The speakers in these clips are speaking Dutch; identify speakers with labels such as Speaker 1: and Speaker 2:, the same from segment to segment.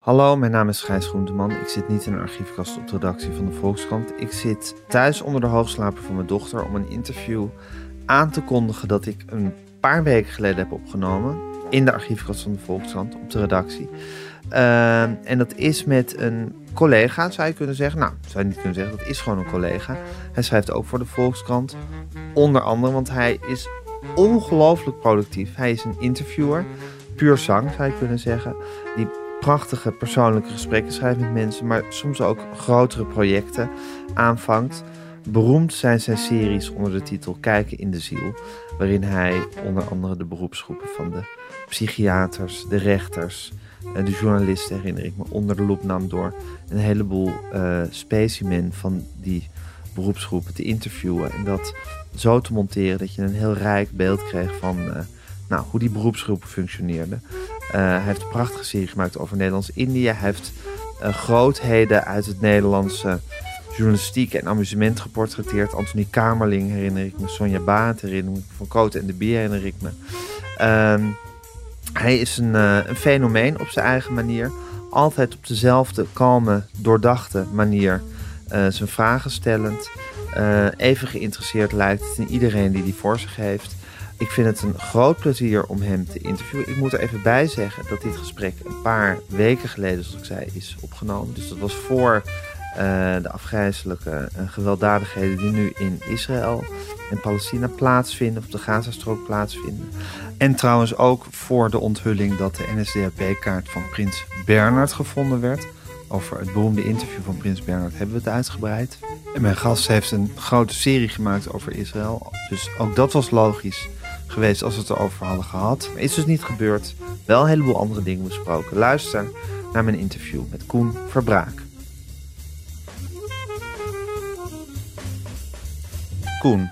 Speaker 1: Hallo, mijn naam is Gijs Groenteman. Ik zit niet in een archiefkast op de redactie van de Volkskrant. Ik zit thuis onder de hoogslaper van mijn dochter om een interview aan te kondigen dat ik een paar weken geleden heb opgenomen in de archiefkast van de Volkskrant op de redactie. Uh, en dat is met een collega, zou je kunnen zeggen. Nou, zou je niet kunnen zeggen, dat is gewoon een collega. Hij schrijft ook voor de Volkskrant. Onder andere, want hij is ongelooflijk productief. Hij is een interviewer, puur zang zou je kunnen zeggen. Die prachtige persoonlijke gesprekken schrijft met mensen, maar soms ook grotere projecten aanvangt. Beroemd zijn zijn series onder de titel Kijken in de Ziel, waarin hij onder andere de beroepsgroepen van de psychiaters, de rechters, eh, de journalisten, herinner ik me, onder de loep nam door een heleboel uh, specimen van die beroepsgroepen te interviewen. En dat zo te monteren dat je een heel rijk beeld kreeg van uh, nou, hoe die beroepsgroepen functioneerden. Uh, hij heeft een prachtige serie gemaakt over Nederlands-Indië. Hij heeft uh, grootheden uit het Nederlandse journalistiek en amusement geportretteerd. Anthony Kamerling herinner ik me, Sonja Baat herinner ik me, Van Koten en de Bier herinner ik me. Uh, hij is een, eh, een, fenomeen op zijn eigen manier. Altijd op dezelfde kalme, doordachte manier eh, zijn vragen stellend. Eh, even geïnteresseerd lijkt in iedereen die die voor zich heeft. Ik vind het een groot plezier om hem te interviewen. Ik moet er even bij zeggen dat dit gesprek een paar weken geleden, zoals ik zei, is opgenomen. Dus dat was voor uh, de afgrijzelijke uh, gewelddadigheden die nu in Israël en Palestina plaatsvinden, op de Gazastrook plaatsvinden. En trouwens ook voor de onthulling dat de NSDAP-kaart van prins Bernard gevonden werd. Over het beroemde interview van Prins Bernhard hebben we het uitgebreid. En mijn gast heeft een grote serie gemaakt over Israël. Dus ook dat was logisch geweest als we het erover hadden gehad. Maar is dus niet gebeurd. Wel een heleboel andere dingen besproken. Luister naar mijn interview met Koen Verbraak. Koen,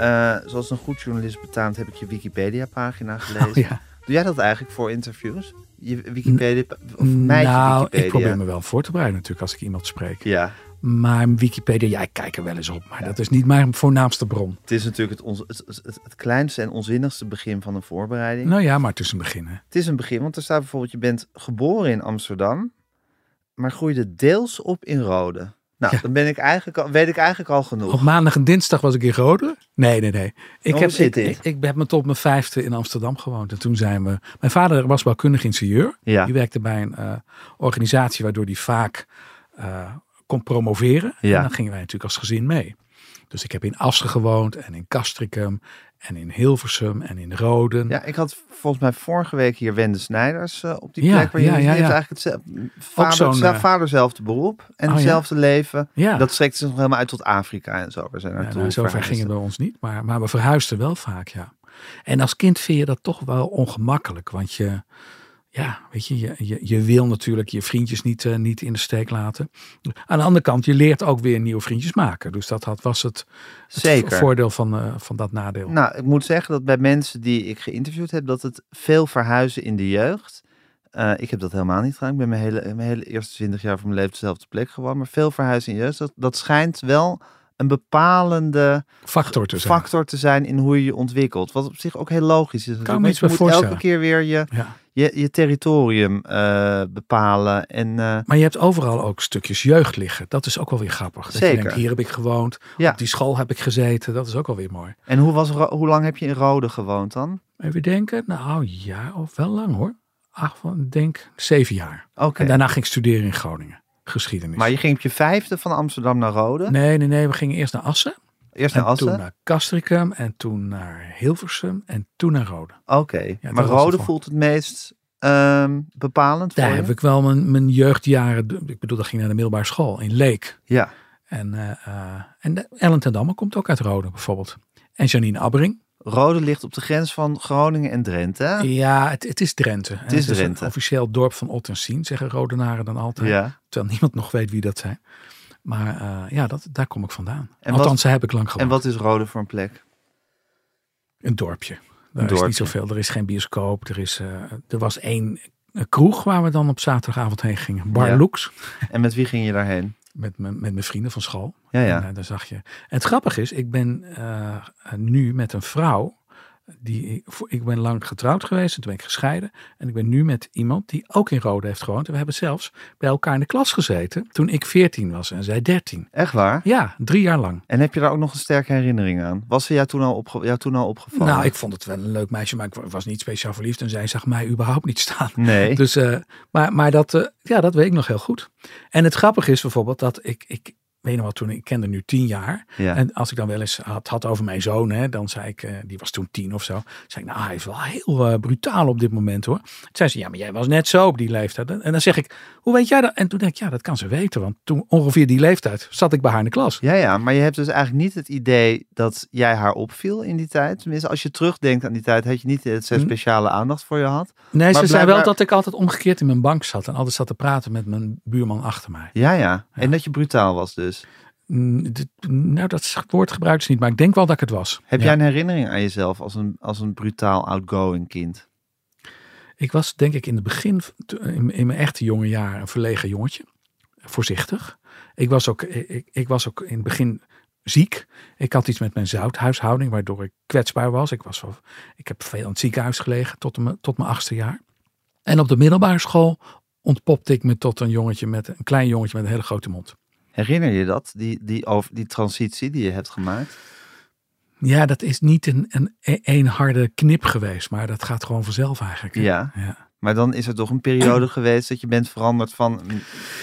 Speaker 1: uh, zoals een goed journalist betaamt heb ik je Wikipedia-pagina gelezen. Oh, ja. Doe jij dat eigenlijk voor interviews? Je Wikipedia, of mij
Speaker 2: nou,
Speaker 1: Wikipedia?
Speaker 2: ik probeer me wel voor te bereiden natuurlijk als ik iemand spreek.
Speaker 1: Ja.
Speaker 2: Maar Wikipedia, ja, ik kijk er wel eens op. Maar ja. dat is niet mijn voornaamste bron.
Speaker 1: Het is natuurlijk het, het, het, het, kleinste en onzinnigste begin van een voorbereiding.
Speaker 2: Nou ja, maar het is een begin. Hè?
Speaker 1: Het is een begin, want er staat bijvoorbeeld: je bent geboren in Amsterdam, maar groeide deels op in Rode. Nou, ja. Oh, dan ben ik eigenlijk al, weet ik eigenlijk al genoeg.
Speaker 2: Op maandag en dinsdag was ik in Rode. Nee, nee, nee. Ik
Speaker 1: Om
Speaker 2: heb,
Speaker 1: Oh, zit
Speaker 2: ik, ik, ik heb me tot mijn vijfde in Amsterdam gewoond. En toen zijn we. Mijn vader was bouwkundig ingenieur.
Speaker 1: Ja.
Speaker 2: Die werkte bij een uh, organisatie waardoor hij vaak. Uh, kon promoveren.
Speaker 1: Ja.
Speaker 2: En dan gingen wij natuurlijk als gezin mee. Dus ik heb in Assen gewoond en in Castricum en in Hilversum en in Roden.
Speaker 1: Ja, ik had volgens mij vorige week hier Wende Snijders uh, op die ja, plek. Waar ja, je ja, heeft eigenlijk hetzelfde, vader, zelf, vaderzelfde beroep en oh, hetzelfde leven. Dat strekt zich nog helemaal uit tot Afrika en zo. We zijn naartoe
Speaker 2: nou, zover gingen we bij ons niet, maar, maar we verhuisden wel vaak, ja. En als kind vind je dat toch wel ongemakkelijk, want je ja, weet je, je, je, je, wil natuurlijk je vriendjes niet, uh, niet in de steek laten. Aan de andere kant, je leert ook weer nieuwe vriendjes maken. Dus dat had, was het, het
Speaker 1: Zeker.
Speaker 2: voordeel van, uh, van dat nadeel.
Speaker 1: Nou, ik moet zeggen dat bij mensen die ik geïnterviewd heb, dat het veel verhuizen in de jeugd. Uh, ik heb dat helemaal niet gedaan. Ik ben mijn hele, mijn hele eerste 20 jaar van mijn leven dezelfde plek gewoon. Maar veel verhuizen in de jeugd, dat, dat schijnt wel een bepalende
Speaker 2: factor te,
Speaker 1: factor zijn. te zijn in hoe je je ontwikkelt. Wat op zich ook heel logisch is.
Speaker 2: Kan me iets
Speaker 1: je moet
Speaker 2: voorstellen.
Speaker 1: elke keer weer je,
Speaker 2: ja.
Speaker 1: je, je territorium uh, bepalen. En, uh,
Speaker 2: maar je hebt overal ook stukjes jeugd liggen. Dat is ook wel weer grappig. Dat
Speaker 1: zeker.
Speaker 2: Je denkt, hier heb ik gewoond.
Speaker 1: Ja.
Speaker 2: Op die school heb ik gezeten. Dat is ook alweer mooi.
Speaker 1: En hoe, was, hoe lang heb je in Rode gewoond dan?
Speaker 2: Even denken. Nou ja, of wel lang hoor. Acht van, denk zeven jaar.
Speaker 1: Oké. Okay.
Speaker 2: En daarna ging ik studeren in Groningen geschiedenis.
Speaker 1: Maar je ging op je vijfde van Amsterdam naar Rode?
Speaker 2: Nee, nee, nee. We gingen eerst naar Assen.
Speaker 1: Eerst naar
Speaker 2: en
Speaker 1: Assen?
Speaker 2: toen naar Castricum en toen naar Hilversum en toen naar Rode.
Speaker 1: Oké, okay. ja, maar Rode het voelt het meest um, bepalend
Speaker 2: Daar
Speaker 1: voor
Speaker 2: heb ik wel mijn, mijn jeugdjaren... Ik bedoel, dat ging naar de middelbare school in Leek.
Speaker 1: Ja.
Speaker 2: En, uh, uh, en Ellen ten Damme komt ook uit Rode bijvoorbeeld. En Janine Abbering.
Speaker 1: Rode ligt op de grens van Groningen en Drenthe. Hè?
Speaker 2: Ja, het, het, is Drenthe.
Speaker 1: Het is,
Speaker 2: het
Speaker 1: is Drenthe.
Speaker 2: officieel dorp van Ot en Sien, zeggen Rodenaren dan altijd.
Speaker 1: Ja.
Speaker 2: Terwijl niemand nog weet wie dat zijn. Maar uh, ja, dat, daar kom ik vandaan.
Speaker 1: En
Speaker 2: Althans, wat, heb ik lang gewoond.
Speaker 1: En wat is Rode voor een plek?
Speaker 2: Een dorpje. Er
Speaker 1: een dorpje. is
Speaker 2: niet zoveel. Er is geen bioscoop. Er, is, uh, er was één eh, kroeg waar we dan op zaterdagavond heen gingen. Bar ja. Lux.
Speaker 1: En met wie ging je daarheen?
Speaker 2: met, mijn, met mijn vrienden van school. eh,
Speaker 1: Ja, ja.
Speaker 2: En, uh, daar zag je. En het grappige is, ik ben uh, nu met een vrouw die, ik ben lang getrouwd geweest en toen ben ik gescheiden. En ik ben nu met iemand die ook in Rode heeft gewoond. En we hebben zelfs bij elkaar in de klas gezeten toen ik 14 was en zij 13.
Speaker 1: Echt waar?
Speaker 2: Ja, drie jaar lang.
Speaker 1: En heb je daar ook nog een sterke herinnering aan? Was ze jou toen al, opge jou toen al opgevallen?
Speaker 2: Nou, ik vond het wel een leuk meisje, maar ik was niet speciaal verliefd. En zij zag mij überhaupt niet staan.
Speaker 1: Nee.
Speaker 2: Dus, eh, maar maar dat, eh, ja, dat weet ik nog heel goed. En het grappige is bijvoorbeeld dat ik, ik weet nog wel, toen ik kende nu tien jaar.
Speaker 1: ja.
Speaker 2: En als ik dan wel eens had, had over mijn zoon, hè, dan zei ik, eh, die was toen tien of zo. zei ik, nou hij is wel heel eh, brutaal op dit moment hoor. Toen zei ze, ja maar jij was net zo op die leeftijd. En dan zeg ik, hoe weet jij dat? En toen denk ik, ja dat kan ze weten. Want toen ongeveer die leeftijd zat ik bij haar in de klas.
Speaker 1: ja, ja, maar je hebt dus eigenlijk niet het idee dat jij haar opviel in die tijd. Tenminste, als je terugdenkt aan die tijd, had je niet dat zij
Speaker 2: Hm.
Speaker 1: speciale aandacht voor je had.
Speaker 2: Nee, ze zei wel
Speaker 1: blijkbaar-
Speaker 2: dat ik altijd omgekeerd in mijn bank zat. En altijd zat te praten met mijn buurman achter mij.
Speaker 1: Ja, ja. En dat je brutaal was dus.
Speaker 2: Mm, dit- Nou dat woord gebruikt ze niet, maar ik denk wel dat ik het was.
Speaker 1: Heb
Speaker 2: Ja.
Speaker 1: jij een herinnering aan jezelf als een, als een brutaal outgoing kind?
Speaker 2: Ik was denk ik in het begin, in, in mijn echte jonge jaren, een verlegen jongetje. Voorzichtig. Ik was, ook, ik, ik was ook in het begin ziek. Ik had iets met mijn zouthuishouding, waardoor ik kwetsbaar was. Ik, was wel, ik heb veel in het ziekenhuis gelegen tot mijn, tot mijn achtste jaar. En op de middelbare school ontpopte ik me tot een jongetje met een klein jongetje met een hele grote mond.
Speaker 1: Herinner je dat, die, die, over, die transitie die je hebt gemaakt?
Speaker 2: Ja, dat is niet een, een, een harde knip geweest, maar dat gaat gewoon vanzelf eigenlijk. hè?
Speaker 1: Ja.
Speaker 2: Ja.
Speaker 1: Maar dan is er toch een periode geweest dat je bent veranderd van een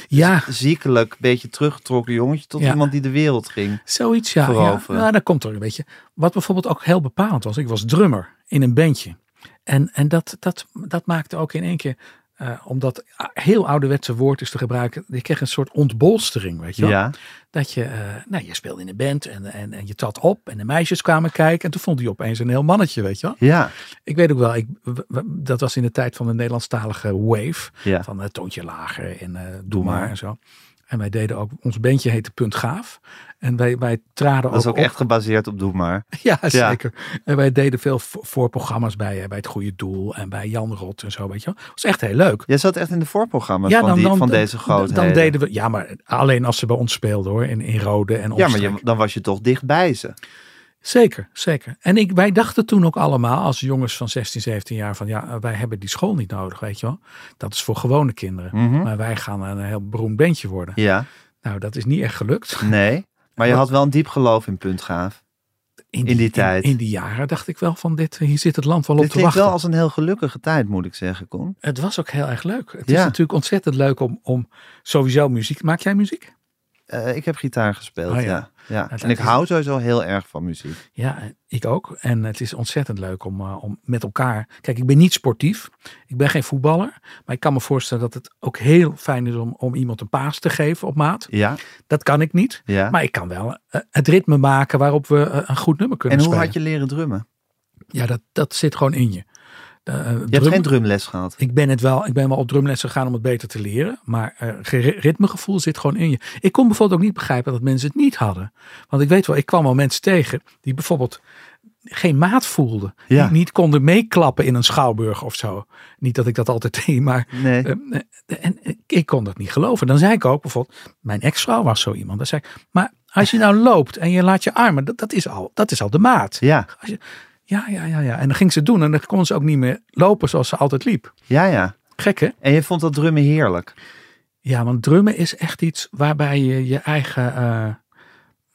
Speaker 2: ja.
Speaker 1: ziekelijk, beetje teruggetrokken jongetje tot
Speaker 2: Ja.
Speaker 1: iemand die de wereld ging.
Speaker 2: Zoiets, ja. ja.
Speaker 1: Veroveren.
Speaker 2: Nou, dat komt er een beetje. Wat bijvoorbeeld ook heel bepaald was. Ik was drummer in een bandje. En, en dat, dat, dat maakte ook in één keer, eh, omdat heel ouderwetse woord is te gebruiken. Je kreeg een soort ontbolstering, weet je wel.
Speaker 1: Ja.
Speaker 2: Dat je, eh, nou, je speelde in een band en, en, en je trad op en de meisjes kwamen kijken. En toen vond hij opeens een heel mannetje, weet je wel.
Speaker 1: Ja.
Speaker 2: Ik weet ook wel, ik, w- w- dat was in de tijd van de Nederlandstalige wave.
Speaker 1: Ja.
Speaker 2: Van eh, toontje lager en eh, doe maar en zo. En wij deden ook, ons bandje heette Punt Gaaf. En wij, wij traden
Speaker 1: Dat is ook
Speaker 2: op.
Speaker 1: echt gebaseerd op Doe Maar.
Speaker 2: Ja, zeker. En wij deden veel vo- voorprogramma's bij, eh, bij Het Goede Doel en bij Jan Rot en zo, weet je wel. Dat was echt heel leuk.
Speaker 1: Jij zat echt in de voorprogramma's van, die, van deze grootheden.
Speaker 2: Dan deden we, ja, maar alleen als ze bij ons speelden hoor, in, in Rode en
Speaker 1: ja, maar
Speaker 2: omstreken.
Speaker 1: je- dan was je toch dichtbij ze.
Speaker 2: Zeker, zeker. En ik, wij dachten toen ook allemaal als jongens van 16, 17 jaar van ja, eh, wij hebben die school niet nodig, weet je wel. Dat is voor gewone kinderen.
Speaker 1: Mhm.
Speaker 2: Maar wij gaan een heel beroemd bandje worden.
Speaker 1: Ja,
Speaker 2: Nou, dat is niet echt gelukt.
Speaker 1: nee. Maar je
Speaker 2: Wat-
Speaker 1: had wel een diep geloof in Puntgaaf.
Speaker 2: In
Speaker 1: die tijd.
Speaker 2: In, die jaren dacht ik wel van dit, eh, hier zit het land wel op
Speaker 1: Dit
Speaker 2: te
Speaker 1: klinkt
Speaker 2: wachten.
Speaker 1: wel als een heel gelukkige tijd, moet ik zeggen, Koen.
Speaker 2: Het was ook heel erg leuk. Het is
Speaker 1: Ja.
Speaker 2: natuurlijk ontzettend leuk om, om sowieso muziek. Maak jij muziek?
Speaker 1: Eh, ik heb gitaar gespeeld,
Speaker 2: Oh,
Speaker 1: ja.
Speaker 2: ja.
Speaker 1: ja. En ik
Speaker 2: uiteindelijk-
Speaker 1: hou sowieso heel erg van muziek.
Speaker 2: Ja, ik ook. En het is ontzettend leuk om, eh, om met elkaar. Kijk, ik ben niet sportief. Ik ben geen voetballer. Maar ik kan me voorstellen dat het ook heel fijn is om, om iemand een paas te geven op maat.
Speaker 1: Ja,
Speaker 2: Dat kan ik niet.
Speaker 1: ja.
Speaker 2: Maar ik kan wel eh, het ritme maken waarop we eh, een goed nummer
Speaker 1: en
Speaker 2: kunnen
Speaker 1: hoe
Speaker 2: spelen.
Speaker 1: had je leren drummen?
Speaker 2: Ja, dat, dat zit gewoon in je. Eh,
Speaker 1: Je
Speaker 2: eh, drum-
Speaker 1: hebt geen drumles gehad.
Speaker 2: Ik ben het wel. Ik ben wel op drumlessen gegaan om het beter te leren. Maar eh, ge- ritmegevoel zit gewoon in je. Ik kon bijvoorbeeld ook niet begrijpen dat mensen het niet hadden. Want ik weet wel, ik kwam wel mensen tegen die bijvoorbeeld geen maat voelden.
Speaker 1: Ja.
Speaker 2: Die niet konden meeklappen in een schouwburg of zo. Niet dat ik dat altijd deed, maar
Speaker 1: Nee.
Speaker 2: eh, eh, en ik- ik kon dat niet geloven. Dan zei ik ook bijvoorbeeld, mijn ex-vrouw was zo iemand. Dan zei ik, maar als je nou loopt en je laat je armen, dat, dat, is, al, dat is al de maat.
Speaker 1: Ja,
Speaker 2: Als je- ja, ja, ja, ja. En dan ging ze het doen en dan kon ze ook niet meer lopen zoals ze altijd liep.
Speaker 1: ja, ja.
Speaker 2: Gek hè?
Speaker 1: En je vond dat drummen heerlijk.
Speaker 2: Ja, want drummen is echt iets waarbij je je eigen. eh,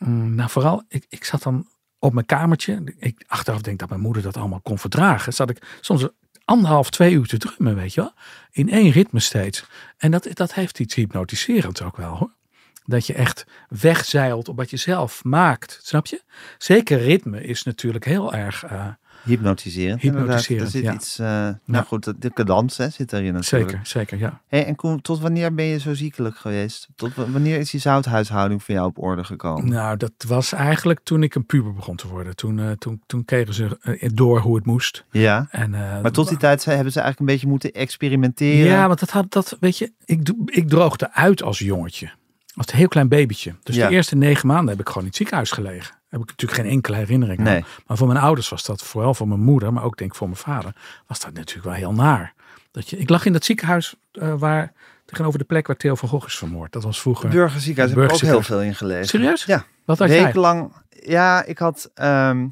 Speaker 2: mm, nou, vooral, ik, ik zat dan op mijn kamertje. Ik achteraf denk dat mijn moeder dat allemaal kon verdragen. Zat ik soms anderhalf, twee uur te drummen, weet je wel. In één ritme steeds. En dat, dat heeft iets hypnotiserends ook wel hoor. Dat je echt wegzeilt op wat je zelf maakt. Snap je? Zeker ritme is natuurlijk heel erg. eh,
Speaker 1: Hypnotiserend. inderdaad.
Speaker 2: Hypnotiserend,
Speaker 1: Er zit
Speaker 2: ja.
Speaker 1: iets... eh, Nou goed, de- de cadans hè, zit erin natuurlijk.
Speaker 2: zeker, zeker, ja.
Speaker 1: Hey, en Koen, tot wanneer ben je zo ziekelijk geweest? Tot w- wanneer is die zouthuishouding van jou op orde gekomen?
Speaker 2: Nou, dat was eigenlijk toen ik een puber begon te worden. Toen, eh, toen, toen kregen ze eh, door hoe het moest.
Speaker 1: Ja,
Speaker 2: En, eh,
Speaker 1: maar tot eh, die tijd zijn- hebben ze eigenlijk een beetje moeten experimenteren.
Speaker 2: Ja, want dat had dat, weet je, ik, do- ik droogde uit als jongetje. Als een heel klein babytje. Dus
Speaker 1: Ja.
Speaker 2: de eerste negen maanden heb ik gewoon in het ziekenhuis gelegen. Heb ik natuurlijk geen enkele herinnering aan.
Speaker 1: Nee.
Speaker 2: Maar voor mijn ouders was dat, vooral voor mijn moeder, maar ook denk ik voor mijn vader, was dat natuurlijk wel heel naar. Dat je, ik lag in dat ziekenhuis eh, waar, tegenover de plek waar Theo van Gogh is vermoord. Dat was vroeger.
Speaker 1: Burgerziekenhuis heb ik ook heel
Speaker 2: Burgerziekenhuis.
Speaker 1: veel in gelezen.
Speaker 2: Serieus?
Speaker 1: Ja,
Speaker 2: Wat had jij?
Speaker 1: wekenlang. Ja, ik had ehm,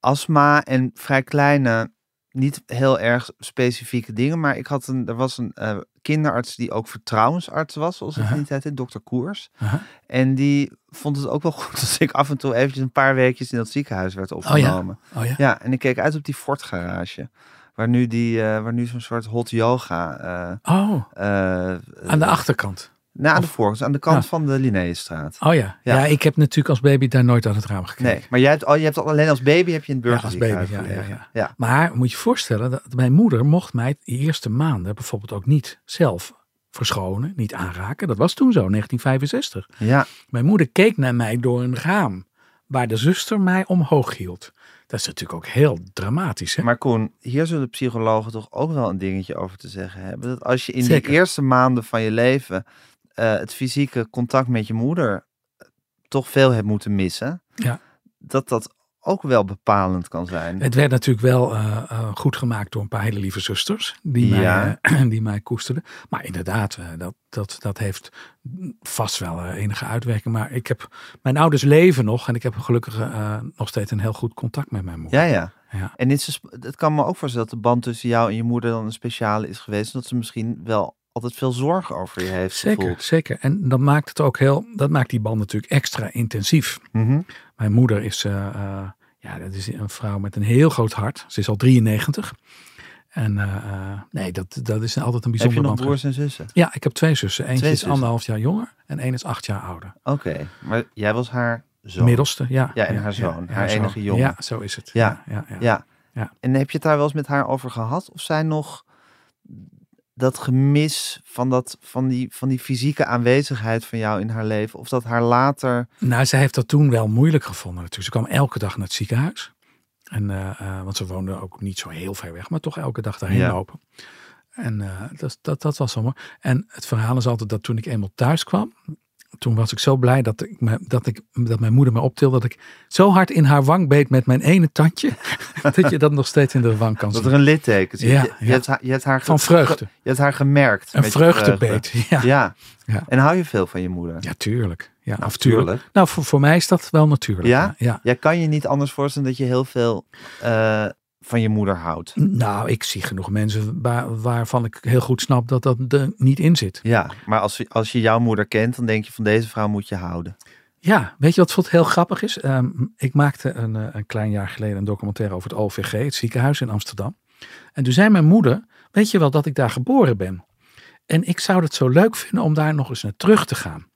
Speaker 1: astma en vrij kleine, niet heel erg specifieke dingen. Maar ik had een, er was een eh, kinderarts die ook vertrouwensarts was, zoals het
Speaker 2: Aha.
Speaker 1: in die tijd heet, dokter Koers.
Speaker 2: Aha.
Speaker 1: En die vond het ook wel goed als ik af en toe eventjes een paar weekjes in dat ziekenhuis werd opgenomen.
Speaker 2: Oh ja?
Speaker 1: ja. en ik keek uit op die Ford garage. Waar nu, die, eh, waar nu zo'n soort hot yoga. eh,
Speaker 2: Oh,
Speaker 1: eh,
Speaker 2: aan de achterkant.
Speaker 1: nou, aan de
Speaker 2: Of-
Speaker 1: voorkant, aan de kant
Speaker 2: Ja.
Speaker 1: van de Linnaeusstraat.
Speaker 2: Oh ja. ja.
Speaker 1: Ja.
Speaker 2: ik heb natuurlijk als baby daar nooit uit het raam gekeken.
Speaker 1: Nee, maar jij hebt, al, je hebt al, alleen als baby heb je in het
Speaker 2: Ja, als baby,
Speaker 1: burgerziekenhuis
Speaker 2: ja, ja,
Speaker 1: gelegen.
Speaker 2: ja.
Speaker 1: Ja.
Speaker 2: Maar moet je voorstellen, dat mijn moeder mocht mij de eerste maanden bijvoorbeeld ook niet zelf verschonen, niet aanraken. Dat was toen zo, 1965.
Speaker 1: Ja,
Speaker 2: Mijn moeder keek naar mij door een raam waar de zuster mij omhoog hield. Dat is natuurlijk ook heel dramatisch, hè?
Speaker 1: maar Koen, hier zullen psychologen toch ook wel een dingetje over te zeggen hebben. Dat als je in
Speaker 2: Zeker.
Speaker 1: die eerste maanden van je leven eh, het fysieke contact met je moeder eh, toch veel hebt moeten missen,
Speaker 2: Ja.
Speaker 1: dat dat ook wel bepalend kan zijn.
Speaker 2: Het werd natuurlijk wel eh, eh, goed gemaakt door een paar hele lieve zusters die,
Speaker 1: Ja.
Speaker 2: mij, eh, die mij koesterden. Maar inderdaad, eh, dat, dat, dat heeft vast wel eh, enige uitwerking. Maar ik heb, mijn ouders leven nog en ik heb gelukkig eh, nog steeds een heel goed contact met mijn moeder.
Speaker 1: Ja, ja.
Speaker 2: Ja.
Speaker 1: En is het, het kan me ook voorstellen dat de band tussen jou en je moeder dan een speciale is geweest. Omdat ze misschien wel altijd veel zorg over je heeft
Speaker 2: Zeker,
Speaker 1: gevoeld.
Speaker 2: zeker. En dat maakt het ook heel, dat maakt die band natuurlijk extra intensief.
Speaker 1: Mhm.
Speaker 2: Mijn moeder is, eh, eh, ja, dat is een vrouw met een heel groot hart. Ze is al 93. En eh, eh, nee, dat, dat is altijd een
Speaker 1: Heb je
Speaker 2: bijzondere
Speaker 1: nog
Speaker 2: band. geweest.
Speaker 1: broers en zussen?
Speaker 2: Ja, ik heb twee zussen. Eentje
Speaker 1: Twee
Speaker 2: is
Speaker 1: zussen.
Speaker 2: anderhalf jaar jonger en één is acht jaar ouder.
Speaker 1: Oké, maar jij was haar zoon.
Speaker 2: Middelste, ja.
Speaker 1: Ja, en haar zoon, haar enige
Speaker 2: zoon.
Speaker 1: jongen.
Speaker 2: Ja, zo is het.
Speaker 1: Ja.
Speaker 2: ja, ja.
Speaker 1: Ja.
Speaker 2: Ja.
Speaker 1: En heb je het daar wel eens met haar over gehad? Of zij nog dat gemis van, dat, van, die, van die fysieke aanwezigheid van jou in haar leven? Of dat haar later...
Speaker 2: Nou, zij heeft dat toen wel moeilijk gevonden natuurlijk. Ze kwam elke dag naar het ziekenhuis. En, eh, eh, want ze woonde ook niet zo heel ver weg, maar toch elke dag daarheen
Speaker 1: Ja.
Speaker 2: lopen. En eh, dat, dat, dat was allemaal. En het verhaal is altijd dat toen ik eenmaal thuis kwam, toen was ik zo blij dat, ik me, dat, ik, dat mijn moeder me optilde. Dat ik zo hard in haar wang beet met mijn ene tandje, dat je dat nog steeds in de wang kan
Speaker 1: Dat er
Speaker 2: zien.
Speaker 1: een litteken zit.
Speaker 2: Ja,
Speaker 1: je, je
Speaker 2: ja.
Speaker 1: hebt haar, je, hebt haar ge-
Speaker 2: Van vreugde.
Speaker 1: je hebt haar gemerkt.
Speaker 2: Een
Speaker 1: met je
Speaker 2: vreugdebeet, ja.
Speaker 1: vreugde. eh, Ja.
Speaker 2: Ja.
Speaker 1: En hou je veel van je moeder?
Speaker 2: Ja, tuurlijk. Ja,
Speaker 1: Nou,
Speaker 2: of tuurlijk.
Speaker 1: tuurlijk.
Speaker 2: Nou, voor, voor mij is dat wel natuurlijk.
Speaker 1: Ja?
Speaker 2: ja. ja.
Speaker 1: Jij kan je niet anders voorstellen dat je heel veel eh, van je moeder houdt.
Speaker 2: Nou, ik zie genoeg mensen waar- waarvan ik heel goed snap dat dat er niet in zit.
Speaker 1: Ja, maar als, als je jouw moeder kent, dan denk je van deze vrouw moet je houden.
Speaker 2: Ja, weet je wat vond heel grappig is? Ehm, ik maakte een, eh, een klein jaar geleden een documentaire over het OVG, het ziekenhuis in Amsterdam. En toen zei mijn moeder, weet je wel dat ik daar geboren ben? En ik zou het zo leuk vinden om daar nog eens naar terug te gaan.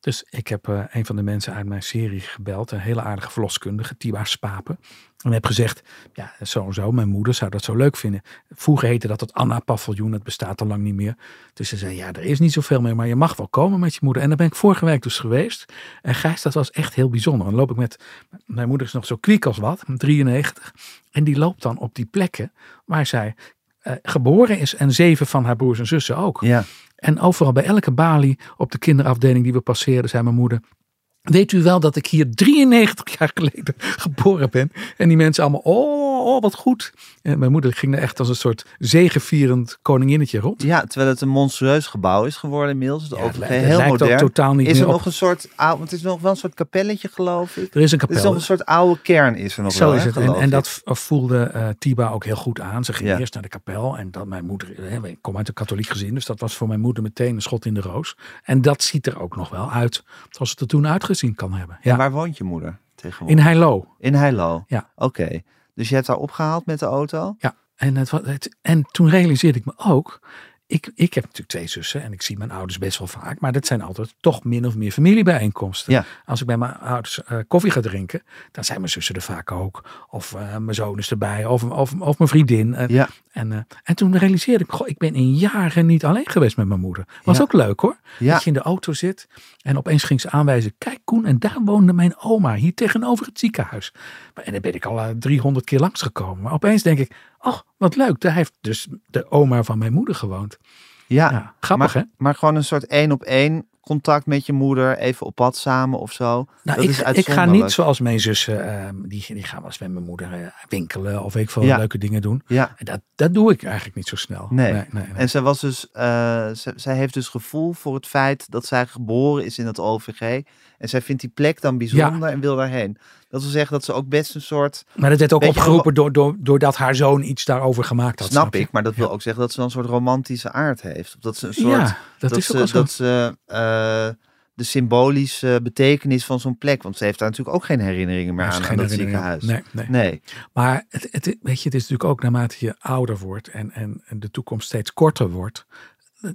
Speaker 2: Dus ik heb eh, een van de mensen uit mijn serie gebeld, een hele aardige verloskundige, Tiba Spapen. En heb gezegd, ja, zo en zo, mijn moeder zou dat zo leuk vinden. Vroeger heette dat het Anna-paviljoen, het bestaat al lang niet meer. Dus ze zei, ja, er is niet zoveel meer, maar je mag wel komen met je moeder. En daar ben ik vorige week dus geweest. En Gijs, dat was echt heel bijzonder. Dan loop ik met, mijn moeder is nog zo kwiek als wat, 93. En die loopt dan op die plekken waar zij eh, geboren is en zeven van haar broers en zussen ook.
Speaker 1: Ja.
Speaker 2: En overal bij elke balie op de kinderafdeling die we passeerden, zei mijn moeder. Weet u wel dat ik hier 93 jaar geleden geboren ben? En die mensen allemaal, oh, oh wat goed. En mijn moeder ging daar echt als een soort zegevierend koninginnetje rond.
Speaker 1: ja, terwijl het een monstrueus gebouw is geworden inmiddels. Het
Speaker 2: Ja,
Speaker 1: OVG,
Speaker 2: het li- het
Speaker 1: heel
Speaker 2: lijkt ook
Speaker 1: modern.
Speaker 2: totaal niet
Speaker 1: is er
Speaker 2: meer op-
Speaker 1: nog een soort, oude, want het is nog wel een soort kapelletje geloof ik.
Speaker 2: Er is een
Speaker 1: Het is
Speaker 2: kapel.
Speaker 1: nog een soort oude kern is er nog
Speaker 2: Zo
Speaker 1: wel.
Speaker 2: is
Speaker 1: hè,
Speaker 2: het. En,
Speaker 1: geloof
Speaker 2: en
Speaker 1: ik.
Speaker 2: dat v- voelde eh, Tiba ook heel goed aan. Ze ging
Speaker 1: Ja.
Speaker 2: eerst naar de kapel. En dat mijn moeder, hè, ik kom uit een katholiek gezin, dus dat was voor mijn moeder meteen een schot in de roos. En dat ziet er ook nog wel uit, zoals het er toen uitgezien kan hebben.
Speaker 1: En
Speaker 2: Ja.
Speaker 1: waar woont je moeder
Speaker 2: In
Speaker 1: tegenwoordig?
Speaker 2: Heilo.
Speaker 1: In Heilo?
Speaker 2: Ja.
Speaker 1: Oké, dus je hebt haar opgehaald met de auto?
Speaker 2: Ja, en, het, wa- het, en toen realiseerde ik me ook. Ik, ik heb natuurlijk twee zussen en ik zie mijn ouders best wel vaak. Maar dat zijn altijd toch min of meer familiebijeenkomsten.
Speaker 1: Ja.
Speaker 2: Als ik bij mijn ouders eh, koffie ga drinken, dan zijn mijn zussen er vaak ook. Of eh, mijn zoon is erbij, of, of, of mijn vriendin. Eh,
Speaker 1: Ja.
Speaker 2: en, eh, en toen realiseerde ik, goh, ik ben in jaren niet alleen geweest met mijn moeder. Was
Speaker 1: Ja.
Speaker 2: ook leuk hoor.
Speaker 1: Ja.
Speaker 2: Dat je in de auto zit en opeens ging ze aanwijzen. Kijk Koen, en daar woonde mijn oma, hier tegenover het ziekenhuis. Maar- En daar ben ik al eh, 300 keer langsgekomen. Maar opeens denk ik, oh wat leuk, daar heeft dus de oma van mijn moeder gewoond.
Speaker 1: Ja,
Speaker 2: Ja, grappig
Speaker 1: maar,
Speaker 2: hè?
Speaker 1: maar gewoon een soort één op één contact met je moeder, even op pad samen of zo.
Speaker 2: Nou,
Speaker 1: dat
Speaker 2: ik,
Speaker 1: is
Speaker 2: ik ga
Speaker 1: uitzonderlijk.
Speaker 2: niet zoals mijn zussen, ehm, die, die gaan wel eens met mijn moeder eh, winkelen of weet ik veel
Speaker 1: Ja.
Speaker 2: leuke dingen doen.
Speaker 1: Ja.
Speaker 2: En dat, dat doe ik eigenlijk niet zo snel.
Speaker 1: Nee.
Speaker 2: nee, nee.
Speaker 1: En zij was dus, eh, ze- zij heeft dus gevoel voor het feit dat zij geboren is in het OVG. En zij vindt die plek dan bijzonder en wil daarheen. Dat wil zeggen dat ze ook best een soort,
Speaker 2: Maar dat werd ook
Speaker 1: Weet je,
Speaker 2: opgeroepen door, door, doordat haar zoon iets daarover gemaakt had.
Speaker 1: snap, ik, maar dat wil ook zeggen dat ze dan een soort romantische aard heeft. Of dat ze een soort,
Speaker 2: ja, dat,
Speaker 1: dat,
Speaker 2: is
Speaker 1: ze,
Speaker 2: ook wel zo.
Speaker 1: dat ze eh, de symbolische betekenis van zo'n plek, want ze heeft daar natuurlijk ook geen herinneringen meer
Speaker 2: Daar is
Speaker 1: aan,
Speaker 2: geen
Speaker 1: aan dat
Speaker 2: herinnering aan.
Speaker 1: ziekenhuis.
Speaker 2: Nee, nee.
Speaker 1: Nee.
Speaker 2: Maar het, het, weet je, het is natuurlijk ook naarmate je ouder wordt en, en, en de toekomst steeds korter wordt.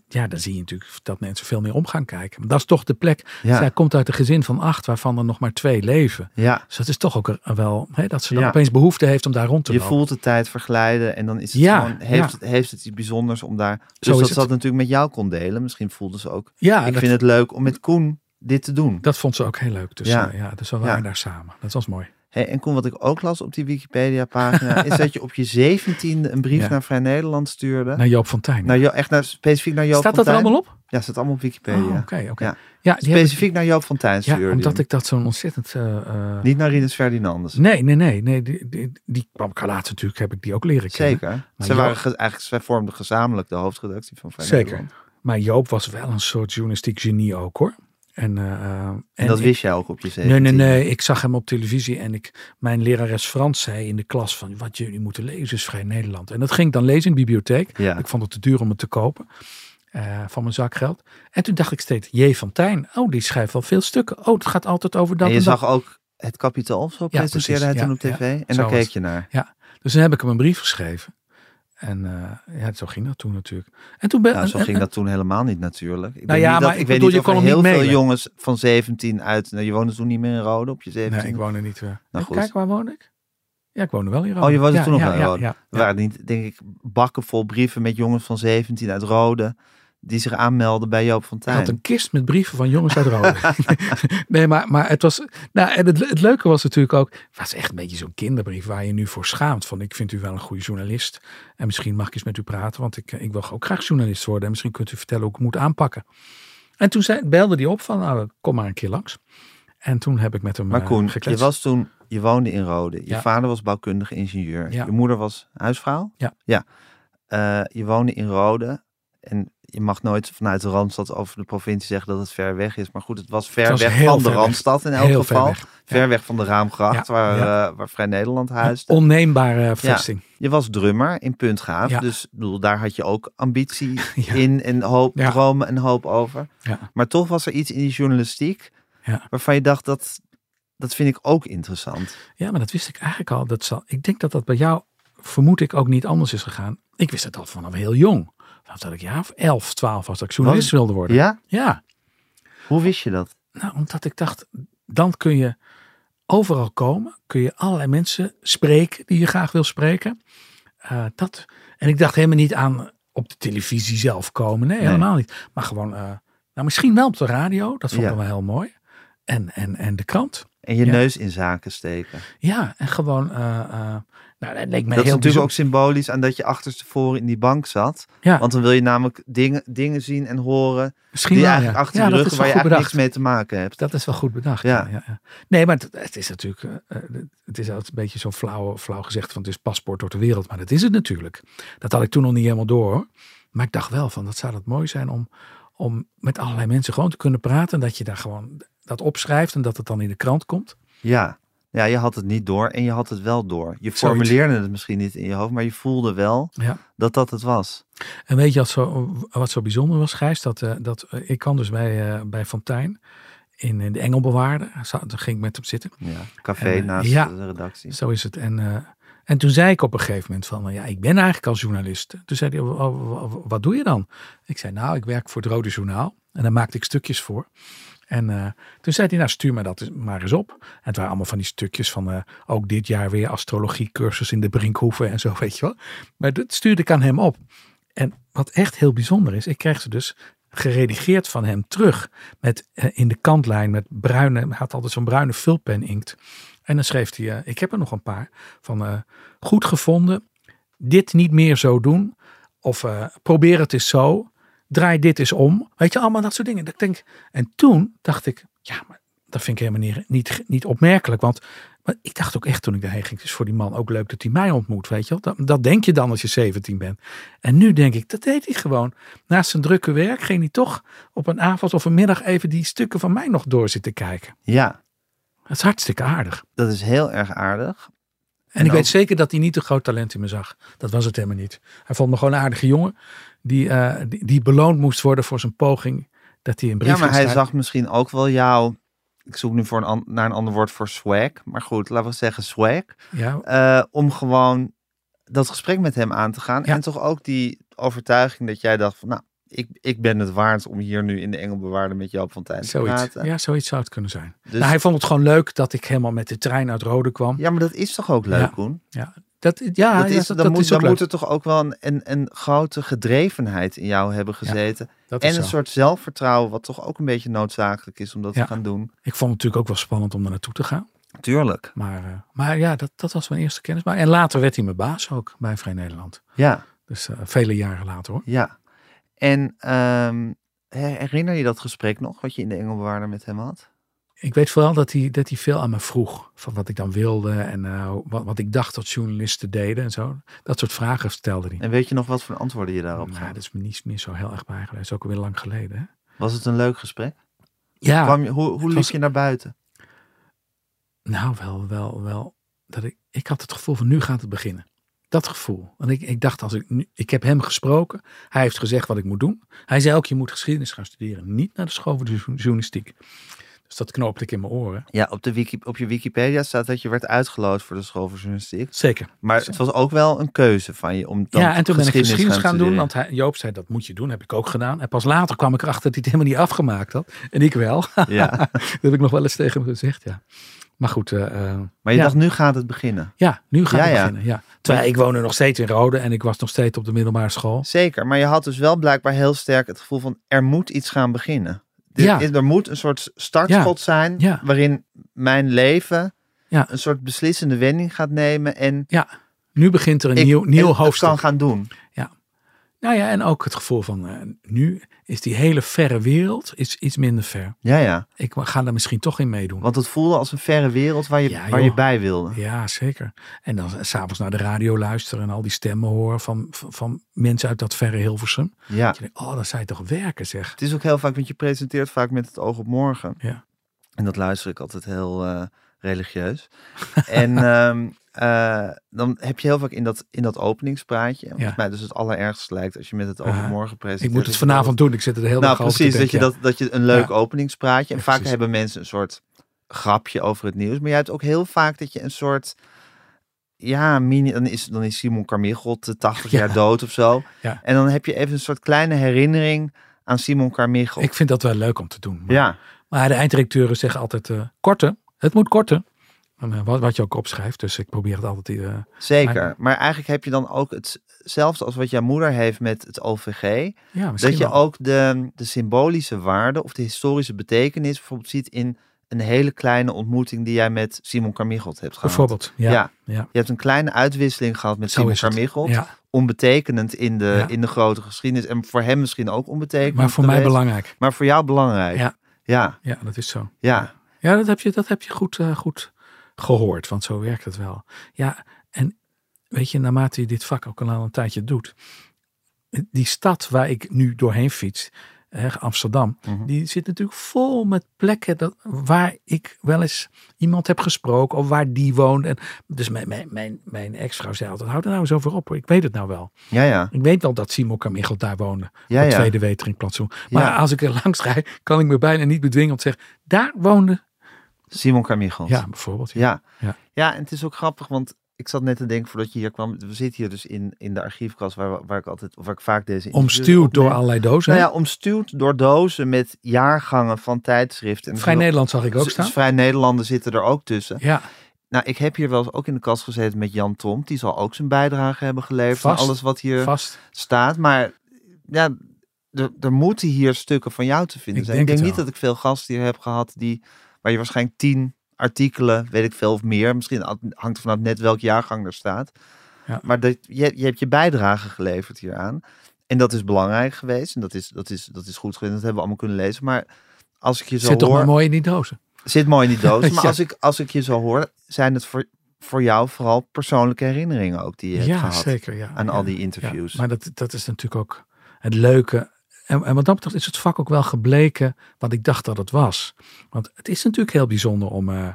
Speaker 2: Ja, dan zie je natuurlijk dat mensen veel meer om gaan kijken. Maar dat is toch de plek.
Speaker 1: Ja.
Speaker 2: Zij komt uit een gezin van acht, waarvan er nog maar twee leven.
Speaker 1: Ja,
Speaker 2: Dus dat is toch ook er- wel, hè, dat ze dan
Speaker 1: Ja.
Speaker 2: opeens behoefte heeft om daar rond te
Speaker 1: je
Speaker 2: lopen.
Speaker 1: voelt de tijd verglijden en dan is het
Speaker 2: Ja,
Speaker 1: gewoon, heeft,
Speaker 2: ja.
Speaker 1: het- heeft het iets bijzonders om daar... Dus
Speaker 2: Zo is
Speaker 1: dat
Speaker 2: het.
Speaker 1: ze dat natuurlijk met jou kon delen. Misschien voelde ze ook,
Speaker 2: Ja,
Speaker 1: ik
Speaker 2: dat,
Speaker 1: vind het leuk om met Koen dit te doen.
Speaker 2: dat vond ze ook heel leuk. Dus
Speaker 1: Ja.
Speaker 2: ja, ja dus we waren
Speaker 1: Ja.
Speaker 2: daar samen. Dat was mooi.
Speaker 1: Hey, en Koen, wat ik ook las op die Wikipedia-pagina, is dat je op je zeventiende een brief
Speaker 2: Ja.
Speaker 1: naar Vrij Nederland stuurde.
Speaker 2: Naar Joop Fontijn.
Speaker 1: Naar jou, echt naar, specifiek naar Joop
Speaker 2: Staat
Speaker 1: van
Speaker 2: dat er
Speaker 1: Tijn.
Speaker 2: allemaal op?
Speaker 1: Ja, staat allemaal op
Speaker 2: Oh, Oké,
Speaker 1: Wikipedia.
Speaker 2: oké.
Speaker 1: Ja.
Speaker 2: Ja, die heb ik-
Speaker 1: Specifiek naar Joop van Tijn stuurde
Speaker 2: Ja, omdat
Speaker 1: je
Speaker 2: ik dat zo'n ontzettend... eh, eh,
Speaker 1: hem. Niet naar Rinus Ferdinandus.
Speaker 2: nee, nee, nee. nee die, die, die kwam ik later natuurlijk, heb ik die ook leren kennen.
Speaker 1: Zeker.
Speaker 2: Maar
Speaker 1: Ze
Speaker 2: Joop-
Speaker 1: waren ge- eigenlijk, zij vormden gezamenlijk de hoofdredactie van Vrij
Speaker 2: Zeker.
Speaker 1: Nederland.
Speaker 2: Maar Joop was wel een soort journalistiek genie ook hoor. En, eh, eh,
Speaker 1: En, dat
Speaker 2: ik-
Speaker 1: wist jij ook op je
Speaker 2: Nee, nee,
Speaker 1: zeventiende.
Speaker 2: nee. Ik zag hem op televisie en ik, mijn lerares Frans zei in de klas van wat jullie moeten lezen is Vrij Nederland. En dat ging ik dan lezen in de bibliotheek.
Speaker 1: Ja.
Speaker 2: Ik vond het te duur om het te kopen eh, van mijn zakgeld. En toen dacht ik steeds, J. van Tijn, oh die schrijft wel veel stukken. Oh, het gaat altijd over dat
Speaker 1: en
Speaker 2: en,
Speaker 1: je
Speaker 2: dat.
Speaker 1: zag ook het kapitaal of zo, presenteerde
Speaker 2: precies.
Speaker 1: hij toen
Speaker 2: Ja,
Speaker 1: op tv.
Speaker 2: ja.
Speaker 1: En
Speaker 2: Zo
Speaker 1: daar
Speaker 2: was
Speaker 1: keek
Speaker 2: het.
Speaker 1: je naar.
Speaker 2: Dus dan heb ik hem een brief geschreven. En eh, ja, zo ging dat toen natuurlijk. En toen ben
Speaker 1: Nou, zo
Speaker 2: en-
Speaker 1: ging dat toen helemaal niet natuurlijk. Ik
Speaker 2: Nou
Speaker 1: denk
Speaker 2: ja,
Speaker 1: niet dat-
Speaker 2: maar ik
Speaker 1: weet
Speaker 2: bedoel,
Speaker 1: niet
Speaker 2: je
Speaker 1: of er
Speaker 2: kon hem
Speaker 1: heel
Speaker 2: niet
Speaker 1: veel
Speaker 2: mailen.
Speaker 1: jongens van 17 uit... Nou, je woonde toen niet meer in Rode op je 17.
Speaker 2: Nee, ik woonde niet. eh even
Speaker 1: Nou goed.
Speaker 2: kijken, waar woon ik? Ja, ik woonde wel in Rome.
Speaker 1: Oh, je woonde
Speaker 2: ja,
Speaker 1: toen nog
Speaker 2: ja,
Speaker 1: wel in
Speaker 2: ja,
Speaker 1: Rome.
Speaker 2: Ja,
Speaker 1: Er
Speaker 2: ja.
Speaker 1: waren niet, denk ik, bakken vol brieven met jongens van 17 uit Rode... die zich aanmelden bij Joop van
Speaker 2: Ik had
Speaker 1: Tijn.
Speaker 2: een kist met brieven van jongens uit Rome. nee, maar, maar het was... Nou, en het, het leuke was natuurlijk ook... Het was echt een beetje zo'n kinderbrief waar je nu voor schaamt. Van, ik vind u wel een goede journalist. En misschien mag ik eens met u praten. Want ik, eh, ik wil ook graag journalist worden. En misschien kunt u vertellen hoe ik het moet aanpakken. En toen zei, belde die op van, nou, kom maar een keer langs. En toen heb ik met hem
Speaker 1: Maar
Speaker 2: eh,
Speaker 1: Koen, je
Speaker 2: gekletst.
Speaker 1: was toen... Je woonde in Rode. Je
Speaker 2: Ja.
Speaker 1: vader was bouwkundig ingenieur.
Speaker 2: Ja.
Speaker 1: Je moeder was huisvrouw.
Speaker 2: Ja.
Speaker 1: ja. Eh, je woonde in Rode. En je mag nooit vanuit de Randstad over de provincie zeggen dat het ver weg is. Maar goed, het was ver
Speaker 2: Het was
Speaker 1: weg
Speaker 2: heel
Speaker 1: van de
Speaker 2: ver weg.
Speaker 1: Randstad in elk
Speaker 2: Heel ver
Speaker 1: geval.
Speaker 2: weg.
Speaker 1: Ver weg van de Raamgracht,
Speaker 2: Ja,
Speaker 1: waar,
Speaker 2: ja.
Speaker 1: eh, waar Vrij Nederland huist.
Speaker 2: Onneembare vesting.
Speaker 1: Je was drummer in Puntgaaf,
Speaker 2: Ja.
Speaker 1: dus ik bedoel, daar had je ook ambitie
Speaker 2: Ja.
Speaker 1: in en hoop,
Speaker 2: Ja.
Speaker 1: dromen en hoop over.
Speaker 2: Ja.
Speaker 1: Maar toch was er iets in die journalistiek
Speaker 2: Ja.
Speaker 1: waarvan je dacht, dat, dat vind ik ook interessant.
Speaker 2: Ja, maar dat wist ik eigenlijk al. Dat zal, ik denk dat dat bij jou, vermoed ik, ook niet anders is gegaan. Ik wist het al vanaf heel jong. Vanaf dat ik jaar of 11, 12 was dat ik journalist wilde worden.
Speaker 1: Ja?
Speaker 2: Ja.
Speaker 1: Hoe wist je dat?
Speaker 2: nou, omdat ik dacht, dan kun je overal komen. Kun je allerlei mensen spreken die je graag wil spreken. Eh, dat. En ik dacht helemaal niet aan op de televisie zelf komen. Nee,
Speaker 1: Nee.
Speaker 2: helemaal niet. Maar gewoon, eh, nou misschien wel op de radio. Dat vond ik
Speaker 1: Ja.
Speaker 2: wel heel mooi. En, en, en de krant.
Speaker 1: En je
Speaker 2: Ja.
Speaker 1: neus in zaken steken.
Speaker 2: Ja, en gewoon, eh, eh, nou dat leek me
Speaker 1: dat is
Speaker 2: heel
Speaker 1: natuurlijk
Speaker 2: bijzonder.
Speaker 1: ook symbolisch aan dat je achterstevoren in die bank zat.
Speaker 2: Ja.
Speaker 1: Want dan wil je namelijk dingen, dingen zien en horen
Speaker 2: Misschien
Speaker 1: die je
Speaker 2: wel,
Speaker 1: eigenlijk
Speaker 2: ja.
Speaker 1: achter
Speaker 2: ja,
Speaker 1: je
Speaker 2: dat
Speaker 1: rug,
Speaker 2: is
Speaker 1: waar je
Speaker 2: wel
Speaker 1: eigenlijk
Speaker 2: goed bedacht.
Speaker 1: niks mee te maken hebt.
Speaker 2: Dat is wel goed bedacht.
Speaker 1: Ja.
Speaker 2: Ja. Ja, ja. Nee, maar het, het is natuurlijk. eh, eh, het is altijd een beetje zo'n flauw, flauw gezegd van het is paspoort door de wereld. Maar dat is het natuurlijk. Dat had ik toen nog niet helemaal door. hoor. Maar ik dacht wel van dat zou dat mooi zijn om, om met allerlei mensen gewoon te kunnen praten. En dat je daar gewoon dat opschrijft en dat het dan in de krant komt.
Speaker 1: Ja. ja, je had het niet door en je had het wel door. Je formuleerde het misschien niet in je hoofd, maar je voelde wel
Speaker 2: Ja.
Speaker 1: dat dat het was.
Speaker 2: En weet je wat zo, wat zo bijzonder was, Gijs? Dat, eh, dat, eh, ik kwam dus bij, eh bij Fontijn in, in de Engelbewaarde. Daar ging ik met hem zitten.
Speaker 1: Ja, café
Speaker 2: En, eh,
Speaker 1: naast
Speaker 2: ja.
Speaker 1: de redactie.
Speaker 2: Zo is het. En, eh, en toen zei ik op een gegeven moment van, nou ja, ik ben eigenlijk al journalist. Toen zei hij, "Oh, oh, oh, wat doe je dan? Ik zei, nou, ik werk voor het Rode Journaal. En daar maakte ik stukjes voor. En eh, toen zei hij, nou, stuur me dat eens- maar eens op. En het waren allemaal van die stukjes van, eh, ook dit jaar weer astrologiecursus in de Brinkhoeven en zo, weet je wel. Maar dat stuurde ik aan hem op. En wat echt heel bijzonder is, ik kreeg ze dus geredigeerd van hem terug. Met eh, in de kantlijn met bruine, hij had altijd zo'n bruine vulpen inkt. En dan schreef hij, eh, ik heb er nog een paar, van eh, goed gevonden, dit niet meer zo doen. Of eh, probeer het eens zo. draai dit eens om. Weet je, allemaal dat soort dingen. Dat ik denk, en toen dacht ik, ja, maar dat vind ik helemaal niet, niet, niet opmerkelijk. Want maar ik dacht ook echt toen ik daarheen ging, het is voor die man ook leuk dat hij mij ontmoet, weet je wel. Dat, dat denk je dan als je 17 bent. En nu denk ik, dat deed hij gewoon. Naast zijn drukke werk ging hij toch op een avond of een middag even die stukken van mij nog door zitten kijken.
Speaker 1: Ja,
Speaker 2: Dat is hartstikke aardig.
Speaker 1: dat is heel erg aardig.
Speaker 2: En, ik
Speaker 1: ook-
Speaker 2: weet zeker dat hij niet een groot talent in me zag. Dat was het helemaal niet. Hij vond me gewoon een aardige jongen die, eh, die, die beloond moest worden voor zijn poging dat hij een brief
Speaker 1: ja, maar
Speaker 2: ging
Speaker 1: hij
Speaker 2: schrijven.
Speaker 1: zag misschien ook wel jou. Ik zoek nu voor een an- naar een ander woord voor swag. Maar goed, laten we zeggen swag.
Speaker 2: Ja,
Speaker 1: Eh, om gewoon dat gesprek met hem aan te gaan.
Speaker 2: Ja.
Speaker 1: En toch ook die overtuiging dat jij dacht van... Nou, ik, ik ben het waard om hier nu in de Engelbewaarde met Joop van Tijn te
Speaker 2: zoiets.
Speaker 1: praten.
Speaker 2: Ja, zoiets zou het kunnen zijn.
Speaker 1: Dus,
Speaker 2: Nou, hij vond het gewoon leuk dat ik helemaal met de trein uit Rode kwam.
Speaker 1: Ja, maar dat is toch ook leuk,
Speaker 2: Ja.
Speaker 1: Koen?
Speaker 2: Dat, ja,
Speaker 1: dat
Speaker 2: Ah, ja,
Speaker 1: is,
Speaker 2: dat,
Speaker 1: dan
Speaker 2: dat
Speaker 1: moet,
Speaker 2: is ook
Speaker 1: dan
Speaker 2: leuk.
Speaker 1: moet er toch ook wel een, een, een grote gedrevenheid in jou hebben gezeten.
Speaker 2: Dat is
Speaker 1: en een
Speaker 2: zo.
Speaker 1: soort zelfvertrouwen, wat toch ook een beetje noodzakelijk is om dat
Speaker 2: Ja.
Speaker 1: te gaan doen.
Speaker 2: Ik vond het natuurlijk ook wel spannend om daar naartoe te gaan.
Speaker 1: Tuurlijk.
Speaker 2: Maar, eh, maar ja, dat, dat was mijn eerste kennis. Maar, en later werd hij mijn baas ook bij Vrij Nederland.
Speaker 1: Ja.
Speaker 2: Dus eh, vele jaren later hoor.
Speaker 1: Ja. En ehm, her- herinner je dat gesprek nog, wat je in de Engelbewaarder met hem had?
Speaker 2: Ik weet vooral dat hij, dat hij veel aan me vroeg. Van wat ik dan wilde en eh, wat, wat ik dacht dat journalisten deden en zo. Dat soort vragen stelde hij.
Speaker 1: En weet je nog wat voor antwoorden je daarop
Speaker 2: Nou,
Speaker 1: gaf?
Speaker 2: dat is me niet meer zo heel erg bijgelegd. Dat is ook weer lang geleden. Hè?
Speaker 1: Was het een leuk gesprek?
Speaker 2: Ja,
Speaker 1: Kwam je, hoe hoe liep
Speaker 2: was-
Speaker 1: je naar buiten?
Speaker 2: nou wel, wel, wel. Dat ik, ik had het gevoel van nu gaat het beginnen. Dat gevoel. Want ik, ik dacht, als ik, nu, ik heb hem gesproken. Hij heeft gezegd wat ik moet doen. Hij zei ook, je moet geschiedenis gaan studeren. Niet naar de school voor de jour- journalistiek. Dus dat knoopte ik in mijn oren.
Speaker 1: Ja, op, de wiki, op je Wikipedia staat dat je werd uitgeloot voor de school voor journalistiek.
Speaker 2: Zeker.
Speaker 1: Maar het was ook wel een keuze van je om dan
Speaker 2: ja, en toen ben ik geschiedenis gaan, doen,
Speaker 1: studeren.
Speaker 2: want hij, Joop zei dat moet je doen, heb ik ook gedaan. En pas later kwam ik erachter dat hij het helemaal niet afgemaakt had. En ik wel.
Speaker 1: Ja.
Speaker 2: dat heb ik nog wel eens tegen hem gezegd, ja. Maar goed, eh, eh,
Speaker 1: Maar je
Speaker 2: Ja.
Speaker 1: dacht, nu gaat het beginnen.
Speaker 2: ja, nu gaat
Speaker 1: Ja,
Speaker 2: het
Speaker 1: ja.
Speaker 2: beginnen. Ja. Terwijl ik woonde nog steeds in Rode en ik was nog steeds op de middelbare school.
Speaker 1: Zeker, maar je had dus wel blijkbaar heel sterk het gevoel van er moet iets gaan beginnen. Er,
Speaker 2: Ja.
Speaker 1: er moet een soort startschot zijn
Speaker 2: Ja.
Speaker 1: waarin mijn leven
Speaker 2: Ja.
Speaker 1: een soort beslissende wending gaat nemen en
Speaker 2: Ja, nu begint er een
Speaker 1: ik
Speaker 2: nieuw, nieuw
Speaker 1: het- het
Speaker 2: hoofdstuk.
Speaker 1: kan gaan doen.
Speaker 2: Nou ja, en ook het gevoel van eh, nu is die hele verre wereld is iets minder ver.
Speaker 1: Ja, ja.
Speaker 2: Ik ga daar misschien toch in meedoen.
Speaker 1: Want het voelde als een verre wereld waar je,
Speaker 2: Ja,
Speaker 1: waar je
Speaker 2: joh.
Speaker 1: bij wilde.
Speaker 2: Ja, zeker. En dan s'avonds naar de radio luisteren en al die stemmen horen van, van, van mensen uit dat verre Hilversum.
Speaker 1: Ja.
Speaker 2: Dat je denkt, oh, dat zij toch werken, zeg.
Speaker 1: Het is ook heel vaak, want je presenteert vaak met het oog op morgen.
Speaker 2: Ja.
Speaker 1: En dat luister ik altijd heel eh, religieus. en ehm, eh, dan heb je heel vaak in dat, in dat openingspraatje. Wat
Speaker 2: Ja.
Speaker 1: mij dus het allerergste lijkt als je met het oog op
Speaker 2: Aha.
Speaker 1: morgen presenteert.
Speaker 2: Ik moet
Speaker 1: Dus dat
Speaker 2: het
Speaker 1: je
Speaker 2: vanavond doen. Ik zit er heel
Speaker 1: Nou,
Speaker 2: dag over te
Speaker 1: precies. Dat je,
Speaker 2: denken,
Speaker 1: dat, dat je een leuk
Speaker 2: Ja.
Speaker 1: openingspraatje. En
Speaker 2: Ja,
Speaker 1: vaak
Speaker 2: precies.
Speaker 1: hebben mensen een soort grapje over het nieuws. Maar jij hebt ook heel vaak dat je een soort. Ja, mini, dan, is, dan is Simon Carmichelt eh, 80
Speaker 2: Ja.
Speaker 1: jaar dood of zo.
Speaker 2: Ja.
Speaker 1: En dan heb je even een soort kleine herinnering aan Simon
Speaker 2: ja.
Speaker 1: Carmichelt.
Speaker 2: Ik vind dat wel leuk om te doen. Maar,
Speaker 1: ja,
Speaker 2: maar de eindredacteuren zeggen altijd eh, korten. Het moet korten. En, eh, wat, wat je ook opschrijft. Dus ik probeer het altijd. eh,
Speaker 1: zeker.
Speaker 2: Maar-
Speaker 1: Maar eigenlijk heb je dan ook hetzelfde als wat jouw moeder heeft met het OVG.
Speaker 2: ja, misschien
Speaker 1: Dat je
Speaker 2: wel.
Speaker 1: ook de, de symbolische waarde of de historische betekenis bijvoorbeeld ziet in een hele kleine ontmoeting die jij met Simon Carmichelt hebt gehad.
Speaker 2: Bijvoorbeeld. Ja.
Speaker 1: Ja.
Speaker 2: ja.
Speaker 1: Je hebt een kleine uitwisseling gehad met
Speaker 2: Zo
Speaker 1: Simon
Speaker 2: is het.
Speaker 1: Carmichelt.
Speaker 2: Ja,
Speaker 1: Onbetekenend in de,
Speaker 2: Ja.
Speaker 1: in de grote geschiedenis. En voor hem misschien ook onbetekenend.
Speaker 2: maar voor mij
Speaker 1: geweest,
Speaker 2: belangrijk.
Speaker 1: Maar voor jou belangrijk.
Speaker 2: Ja.
Speaker 1: Ja,
Speaker 2: Ja, dat is zo.
Speaker 1: ja.
Speaker 2: Ja, dat heb je, dat heb je goed, eh, goed gehoord, want zo werkt het wel. Ja, en weet je, naarmate je dit vak ook al een tijdje doet, die stad waar ik nu doorheen fiets, hè, Amsterdam,
Speaker 1: Mhm.
Speaker 2: die zit natuurlijk vol met plekken dat, waar ik wel eens iemand heb gesproken of waar die woont. En, dus mijn, mijn, mijn, mijn ex-vrouw zei altijd, houd er nou eens over op, hoor. ik weet het nou wel.
Speaker 1: Ja, ja.
Speaker 2: Ik weet wel dat Simon Carmichael daar woonde.
Speaker 1: Ja,
Speaker 2: op
Speaker 1: ja.
Speaker 2: Tweede Weteringplantsoen. Maar
Speaker 1: Ja.
Speaker 2: als ik er langs rijd, kan ik me bijna niet bedwingen om te zeggen, daar woonde.
Speaker 1: Simon Carmichelt.
Speaker 2: Ja, bijvoorbeeld. ja.
Speaker 1: Ja.
Speaker 2: Ja.
Speaker 1: ja, en het is ook grappig, want ik zat net te denken voordat je hier kwam. We zitten hier dus in, in de archiefkast waar, we- waar ik altijd, of waar ik vaak deze. interviews
Speaker 2: Omstuwd door
Speaker 1: opneem.
Speaker 2: allerlei dozen.
Speaker 1: Nou ja, omstuwd door dozen met jaargangen van tijdschriften. En
Speaker 2: Vrij Nederland zag ik ook
Speaker 1: Z-
Speaker 2: staan.
Speaker 1: Vrij Nederlanden zitten er ook tussen.
Speaker 2: Ja,
Speaker 1: Nou, ik heb hier wel eens ook in de kast gezeten met Jan Tom. Die zal ook zijn bijdrage hebben geleverd aan
Speaker 2: Vast.
Speaker 1: alles wat hier
Speaker 2: vast.
Speaker 1: staat. Maar ja, er, er moeten hier stukken van jou te vinden
Speaker 2: Ik
Speaker 1: zijn.
Speaker 2: denk
Speaker 1: ik
Speaker 2: het
Speaker 1: denk niet
Speaker 2: wel.
Speaker 1: dat ik veel gasten hier heb gehad die, waar je waarschijnlijk tien artikelen, weet ik veel of meer. Misschien hangt het vanaf net welk jaargang er staat.
Speaker 2: Ja.
Speaker 1: Maar dat, je, je hebt je bijdrage geleverd hieraan. En dat is belangrijk geweest. En dat is, dat is, dat is goed geweest. Dat hebben we allemaal kunnen lezen. Maar als ik je zo
Speaker 2: Zit toch
Speaker 1: hoor...
Speaker 2: maar mooi in die dozen.
Speaker 1: Zit mooi in die doos. Maar
Speaker 2: Ja.
Speaker 1: als, ik, als ik je zo hoor, zijn het voor, voor jou vooral persoonlijke herinneringen ook die je hebt
Speaker 2: Ja,
Speaker 1: gehad.
Speaker 2: zeker. Ja.
Speaker 1: Aan
Speaker 2: ja.
Speaker 1: al die
Speaker 2: Ja,
Speaker 1: interviews.
Speaker 2: maar dat, dat is natuurlijk ook het leuke. En, en wat dat betreft is het vak ook wel gebleken wat ik dacht dat het was. Want het is natuurlijk heel bijzonder om, eh,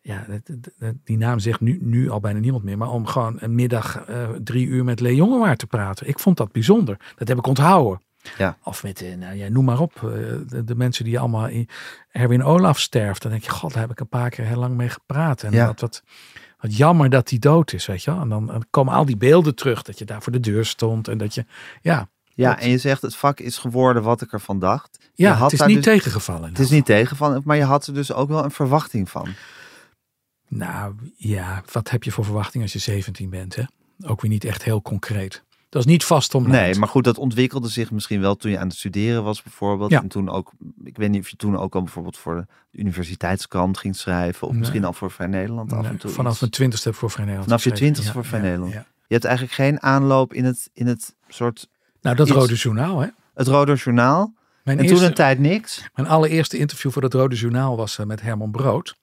Speaker 2: ja, het- het- het- die naam zegt nu, nu al bijna niemand meer, maar om gewoon een middag eh, drie uur met Lee Jongewaard te praten. Ik vond dat bijzonder. Dat heb ik onthouden.
Speaker 1: Ja.
Speaker 2: Of met, eh, nou, ja, noem maar op, eh, de, de mensen die allemaal in Erwin Olaf sterft. Dan denk je, god, daar heb ik een paar keer heel lang mee gepraat. En
Speaker 1: Ja.
Speaker 2: dat, wat, wat jammer dat hij dood is, weet je wel. En dan, dan komen al die beelden terug, dat je daar voor de deur stond. En dat je, ja,
Speaker 1: ja,
Speaker 2: klopt.
Speaker 1: en je zegt het vak is geworden wat ik ervan dacht. Je
Speaker 2: ja
Speaker 1: had
Speaker 2: het is
Speaker 1: daar
Speaker 2: niet
Speaker 1: dus-
Speaker 2: tegengevallen.
Speaker 1: Het is niet tegen van, maar je had er dus ook wel een verwachting van.
Speaker 2: Nou ja, wat heb je voor verwachting als je 17 bent, hè? Ook weer niet echt heel concreet. Dat is niet vast om
Speaker 1: Nee, maar goed, dat ontwikkelde zich misschien wel toen je aan het studeren was bijvoorbeeld.
Speaker 2: Ja.
Speaker 1: En toen ook, ik weet niet of je toen ook al bijvoorbeeld voor de universiteitskrant ging schrijven. Of
Speaker 2: Nee.
Speaker 1: misschien al voor Vrij Nederland af en toe.
Speaker 2: vanaf
Speaker 1: iets.
Speaker 2: mijn twintigste heb ik voor Vrij Nederland
Speaker 1: Vanaf je
Speaker 2: geschreven.
Speaker 1: 20ste voor Vrij
Speaker 2: ja,
Speaker 1: Nederland.
Speaker 2: ja.
Speaker 1: Je hebt eigenlijk geen aanloop in het, in het soort,
Speaker 2: Nou, dat
Speaker 1: Iets-
Speaker 2: Rode Journaal, hè?
Speaker 1: het Rode Journaal.
Speaker 2: Mijn,
Speaker 1: en
Speaker 2: eerste,
Speaker 1: toen een tijd niks.
Speaker 2: mijn allereerste interview voor dat Rode Journaal was eh, met Herman Brood.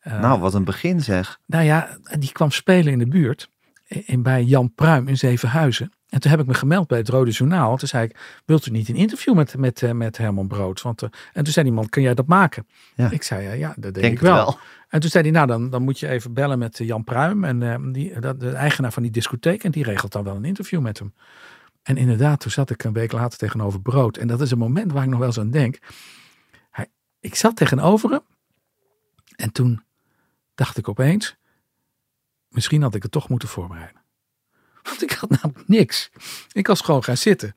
Speaker 2: Eh,
Speaker 1: Nou, wat een begin zeg.
Speaker 2: Nou ja, die kwam spelen in de buurt. In, bij Jan Pruim in Zevenhuizen. En toen heb ik me gemeld bij het Rode Journaal. Toen zei ik, wilt u niet een interview met, met, eh, met Herman Brood? Want, eh, en toen zei die man, kun jij dat maken?
Speaker 1: Ja.
Speaker 2: Ik zei, ja, ja dat deed
Speaker 1: Denk
Speaker 2: ik
Speaker 1: het
Speaker 2: wel.
Speaker 1: wel.
Speaker 2: En toen zei hij, nou dan, dan moet je even bellen met eh, Jan Pruim. En eh, die, dat, de eigenaar van die discotheek. En die regelt dan wel een interview met hem. En inderdaad, toen zat ik een week later tegenover Brood. En dat is een moment waar ik nog wel eens aan denk. Hij, ik zat tegenover hem. En toen dacht ik opeens, misschien had ik het toch moeten voorbereiden. Want ik had namelijk niks. Ik was gewoon gaan zitten.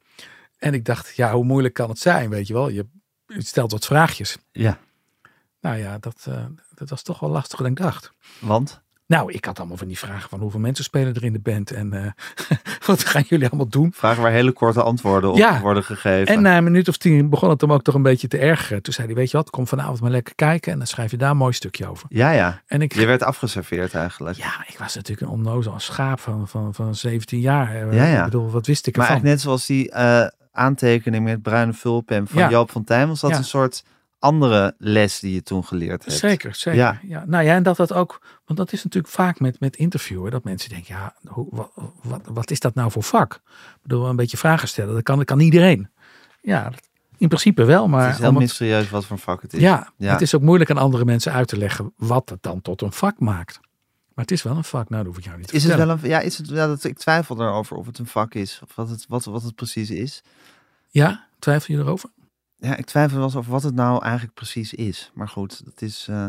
Speaker 2: En ik dacht, ja, hoe moeilijk kan het zijn, weet je wel. Je stelt wat vraagjes.
Speaker 1: Ja,
Speaker 2: Nou ja, dat, eh, dat was toch wel lastiger dan ik dacht.
Speaker 1: want?
Speaker 2: Nou, ik had allemaal van die vragen van hoeveel mensen spelen er in de band en eh, wat gaan jullie allemaal doen.
Speaker 1: Vragen waar hele korte antwoorden op
Speaker 2: Ja.
Speaker 1: worden gegeven.
Speaker 2: En eh, na een minuut of tien begon het hem ook toch een beetje te ergeren. Toen zei hij, weet je wat, kom vanavond maar lekker kijken en dan schrijf je daar een mooi stukje over.
Speaker 1: ja, ja.
Speaker 2: En ik,
Speaker 1: Je werd afgeserveerd eigenlijk.
Speaker 2: ja, ik was natuurlijk een onnozel als schaap van, van, van 17 jaar. Eh,
Speaker 1: Ja, ja.
Speaker 2: Ik bedoel, wat wist ik
Speaker 1: maar
Speaker 2: ervan?
Speaker 1: eigenlijk net zoals die eh, aantekening met bruine vulpen van
Speaker 2: Ja.
Speaker 1: Joop van Tijn, was dat
Speaker 2: Ja.
Speaker 1: een soort andere les die je toen geleerd hebt.
Speaker 2: Zeker, zeker.
Speaker 1: Ja.
Speaker 2: Ja. Nou ja, en dat dat ook, want dat is natuurlijk vaak met, met interviewen, dat mensen denken, ja, hoe, wat, wat, wat is dat nou voor vak? Ik bedoel, een beetje vragen stellen, dat kan, dat kan iedereen. Ja, dat- in principe wel, maar...
Speaker 1: Het is heel
Speaker 2: om het-
Speaker 1: mysterieus wat voor vak het is.
Speaker 2: ja,
Speaker 1: Ja.
Speaker 2: het is ook moeilijk aan andere mensen uit te leggen wat het dan tot een vak maakt. Maar het is wel een vak, nou dat hoef ik jou niet te
Speaker 1: Is het
Speaker 2: vertellen.
Speaker 1: wel een, ja, is het, ja, dat, ik twijfel erover of het een vak is, of wat het, wat, wat het precies is.
Speaker 2: Ja, twijfel je erover?
Speaker 1: Ja, ik twijfel wel eens over wat het nou eigenlijk precies is. Maar goed, dat is... eh,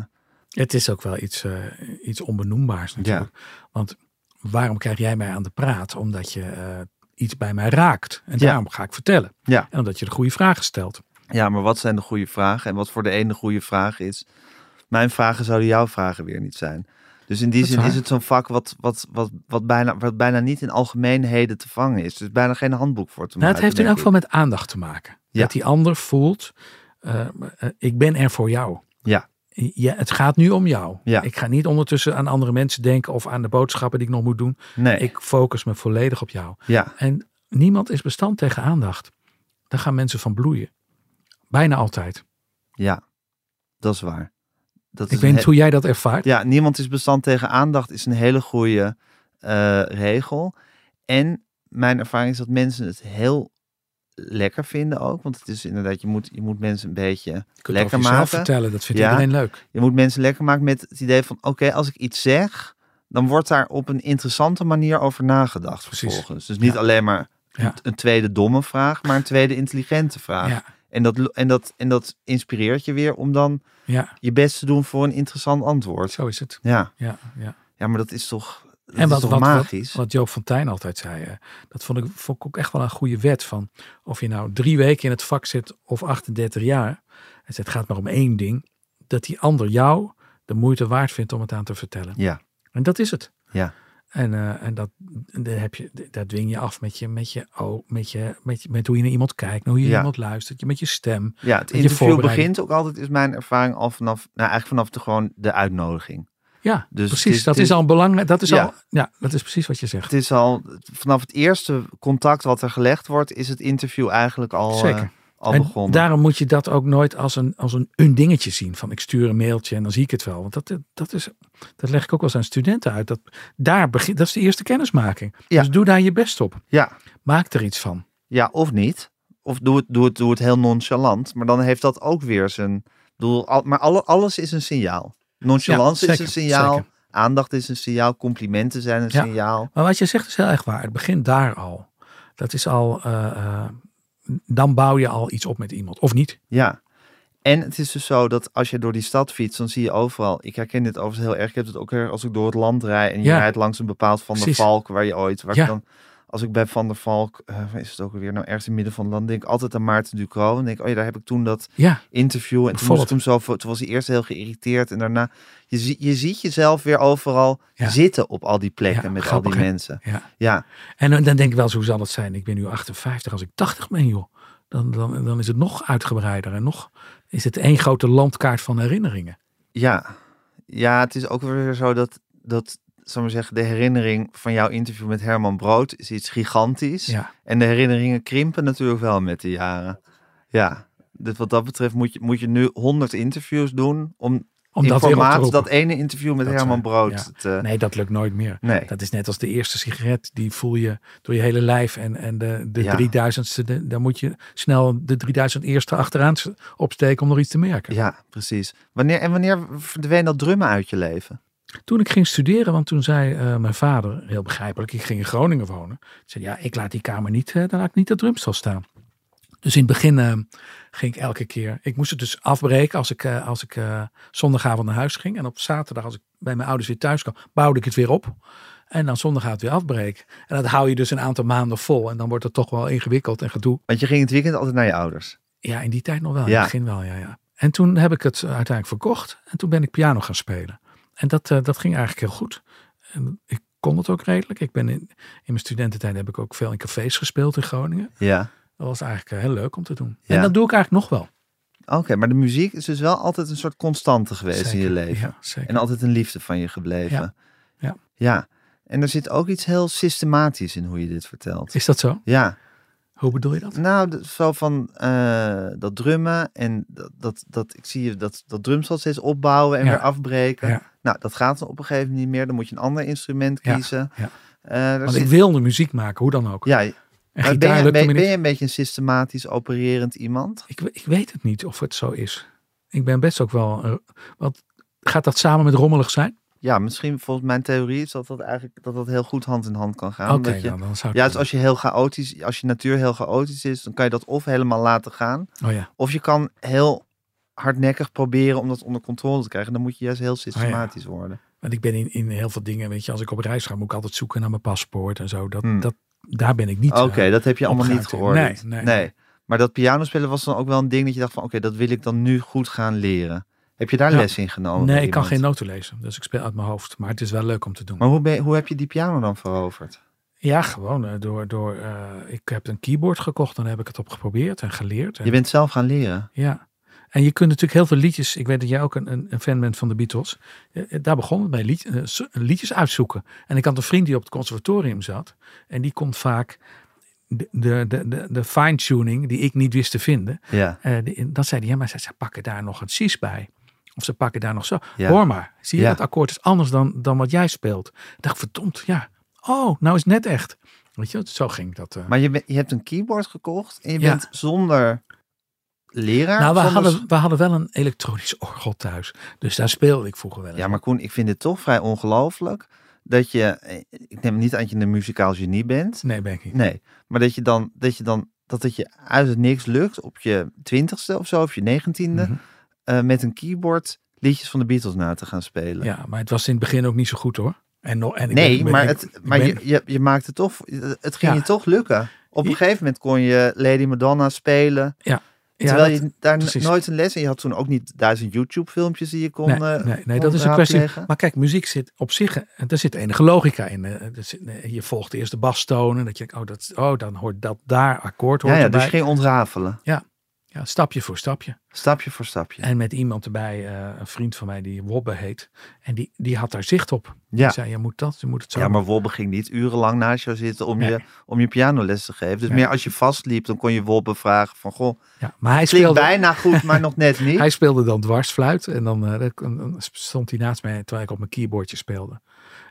Speaker 2: Het is ook wel iets, eh, iets onbenoembaars natuurlijk. Want waarom krijg jij mij aan de praat? Omdat je eh, iets bij mij raakt.
Speaker 1: Ja.
Speaker 2: En daarom ga ik vertellen.
Speaker 1: Ja.
Speaker 2: En omdat je de goede vragen stelt. Nou,
Speaker 1: Ja, maar wat zijn de goede vragen? En wat voor de ene de goede vraag is, mijn vragen zouden jouw vragen weer niet zijn. Dus in die
Speaker 2: Dat is
Speaker 1: zin is
Speaker 2: waar.
Speaker 1: het zo'n vak wat, wat, wat, wat, bijna, wat bijna niet in algemeenheden te vangen is. Er is bijna geen handboek voor te
Speaker 2: Nou, het
Speaker 1: maken.
Speaker 2: heeft in elk
Speaker 1: denk
Speaker 2: geval met aandacht te maken.
Speaker 1: Ja.
Speaker 2: Dat die ander voelt, eh, eh, ik ben er voor jou.
Speaker 1: Ja.
Speaker 2: Ja, het gaat nu om jou.
Speaker 1: Ja.
Speaker 2: Ik ga niet ondertussen aan andere mensen denken of aan de boodschappen die ik nog moet doen.
Speaker 1: ik. Nee,
Speaker 2: Ik focus me volledig op jou.
Speaker 1: ja.
Speaker 2: En niemand is bestand tegen aandacht. Daar gaan mensen van bloeien. Bijna altijd.
Speaker 1: ja, dat is waar. Dat
Speaker 2: Ik
Speaker 1: is
Speaker 2: weet
Speaker 1: een
Speaker 2: niet hoe jij dat ervaart.
Speaker 1: Ja, niemand is bestand tegen aandacht is een hele goede eh, regel. En mijn ervaring is dat mensen het heel lekker vinden ook. Want het is inderdaad, je moet, je moet mensen een beetje
Speaker 2: Je kunt
Speaker 1: lekker
Speaker 2: het over jezelf
Speaker 1: maken.
Speaker 2: vertellen, dat vindt
Speaker 1: Ja.
Speaker 2: iedereen leuk.
Speaker 1: Je moet mensen lekker maken met het idee van: oké, als ik iets zeg, dan wordt daar op een interessante manier over nagedacht
Speaker 2: Precies.
Speaker 1: vervolgens. Dus niet
Speaker 2: Ja.
Speaker 1: alleen maar een-
Speaker 2: Ja.
Speaker 1: een tweede domme vraag, maar een tweede intelligente vraag.
Speaker 2: Ja,
Speaker 1: En, dat, lo- en, dat, en dat inspireert je weer om dan
Speaker 2: ja,
Speaker 1: je best te doen voor een interessant antwoord.
Speaker 2: zo is het.
Speaker 1: Ja,
Speaker 2: Ja, ja.
Speaker 1: ja maar dat is toch, dat
Speaker 2: En wat,
Speaker 1: is toch
Speaker 2: wat, wat,
Speaker 1: magisch?
Speaker 2: wat Joop Fontijn altijd zei, eh, dat vond ik, vond ik ook echt wel een goede wet van of je nou drie weken in het vak zit of 38 jaar. Hij zei, het gaat maar om één ding, dat die ander jou de moeite waard vindt om het aan te vertellen.
Speaker 1: Ja,
Speaker 2: En dat is het.
Speaker 1: Ja.
Speaker 2: En, eh, en dat, dat, heb je, dat dwing je af met, je, met, je, oh, met, je, met, je- met hoe je naar iemand kijkt, hoe je
Speaker 1: Ja.
Speaker 2: naar iemand luistert, je- met je stem.
Speaker 1: ja het
Speaker 2: je
Speaker 1: interview
Speaker 2: voorbereiding.
Speaker 1: begint ook altijd, is mijn ervaring al vanaf, nou eigenlijk vanaf de, gewoon de uitnodiging.
Speaker 2: Ja,
Speaker 1: Dus
Speaker 2: precies.
Speaker 1: dit-
Speaker 2: dat
Speaker 1: dit-
Speaker 2: is al belangrijk. Dat is
Speaker 1: Ja.
Speaker 2: al. Ja, dat is precies wat je zegt.
Speaker 1: Het is al, vanaf het eerste contact wat er gelegd wordt, is het interview eigenlijk al, eh,
Speaker 2: Zeker.
Speaker 1: al
Speaker 2: en
Speaker 1: begonnen.
Speaker 2: daarom moet je dat ook nooit als een, als een, een dingetje zien. Van ik stuur een mailtje en dan zie ik het wel. Want dat, dat, is, dat leg ik ook wel eens aan studenten uit. Dat, daar begin, dat is de eerste kennismaking.
Speaker 1: Ja.
Speaker 2: Dus doe daar je best op.
Speaker 1: Ja,
Speaker 2: Maak er iets van.
Speaker 1: ja, of niet. Of doe het, doe, het, doe het heel nonchalant. Maar dan heeft dat ook weer zijn doel. Al, maar alle, alles is een signaal. Nonchalance
Speaker 2: Ja,
Speaker 1: is een
Speaker 2: zeker,
Speaker 1: signaal.
Speaker 2: zeker.
Speaker 1: Aandacht is een signaal. Complimenten zijn een
Speaker 2: Ja.
Speaker 1: signaal.
Speaker 2: Maar wat je zegt is heel erg waar. Het begint daar al. Dat is al. eh, eh, dan bouw je al iets op met iemand. Of niet?
Speaker 1: Ja. En het is dus zo dat als je door die stad fietst, dan zie je overal. Ik herken dit overigens heel erg. Ik heb het ook erg als ik door het land rijd en je
Speaker 2: Ja.
Speaker 1: rijdt langs een bepaald Van der
Speaker 2: Precies.
Speaker 1: Valk waar je ooit. Waar
Speaker 2: Ja.
Speaker 1: ik dan, als ik bij Van der Valk, eh, waar is het ook weer nou ergens in het midden van het land, denk ik altijd aan Maarten Ducro. En denk, oh ja, daar heb ik toen dat
Speaker 2: Ja,
Speaker 1: interview. En toen, moest
Speaker 2: Bijvoorbeeld.
Speaker 1: ik hem zo, voor- toen was hij eerst heel geïrriteerd. En daarna, je, zie- je ziet jezelf weer overal
Speaker 2: Ja.
Speaker 1: zitten op al die plekken
Speaker 2: Ja,
Speaker 1: met
Speaker 2: grappig,
Speaker 1: al die
Speaker 2: hè?
Speaker 1: mensen.
Speaker 2: ja.
Speaker 1: Ja,
Speaker 2: En dan dan denk ik wel, eens, hoe zal het zijn? Ik ben nu 58, als ik 80 ben, joh. Dan, dan, dan is het nog uitgebreider en nog is het één grote landkaart van herinneringen.
Speaker 1: ja. Ja, het is ook weer zo dat, dat zal ik maar zeggen, de herinnering van jouw interview met Herman Brood is iets gigantisch.
Speaker 2: Ja,
Speaker 1: En de herinneringen krimpen natuurlijk wel met de jaren. Ja, dus wat dat betreft moet je, moet je nu 100 interviews doen om,
Speaker 2: om
Speaker 1: in
Speaker 2: dat weer op te
Speaker 1: formaat
Speaker 2: roepen.
Speaker 1: dat ene interview met
Speaker 2: Dat,
Speaker 1: Herman
Speaker 2: eh,
Speaker 1: Brood
Speaker 2: ja.
Speaker 1: te...
Speaker 2: Nee, dat lukt nooit meer.
Speaker 1: Nee.
Speaker 2: Dat is net als de eerste sigaret. Die voel je door je hele lijf. En, en de, de
Speaker 1: Ja.
Speaker 2: 3000ste, de- daar moet je snel de 3000 eerste achteraan s- opsteken om nog iets te merken.
Speaker 1: Ja, precies. Wanneer, en wanneer verdween dat drummen uit je leven?
Speaker 2: Toen ik ging studeren, want toen zei eh, mijn vader, heel begrijpelijk, ik ging in Groningen wonen. Ik zei, ja, ik laat die kamer niet, eh, dan laat ik niet dat drumstel staan. Dus in het begin eh, ging ik elke keer, ik moest het dus afbreken als ik, eh, als ik eh, zondagavond naar huis ging. En op zaterdag, als ik bij mijn ouders weer thuis kwam, bouwde ik het weer op. En dan zondagavond weer afbreken. En dat hou je dus een aantal maanden vol. En dan wordt het toch wel ingewikkeld en gedoe.
Speaker 1: Want je ging het weekend altijd naar je ouders.
Speaker 2: Ja, in die tijd nog wel. In
Speaker 1: Ja.
Speaker 2: het begin wel, ja, ja. En toen heb ik het eh, uiteindelijk verkocht. En toen ben ik piano gaan spelen. En dat, eh, dat ging eigenlijk heel goed. En ik kon het ook redelijk. Ik ben in, in mijn studententijd heb ik ook veel in cafés gespeeld in Groningen.
Speaker 1: Ja.
Speaker 2: Dat was eigenlijk eh, heel leuk om te doen.
Speaker 1: Ja.
Speaker 2: En dat doe ik eigenlijk nog wel.
Speaker 1: Oké, maar de muziek is dus wel altijd een soort constante geweest in je
Speaker 2: Zeker.
Speaker 1: leven.
Speaker 2: Ja, zeker.
Speaker 1: En altijd een liefde van je gebleven.
Speaker 2: Ja. Ja.
Speaker 1: Ja. En er zit ook iets heel systematisch in hoe je dit vertelt.
Speaker 2: Is dat zo?
Speaker 1: Ja.
Speaker 2: Hoe bedoel je dat?
Speaker 1: Nou, d- zo van eh, dat drummen en dat, dat, dat ik zie je dat, dat drumstel steeds opbouwen en
Speaker 2: Ja.
Speaker 1: weer afbreken.
Speaker 2: Ja.
Speaker 1: Nou, dat gaat dan op een gegeven moment niet meer. Dan moet je een ander instrument
Speaker 2: Ja.
Speaker 1: kiezen.
Speaker 2: Ja.
Speaker 1: Eh, daar
Speaker 2: Want
Speaker 1: zit-
Speaker 2: ik wilde muziek maken, hoe dan ook.
Speaker 1: ja,
Speaker 2: en
Speaker 1: Maar
Speaker 2: gitaar
Speaker 1: ben, je,
Speaker 2: lukte
Speaker 1: ben,
Speaker 2: me niet.
Speaker 1: ben je een beetje een systematisch opererend iemand?
Speaker 2: Ik, we- ik weet het niet of het zo is. Ik ben best ook wel... eh, want gaat dat samen met rommelig zijn?
Speaker 1: Ja, misschien volgens mijn theorie is dat dat eigenlijk dat dat heel goed hand in hand kan gaan.
Speaker 2: Oké,
Speaker 1: omdat je,
Speaker 2: dan, dan zou ik...
Speaker 1: ja, dus als je heel chaotisch, als je natuur heel chaotisch is, dan kan je dat of helemaal laten gaan,
Speaker 2: Oh ja.
Speaker 1: of je kan heel hardnekkig proberen om dat onder controle te krijgen. Dan moet je juist
Speaker 2: Oh
Speaker 1: heel systematisch worden.
Speaker 2: Want ik ben in, in heel veel dingen, weet je, als ik op reis ga, moet ik altijd zoeken naar mijn paspoort en zo. Dat,
Speaker 1: Hmm.
Speaker 2: dat, daar ben ik niet.
Speaker 1: Oké,
Speaker 2: eh,
Speaker 1: dat heb je allemaal niet
Speaker 2: opgeruimd in.
Speaker 1: geordend.
Speaker 2: Nee, nee, nee.
Speaker 1: Maar dat pianospelen was dan ook wel een ding dat je dacht van, oké, dat wil ik dan nu goed gaan leren. Heb je daar
Speaker 2: Ja.
Speaker 1: les in genomen?
Speaker 2: nee,
Speaker 1: bij
Speaker 2: ik kan geen
Speaker 1: iemand?
Speaker 2: noten lezen, dus ik speel uit mijn hoofd. Maar het is wel leuk om te doen.
Speaker 1: Maar hoe, ben, je- hoe heb je die piano dan veroverd?
Speaker 2: Ja, gewoon eh, door, door eh, ik heb een keyboard gekocht en daar heb ik het op geprobeerd en geleerd. En,
Speaker 1: Je bent zelf gaan leren.
Speaker 2: Ja. En je kunt natuurlijk heel veel liedjes. Ik weet dat jij ook een, een, een fan bent van de Beatles. Eh, eh, Daar begon het bij lied, eh, s- liedjes uitzoeken. En ik had een vriend die op het conservatorium zat. En die kon vaak de, de, de, de, de fine-tuning die ik niet wist te vinden.
Speaker 1: Ja,
Speaker 2: Eh, die- dan zei hij, ja, maar ze, ze pakken daar nog een cis bij. Of ze pakken daar nog zo.
Speaker 1: Ja.
Speaker 2: Hoor maar, zie je,
Speaker 1: Ja.
Speaker 2: dat akkoord is anders dan, dan wat jij speelt. Ik dacht, verdomd, ja. Oh, nou is het net echt. Weet je, zo ging dat. eh.
Speaker 1: maar je, be- je hebt een keyboard gekocht en je
Speaker 2: Ja.
Speaker 1: bent zonder leraar.
Speaker 2: nou, we
Speaker 1: zonder-
Speaker 2: hadden, we hadden wel een elektronisch orgel thuis. Dus daar speelde ik vroeger wel eens.
Speaker 1: Ja, maar Koen, ik vind het toch vrij ongelooflijk dat je, eh, ik neem niet aan dat je een muzikaal genie bent,
Speaker 2: Nee, ben ik niet.
Speaker 1: nee, maar dat je dan, dat je dan, dat het je uit het niks lukt op je twintigste of zo, of je negentiende,
Speaker 2: Mhm.
Speaker 1: eh, met een keyboard liedjes van de Beatles na te gaan spelen.
Speaker 2: Ja, maar het was in het begin ook niet zo goed hoor. En, nog- en ik
Speaker 1: nee,
Speaker 2: ben- ik ben-
Speaker 1: maar,
Speaker 2: ik-
Speaker 1: het,
Speaker 2: ik
Speaker 1: maar
Speaker 2: ben-
Speaker 1: je, je, je maakte toch, het ging
Speaker 2: Ja.
Speaker 1: je toch lukken. Op een
Speaker 2: Ja.
Speaker 1: gegeven moment kon je Lady Madonna spelen.
Speaker 2: ja,
Speaker 1: Terwijl
Speaker 2: dat-
Speaker 1: je daar n-
Speaker 2: precies.
Speaker 1: nooit een les in. Je had toen ook niet duizend YouTube-filmpjes die je kon.
Speaker 2: nee,
Speaker 1: eh,
Speaker 2: nee,
Speaker 1: kon
Speaker 2: nee dat is een kwestie.
Speaker 1: raadplegen.
Speaker 2: Maar kijk, muziek zit op zich, eh, daar zit enige logica in. eh, er zit- eh, Je volgt eerst de bastonen, dat je denkt, oh, dat, oh dan hoort dat daar akkoord hoort
Speaker 1: ja, dus ja,
Speaker 2: erbij.
Speaker 1: dus je ging ontrafelen.
Speaker 2: Ja, stapje voor stapje.
Speaker 1: Stapje voor stapje.
Speaker 2: En met iemand erbij, eh, een vriend van mij die Wobbe heet. En die, die had daar zicht op.
Speaker 1: ja.
Speaker 2: Die zei, je moet dat, je moet het zo.
Speaker 1: ja,
Speaker 2: doen."
Speaker 1: maar Wobbe ging niet urenlang naast jou zitten om,
Speaker 2: Nee.
Speaker 1: je, om je pianoles te geven. Dus
Speaker 2: Nee.
Speaker 1: meer als je vastliep, dan kon je Wobbe vragen van... Goh,
Speaker 2: ja, maar hij
Speaker 1: klinkt
Speaker 2: speelde,
Speaker 1: bijna goed, maar nog net niet.
Speaker 2: hij speelde dan dwarsfluit. En dan, eh, dat- dan- dan stond hij naast mij terwijl ik op mijn keyboardje speelde.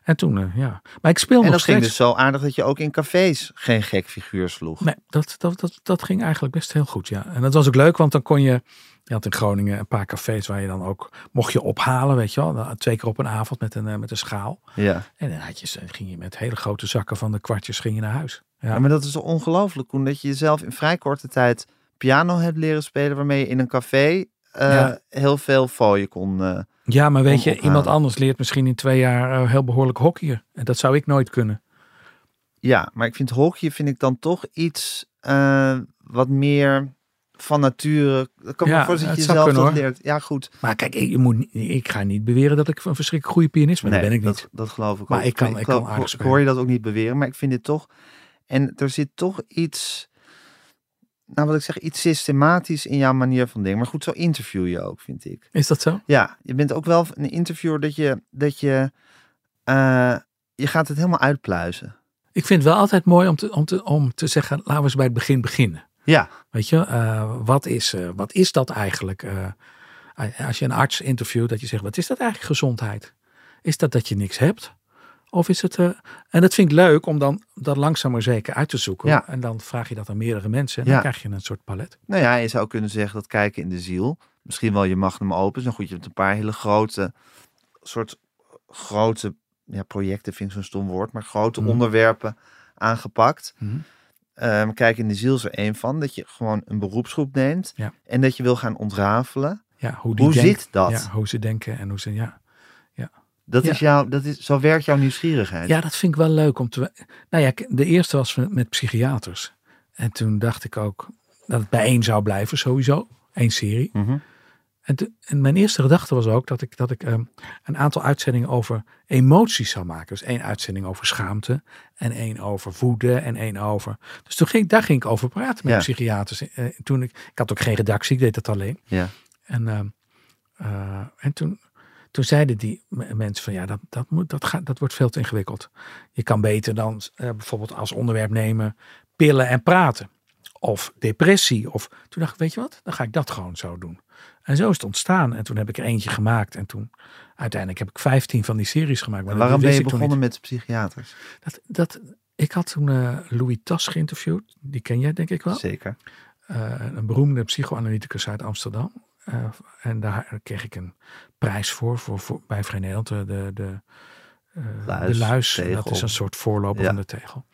Speaker 2: En toen, eh, ja. Maar ik speel
Speaker 1: en
Speaker 2: nog
Speaker 1: dat ging
Speaker 2: steeds.
Speaker 1: dus zo aardig dat je ook in cafés geen gek figuur sloeg.
Speaker 2: Nee, dat, dat, dat, dat ging eigenlijk best heel goed, ja. En dat was ook leuk, want dan kon je... Je had in Groningen een paar cafés waar je dan ook mocht je ophalen, weet je wel. Dan Twee keer op een avond met een, eh, met een schaal.
Speaker 1: Ja.
Speaker 2: En dan had je, ze- ging je met hele grote zakken van de kwartjes ging je naar huis. Ja,
Speaker 1: Ja, maar dat is toch ongelooflijk, Koen, dat je jezelf in vrij korte tijd piano hebt leren spelen, waarmee je in een café eh,
Speaker 2: Ja.
Speaker 1: heel veel fooien kon. eh.
Speaker 2: ja, maar weet
Speaker 1: Om
Speaker 2: je,
Speaker 1: ophalen.
Speaker 2: iemand anders leert misschien in twee jaar eh, heel behoorlijk hockeyen. En dat zou ik nooit kunnen.
Speaker 1: Ja, maar ik vind hockey vind ik dan toch iets eh, wat meer van nature. Ik kan
Speaker 2: Ja,
Speaker 1: me voorstellen dat
Speaker 2: het
Speaker 1: je
Speaker 2: zou
Speaker 1: jezelf
Speaker 2: kunnen,
Speaker 1: dat
Speaker 2: hoor.
Speaker 1: leert. Ja, goed.
Speaker 2: Maar kijk, ik, je moet, niet- ik ga niet beweren dat ik een verschrikkelijk goede pianist ben. dat ben ik niet.
Speaker 1: Dat, dat geloof ik
Speaker 2: Maar
Speaker 1: ook.
Speaker 2: ik kan- ik kan
Speaker 1: geloof-
Speaker 2: aardig
Speaker 1: ik hoor je dat ook niet beweren, maar ik vind dit toch... En er zit toch iets... Nou, wat ik zeg, iets systematisch in jouw manier van denken. Maar goed, zo interview je ook, vind ik.
Speaker 2: Is dat zo?
Speaker 1: Ja, je bent ook wel een interviewer dat je... Dat je, eh, je gaat het helemaal uitpluizen.
Speaker 2: Ik vind het wel altijd mooi om te, om te, om te zeggen, laten we eens bij het begin beginnen.
Speaker 1: Ja,
Speaker 2: Weet je, eh, wat, is, eh, wat is dat eigenlijk? eh, als je een arts interviewt, dat je zegt: wat is dat eigenlijk gezondheid? Is dat dat je niks hebt? Of is het. eh, en dat vind ik leuk om dan dat langzaam maar zeker uit te zoeken.
Speaker 1: Ja.
Speaker 2: En dan vraag je dat aan meerdere mensen. En dan
Speaker 1: Ja.
Speaker 2: krijg je een soort palet.
Speaker 1: nou ja, je zou kunnen zeggen dat kijken in de ziel... Misschien wel je magnum opus. Dan goed, je hebt een paar hele grote... soort eh, grote... Ja, projecten vind ik zo'n stom woord. Maar grote
Speaker 2: Mhm.
Speaker 1: onderwerpen aangepakt.
Speaker 2: Mhm.
Speaker 1: Ehm, kijk, in de ziel is er één van. Dat je gewoon een beroepsgroep neemt.
Speaker 2: Ja.
Speaker 1: En dat je wil gaan ontrafelen.
Speaker 2: Ja, hoe die
Speaker 1: Hoe
Speaker 2: denkt-
Speaker 1: zit dat?
Speaker 2: Ja, hoe ze denken en hoe ze. Ja.
Speaker 1: Dat
Speaker 2: Ja.
Speaker 1: is jouw, dat is, zo werkt jouw nieuwsgierigheid.
Speaker 2: ja, dat vind ik wel leuk om te. Nou ja, de eerste was met, met psychiaters. En toen dacht ik ook dat het bij één zou blijven, sowieso. Eén serie.
Speaker 1: Mhm.
Speaker 2: En, te- en mijn eerste gedachte was ook dat ik, dat ik ehm, een aantal uitzendingen over emoties zou maken. Dus één uitzending over schaamte en één over woede en één over... Dus toen ging, daar ging ik over praten met
Speaker 1: Ja.
Speaker 2: psychiaters. Eh, toen ik, ik had ook geen redactie, ik deed dat alleen.
Speaker 1: ja.
Speaker 2: En, ehm, eh, en toen, toen zeiden die m- mensen van ja, dat, dat, moet, dat, gaat, dat wordt veel te ingewikkeld. Je kan beter dan eh, bijvoorbeeld als onderwerp nemen pillen en praten. Of depressie. Of toen dacht ik, weet je wat, dan ga ik dat gewoon zo doen. En zo is het ontstaan. En toen heb ik er eentje gemaakt. En toen uiteindelijk heb ik 15 van die series gemaakt. Maar
Speaker 1: En
Speaker 2: dat
Speaker 1: waarom ben
Speaker 2: wist
Speaker 1: je
Speaker 2: ik nog
Speaker 1: begonnen met de psychiaters?
Speaker 2: niet. Dat, dat, ik had toen eh, Louis Tas geïnterviewd. Die ken jij denk ik wel
Speaker 1: Zeker.
Speaker 2: eh, een beroemde psychoanalyticus uit Amsterdam. Eh, en daar kreeg ik een prijs voor, voor, voor bij Vrij Nederland. De, de, de, eh,
Speaker 1: Luis,
Speaker 2: de luis, dat
Speaker 1: Tegel.
Speaker 2: is een soort voorloper
Speaker 1: Ja.
Speaker 2: van de tegel.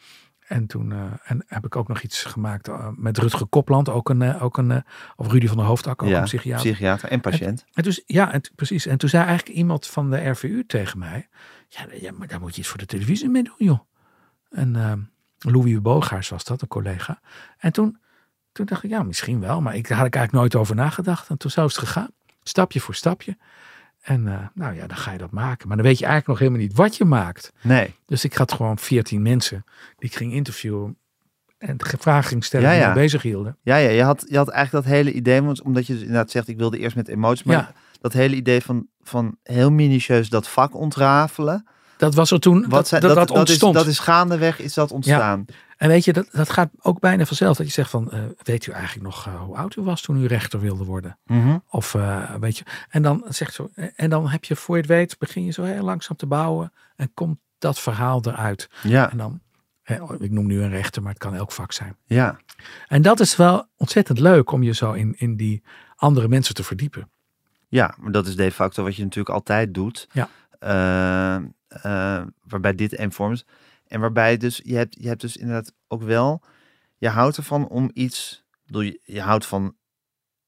Speaker 2: En toen eh, en heb ik ook nog iets gemaakt eh, met Rutger Kopland, ook een, eh, ook een eh, of Rudy van der Hoofdak, ook
Speaker 1: ja,
Speaker 2: een psychiater.
Speaker 1: psychiater en patiënt.
Speaker 2: En dus, ja, en, t- precies. En toen zei eigenlijk iemand van de RVU tegen mij: Ja, ja maar daar moet je iets voor de televisie mee doen, joh. En ehm, Louis Bogaars was dat, een collega. En toen, toen dacht ik: Ja, misschien wel, maar ik, daar had ik eigenlijk nooit over nagedacht. En toen zo is het gegaan, stapje voor stapje. En eh, nou ja, dan ga je dat maken. Maar dan weet je eigenlijk nog helemaal niet wat je maakt.
Speaker 1: Nee,
Speaker 2: Dus ik had gewoon 14 mensen die ik ging interviewen. En ge- vragen ging stellen
Speaker 1: Ja,
Speaker 2: die
Speaker 1: ja.
Speaker 2: me bezig hielden.
Speaker 1: ja, ja, je, had, je had eigenlijk dat hele idee, want omdat je dus inderdaad zegt, ik wilde eerst met emoties, maar
Speaker 2: Ja.
Speaker 1: dat hele idee van, van heel minutieus dat vak ontrafelen,
Speaker 2: Dat was er toen, dat,
Speaker 1: zijn-
Speaker 2: dat, dat,
Speaker 1: is,
Speaker 2: ontstond.
Speaker 1: dat is gaandeweg, is dat ontstaan.
Speaker 2: En weet je, dat, dat gaat ook bijna vanzelf. Dat je zegt van, eh, weet u eigenlijk nog eh, hoe oud u was toen u rechter wilde worden?
Speaker 1: Mhm.
Speaker 2: Of eh, weet je, en dan zegt zo, eh, en dan heb je voor je het weet, begin je zo heel langzaam te bouwen en komt dat verhaal eruit.
Speaker 1: Ja,
Speaker 2: En dan, eh, oh, ik noem nu een rechter, maar het kan elk vak zijn.
Speaker 1: ja.
Speaker 2: En dat is wel ontzettend leuk om je zo in, in die andere mensen te verdiepen.
Speaker 1: Ja, maar dat is de facto wat je natuurlijk altijd doet.
Speaker 2: Ja.
Speaker 1: Eh, eh, waarbij dit een vorm is. En waarbij dus, je hebt, je hebt dus inderdaad ook wel, je houdt ervan om iets, ik bedoel, je, je houdt van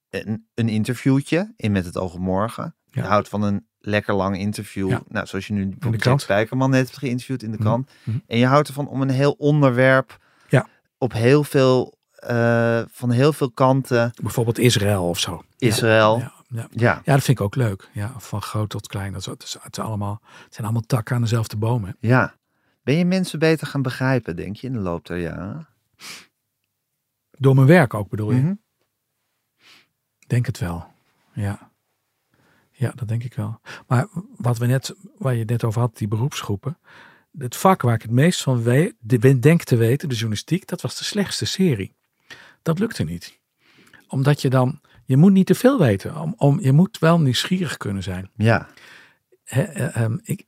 Speaker 1: een, een interviewtje in Met het Oog op Morgen.
Speaker 2: Ja.
Speaker 1: Je houdt van een lekker lang interview.
Speaker 2: Ja.
Speaker 1: Nou, zoals je nu
Speaker 2: krant.
Speaker 1: bijvoorbeeld Jack Spijkerman net hebt geïnterviewd in de
Speaker 2: Mhm,
Speaker 1: krant.
Speaker 2: mhm.
Speaker 1: En je houdt ervan om een heel onderwerp
Speaker 2: Ja.
Speaker 1: op heel veel, eh, van heel veel kanten,
Speaker 2: Bijvoorbeeld Israël of zo.
Speaker 1: Israël.
Speaker 2: Ja, ja.
Speaker 1: ja.
Speaker 2: ja, dat vind ik ook leuk. Ja, van groot tot klein. Dat is, het, is, het, is allemaal, het zijn allemaal takken aan dezelfde bomen.
Speaker 1: Ja. Ben je mensen beter gaan begrijpen, denk je, in de loop der jaren?
Speaker 2: Door mijn werk ook bedoel je.
Speaker 1: Mhm.
Speaker 2: Denk het wel. Ja. Ja, dat denk ik wel. Maar wat we net, waar je het net over had, die beroepsgroepen. Het vak waar ik het meest van we- de- denk te weten, de journalistiek, dat was de slechtste serie. Dat lukte niet. Omdat je dan, je moet niet te veel weten. Om, om, je moet wel nieuwsgierig kunnen zijn.
Speaker 1: Ja,
Speaker 2: Hè, eh, ehm, ik,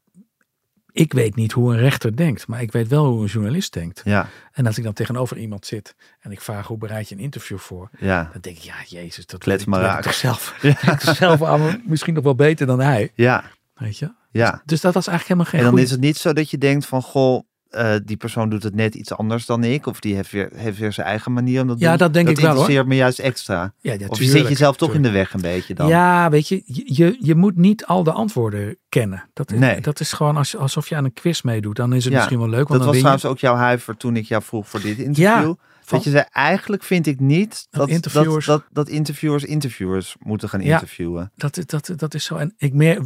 Speaker 2: ik weet niet hoe een rechter denkt, maar ik weet wel hoe een journalist denkt.
Speaker 1: ja,
Speaker 2: En als ik dan tegenover iemand zit en ik vraag hoe bereid je een interview voor,
Speaker 1: ja.
Speaker 2: dan denk ik, ja, jezus, dat
Speaker 1: Klets
Speaker 2: weet ik-
Speaker 1: maar
Speaker 2: weet ik
Speaker 1: raak.
Speaker 2: toch zelf, weet ik toch zelf allemaal misschien nog wel beter dan hij.
Speaker 1: Ja,
Speaker 2: Weet je?
Speaker 1: ja.
Speaker 2: Dus dat was eigenlijk helemaal geen
Speaker 1: En dan
Speaker 2: goeie-
Speaker 1: is het niet zo dat je denkt van, goh, eh, die persoon doet het net iets anders dan ik. Of die heeft weer, heeft weer zijn eigen manier om dat te
Speaker 2: Ja,
Speaker 1: doen.
Speaker 2: dat denk ik wel, hoor.
Speaker 1: interesseert me juist extra.
Speaker 2: ja, ja,
Speaker 1: of je
Speaker 2: tuurlijk,
Speaker 1: zit jezelf toch in
Speaker 2: tuurlijk.
Speaker 1: de weg een beetje dan.
Speaker 2: Ja, weet je, je- je, je moet niet al de antwoorden kennen. Dat is,
Speaker 1: Nee.
Speaker 2: dat is gewoon als, alsof je aan een quiz meedoet. Dan is het
Speaker 1: Ja,
Speaker 2: misschien wel leuk,
Speaker 1: dat
Speaker 2: want
Speaker 1: was
Speaker 2: dan win
Speaker 1: trouwens
Speaker 2: je.
Speaker 1: ook jouw huiver toen ik jou vroeg voor dit interview.
Speaker 2: van-
Speaker 1: dat je zei, eigenlijk vind ik niet dat, dat, dat,
Speaker 2: interviewers-
Speaker 1: dat, interviewers interviewers moeten gaan
Speaker 2: Ja.
Speaker 1: interviewen.
Speaker 2: Dat, is- dat, dat is zo. En ik meer,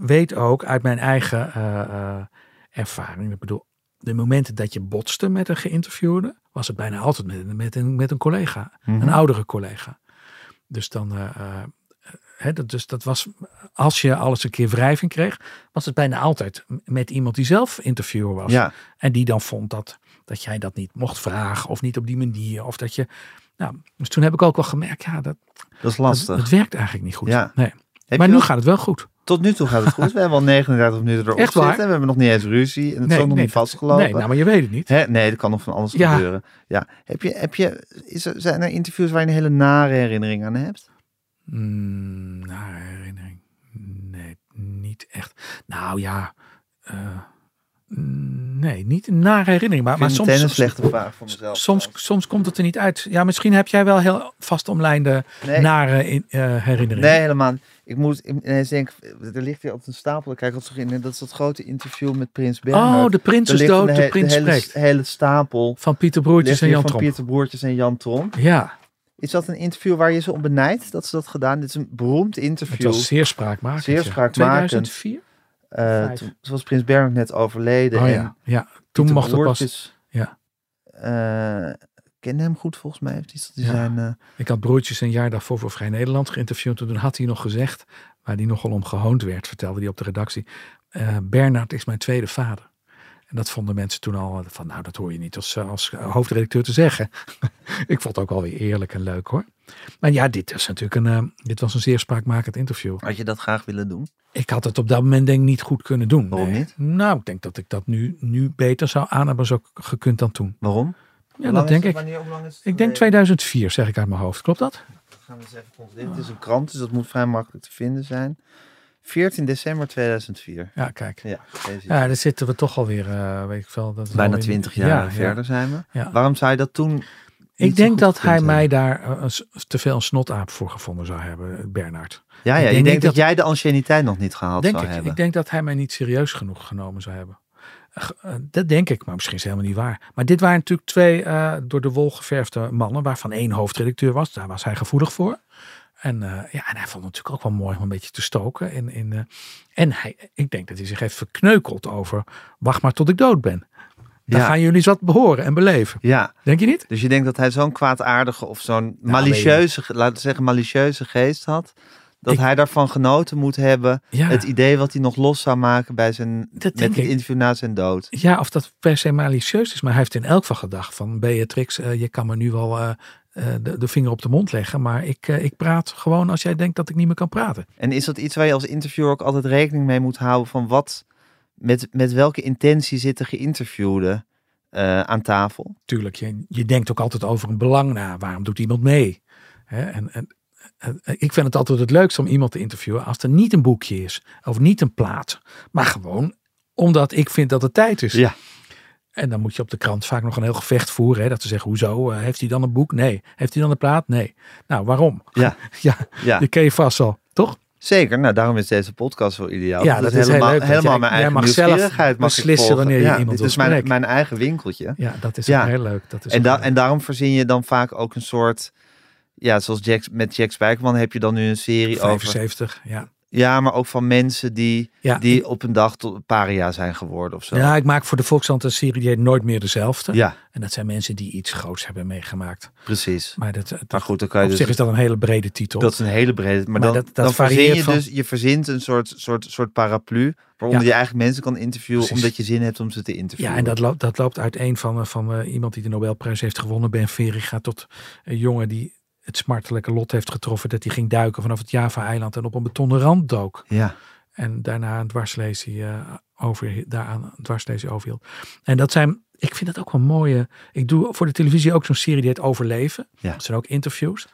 Speaker 2: weet ook uit mijn eigen eh, eh, ervaring. Ik bedoel, de momenten dat je botste met een geïnterviewde, was het bijna altijd met, met, een, met een collega,
Speaker 1: Mhm.
Speaker 2: een oudere collega. Dus dan, eh, eh, hè, dat, dus dat was, als je alles een keer wrijving kreeg, was het bijna altijd m- met iemand die zelf interviewer was.
Speaker 1: Ja,
Speaker 2: En die dan vond dat, dat jij dat niet mocht vragen, of niet op die manier, of dat je. Nou, dus toen heb ik ook wel gemerkt, ja, dat,
Speaker 1: dat is
Speaker 2: dat,
Speaker 1: lastig.
Speaker 2: dat werkt eigenlijk niet goed.
Speaker 1: Ja.
Speaker 2: Nee.
Speaker 1: Heb
Speaker 2: Maar
Speaker 1: je
Speaker 2: nu
Speaker 1: wel-
Speaker 2: gaat het wel goed.
Speaker 1: Tot nu toe gaat het goed. We hebben al 39 minuten erop
Speaker 2: Echt waar?
Speaker 1: zitten. We hebben nog niet eens ruzie. En het is ook nog niet
Speaker 2: dat-
Speaker 1: vastgelopen.
Speaker 2: Nee, nou, maar je weet het niet.
Speaker 1: Hè? Nee, er kan nog van alles
Speaker 2: Ja.
Speaker 1: gebeuren. Ja. Heb je, heb je, is er, zijn er interviews waar je een hele nare herinnering aan hebt?
Speaker 2: Mm, naar herinnering. Nee, niet echt. Nou ja. eh, mm, nee, niet naar herinnering. Maar,
Speaker 1: Maar soms,
Speaker 2: maar soms,
Speaker 1: meteen een slechte vraag voor mezelf.
Speaker 2: soms, soms komt het er niet uit. Ja, misschien heb jij wel heel vast omlijnde
Speaker 1: Nee.
Speaker 2: nare in- eh, herinneringen.
Speaker 1: Nee, helemaal niet. Ik moet ineens denken, er ligt hier op een stapel. Ik kijk altijd terug in. Dat is dat grote interview met Prins Bernhard.
Speaker 2: oh, de prins
Speaker 1: Er
Speaker 2: is
Speaker 1: ligt
Speaker 2: dood,
Speaker 1: een
Speaker 2: de
Speaker 1: he-
Speaker 2: prins
Speaker 1: hele,
Speaker 2: spreekt.
Speaker 1: hele stapel.
Speaker 2: Van Pieter
Speaker 1: ligt
Speaker 2: Broertjes en
Speaker 1: hier
Speaker 2: Jan
Speaker 1: van
Speaker 2: Tromp.
Speaker 1: Pieter Broertjes en Jan Tromp.
Speaker 2: Ja,
Speaker 1: Is dat een interview waar je ze om benijdt dat ze dat gedaan? Dit is een beroemd
Speaker 2: het
Speaker 1: interview.
Speaker 2: was zeer spraakmakend.
Speaker 1: Zeer
Speaker 2: ja.
Speaker 1: spraakmakend.
Speaker 2: 2004?
Speaker 1: Eh,
Speaker 2: vijf.
Speaker 1: toen, toen was Prins Bernhard net overleden.
Speaker 2: Oh
Speaker 1: en
Speaker 2: ja, ja. toen
Speaker 1: Pieter
Speaker 2: mocht het pas.
Speaker 1: Broertjes,
Speaker 2: ja.
Speaker 1: eh, kende hem goed volgens mij. Heeft iets dat die
Speaker 2: Ja.
Speaker 1: zijn, eh,
Speaker 2: Ik had broertjes een jaar daarvoor voor Vrij Nederland geïnterviewd. En toen had hij nog gezegd, waar hij nogal om gehoond werd, vertelde hij op de redactie. eh Bernard is mijn tweede vader. En dat vonden mensen toen al eh, van, nou dat hoor je niet als, eh, als hoofdredacteur te zeggen. ik vond het ook alweer eerlijk en leuk hoor. Maar ja, dit, is natuurlijk een, eh, dit was een zeer spraakmakend interview.
Speaker 1: had je dat graag willen doen?
Speaker 2: Ik had het op dat moment denk ik niet goed kunnen doen.
Speaker 1: Waarom niet?
Speaker 2: Nou, ik denk dat ik dat nu, nu beter zou aan hebben zo gekund dan toen.
Speaker 1: Waarom?
Speaker 2: Ja, dat denk ik. Ik denk
Speaker 1: twee.
Speaker 2: 2004 zeg ik uit mijn hoofd. Klopt dat?
Speaker 1: Gaan we eens even controleren. Dit is een krant, dus dat moet vrij makkelijk te vinden zijn. 14 december 2004.
Speaker 2: Ja, kijk.
Speaker 1: Ja, deze
Speaker 2: Ja, daar zitten we toch alweer, eh weet ik veel. Dat is
Speaker 1: Bijna
Speaker 2: alweer-
Speaker 1: 20
Speaker 2: Ja,
Speaker 1: jaar
Speaker 2: ja.
Speaker 1: verder zijn we.
Speaker 2: Ja.
Speaker 1: Waarom zou je dat toen? niet
Speaker 2: Ik
Speaker 1: zo
Speaker 2: denk
Speaker 1: goed
Speaker 2: dat
Speaker 1: gekund
Speaker 2: hij
Speaker 1: hebben?
Speaker 2: mij daar eh, een s- te veel een snotaap voor gevonden zou hebben, Bernard.
Speaker 1: Ja,
Speaker 2: ik
Speaker 1: ja. Ik
Speaker 2: denk
Speaker 1: denk,
Speaker 2: niet
Speaker 1: dat,
Speaker 2: dat-
Speaker 1: jij de anciëniteit nog niet gehaald
Speaker 2: Denk
Speaker 1: zou
Speaker 2: ik.
Speaker 1: hebben.
Speaker 2: Ik denk dat hij mij niet serieus genoeg genomen zou hebben. Ge- eh, Dat denk ik, maar misschien is het helemaal niet waar. Maar dit waren natuurlijk twee eh, door de wol geverfde mannen, waarvan één hoofdredacteur was. Daar was hij gevoelig voor. En, eh, ja, en hij vond het natuurlijk ook wel mooi om een beetje te stoken. In, in, eh, en hij, ik denk dat hij zich heeft verkneukeld over, wacht maar tot ik dood ben. Dan
Speaker 1: Ja.
Speaker 2: gaan jullie eens wat behoren en beleven.
Speaker 1: Ja.
Speaker 2: Denk je niet?
Speaker 1: Dus je denkt dat hij zo'n kwaadaardige of zo'n
Speaker 2: weet je.
Speaker 1: malicieuze, ge- laten we zeggen malicieuze geest had. Dat
Speaker 2: Ik-
Speaker 1: hij daarvan genoten moet hebben.
Speaker 2: Ja.
Speaker 1: Het idee wat hij nog los zou maken bij zijn, met
Speaker 2: denk
Speaker 1: het
Speaker 2: ik.
Speaker 1: interview na zijn dood.
Speaker 2: Ja, of dat per se malicieus is. Maar hij heeft in elk geval gedacht van Beatrix, eh, je kan me nu wel eh, eh, de, de vinger op de mond leggen. Maar ik, eh, ik praat gewoon als jij denkt dat ik niet meer kan praten.
Speaker 1: En is dat iets waar je als interviewer ook altijd rekening mee moet houden van wat, met, met welke intentie zit de geïnterviewde eh, aan tafel?
Speaker 2: Tuurlijk, je, je denkt ook altijd over een belang na. Waarom doet iemand mee? Hè, en, en, en- en ik vind het altijd het leukst om iemand te interviewen als er niet een boekje is. Of niet een plaat. Maar gewoon omdat ik vind dat het tijd is.
Speaker 1: Ja.
Speaker 2: En dan moet je op de krant vaak nog een heel gevecht voeren. Hè, dat ze zeggen, hoezo? eh, heeft hij dan een boek? Nee. Heeft hij dan een plaat? Nee. Nou, waarom?
Speaker 1: Ja.
Speaker 2: ja,
Speaker 1: Ja.
Speaker 2: Je ken je vast al, toch?
Speaker 1: Zeker, nou daarom is deze podcast wel ideaal.
Speaker 2: Ja,
Speaker 1: Want
Speaker 2: dat
Speaker 1: het
Speaker 2: is heel
Speaker 1: helemaal,
Speaker 2: leuk, want
Speaker 1: helemaal
Speaker 2: jij-
Speaker 1: mijn
Speaker 2: jij
Speaker 1: eigen
Speaker 2: mag zelf
Speaker 1: nieuwsgierigheid mag ik
Speaker 2: beslissen
Speaker 1: volgen.
Speaker 2: wanneer je
Speaker 1: Ja,
Speaker 2: iemand
Speaker 1: Dit is
Speaker 2: wil
Speaker 1: mijn,
Speaker 2: spreken.
Speaker 1: mijn eigen winkeltje.
Speaker 2: Ja, dat is
Speaker 1: Ja.
Speaker 2: ook heel leuk. Dat is
Speaker 1: En,
Speaker 2: Dus
Speaker 1: da
Speaker 2: ook heel
Speaker 1: en daarom verzin je dan vaak ook een soort, ja, zoals Jack, met Jack Spijkerman heb je dan nu een serie
Speaker 2: leuk.
Speaker 1: over
Speaker 2: 75, ja.
Speaker 1: Ja, maar ook van mensen die,
Speaker 2: Ja.
Speaker 1: die op een dag tot paria zijn geworden of zo.
Speaker 2: Ja, ik maak voor de Volkskrant een serie die heet Nooit meer dezelfde.
Speaker 1: Ja,
Speaker 2: En dat zijn mensen die iets groots hebben meegemaakt.
Speaker 1: precies.
Speaker 2: Maar dat, dat,
Speaker 1: Maar goed, dan kan je
Speaker 2: op zich
Speaker 1: dus,
Speaker 2: is dat een hele brede titel.
Speaker 1: dat is een hele brede. Maar
Speaker 2: Maar
Speaker 1: dan,
Speaker 2: dat- dat
Speaker 1: dan verzin
Speaker 2: varieert
Speaker 1: je
Speaker 2: van-
Speaker 1: dus, je verzint een soort, soort, soort paraplu waaronder je eigenlijk mensen kan interviewen
Speaker 2: Precies.
Speaker 1: omdat je zin hebt om ze te interviewen.
Speaker 2: ja, en dat, loopt- dat loopt uiteen van, eh, van eh, iemand die de Nobelprijs heeft gewonnen, Ben Veriga, tot een jongen die het smartelijke lot heeft getroffen dat hij ging duiken vanaf het Java-eiland en op een betonnen rand dook.
Speaker 1: Ja,
Speaker 2: En daarna een dwarslesie eh, over, daaraan een dwarslesie overhield. En dat zijn, ik vind dat ook wel mooie. Ik doe voor de televisie ook zo'n serie die heet Overleven.
Speaker 1: Ja.
Speaker 2: Dat zijn ook interviews.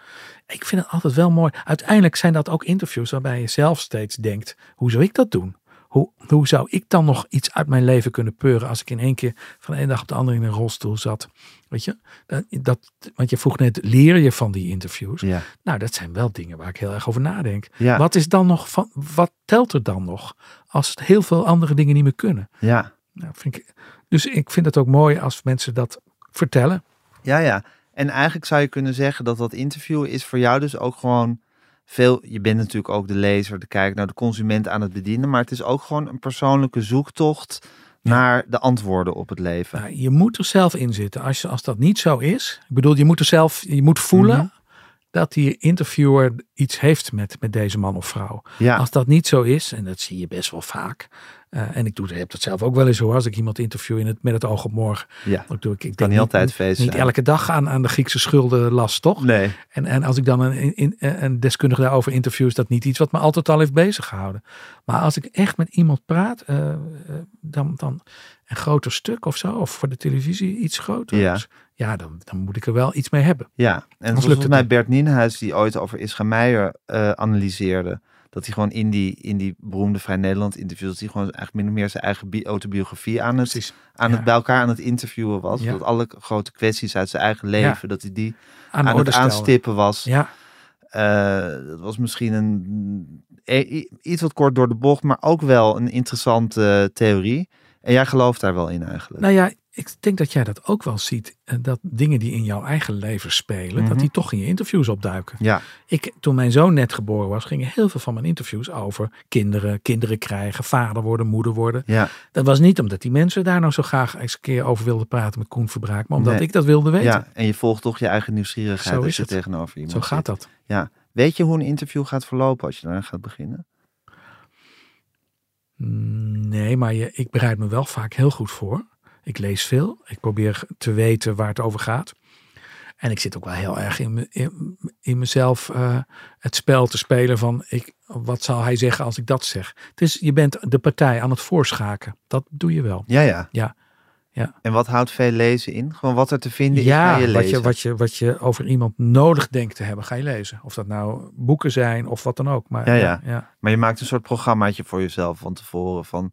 Speaker 2: Ik vind het altijd wel mooi. Uiteindelijk zijn dat ook interviews waarbij je zelf steeds denkt, hoe zou ik dat doen? Hoe, hoe zou ik dan nog iets uit mijn leven kunnen peuren als ik in één keer van de ene dag op de andere in een rolstoel zat? Weet je, dat, dat, want je vroeg net, leer je van die interviews?
Speaker 1: ja,
Speaker 2: Nou, dat zijn wel dingen waar ik heel erg over nadenk.
Speaker 1: ja,
Speaker 2: Wat is dan nog van, wat telt er dan nog als het heel veel andere dingen niet meer kunnen?
Speaker 1: ja,
Speaker 2: Nou, vind ik, dus ik vind het ook mooi als mensen dat vertellen.
Speaker 1: ja, ja. En eigenlijk zou je kunnen zeggen dat dat interview is voor jou dus ook gewoon veel. Je bent natuurlijk ook de lezer, de kijker, nou de consument aan het bedienen, maar het is ook gewoon een persoonlijke zoektocht naar de antwoorden op het leven.
Speaker 2: Nou, je moet er zelf in zitten. Als, je- als dat niet zo is, ik bedoel, je moet er zelf, je moet voelen
Speaker 1: Mhm.
Speaker 2: dat die interviewer iets heeft met, met deze man of vrouw.
Speaker 1: Ja,
Speaker 2: Als dat niet zo is, en dat zie je best wel vaak. eh, en ik doe, heb dat zelf ook wel eens hoor. Als ik iemand interview in het, met het oog op morgen.
Speaker 1: ja.
Speaker 2: Ik doe, ik,
Speaker 1: Kan
Speaker 2: ik denk
Speaker 1: niet altijd feest
Speaker 2: Niet
Speaker 1: zijn.
Speaker 2: elke dag aan, aan de Griekse schulden last, toch?
Speaker 1: Nee.
Speaker 2: En, en als ik dan een, in- in- eh, een deskundige daarover interview, is dat niet iets wat me altijd al heeft bezig gehouden. Maar als ik echt met iemand praat, eh, eh, dan, dan een groter stuk of zo, of voor de televisie iets groter.
Speaker 1: Ja.
Speaker 2: ja dan, dan moet ik er wel iets mee hebben.
Speaker 1: Ja, en het was
Speaker 2: lukt
Speaker 1: volgens
Speaker 2: het
Speaker 1: mij
Speaker 2: niet.
Speaker 1: Bert Nienhuis die ooit over Ischa Meijer eh, analyseerde. Dat hij gewoon in die, in die beroemde Vrij Nederland interviews, dat hij gewoon eigenlijk min of meer zijn eigen bi- autobiografie aan het, aan
Speaker 2: ja.
Speaker 1: het bij elkaar aan het interviewen was.
Speaker 2: Ja.
Speaker 1: Dat alle grote kwesties uit zijn eigen leven, dat hij die
Speaker 2: Aan,
Speaker 1: aan,
Speaker 2: de
Speaker 1: het
Speaker 2: orde stellen.
Speaker 1: aanstippen was.
Speaker 2: Ja,
Speaker 1: Eh, dat was misschien een, eh, i- iets wat kort door de bocht, maar ook wel een interessante theorie. En jij gelooft daar wel in eigenlijk.
Speaker 2: nou ja, ik denk dat jij dat ook wel ziet. eh, Dat dingen die in jouw eigen leven spelen,
Speaker 1: Mhm.
Speaker 2: dat die toch in je interviews opduiken.
Speaker 1: Ja,
Speaker 2: Ik, toen mijn zoon net geboren was, gingen heel veel van mijn interviews over kinderen, kinderen krijgen, vader worden, moeder worden.
Speaker 1: ja,
Speaker 2: Dat was niet omdat die mensen daar nou zo graag eens een keer over wilden praten met Koen Verbraak, maar omdat
Speaker 1: Nee.
Speaker 2: ik dat wilde weten.
Speaker 1: ja. En je volgt toch je eigen nieuwsgierigheid
Speaker 2: Zo
Speaker 1: als
Speaker 2: is
Speaker 1: je
Speaker 2: het.
Speaker 1: tegenover iemand
Speaker 2: zo gaat
Speaker 1: zit.
Speaker 2: dat.
Speaker 1: Weet je hoe een interview gaat verlopen als je daarna gaat beginnen?
Speaker 2: Mm, Nee, maar je, ik bereid me wel vaak heel goed voor. Ik lees veel. Ik probeer te weten waar het over gaat. En ik zit ook wel heel erg in, me- in, in mezelf eh, het spel te spelen van ik, wat zal hij zeggen als ik dat zeg. Het is, je bent de partij aan het voorschaken. Dat doe je wel.
Speaker 1: Ja, ja.
Speaker 2: Ja, ja.
Speaker 1: En wat houdt veel lezen in? Gewoon wat er te vinden is bij je
Speaker 2: wat,
Speaker 1: lezen.
Speaker 2: je, wat, je, wat je over iemand nodig denkt te hebben, ga je lezen. Of dat nou boeken zijn of wat dan ook. Maar,
Speaker 1: Ja, ja.
Speaker 2: ja.
Speaker 1: Maar je maakt een soort programmaatje voor jezelf van tevoren. Van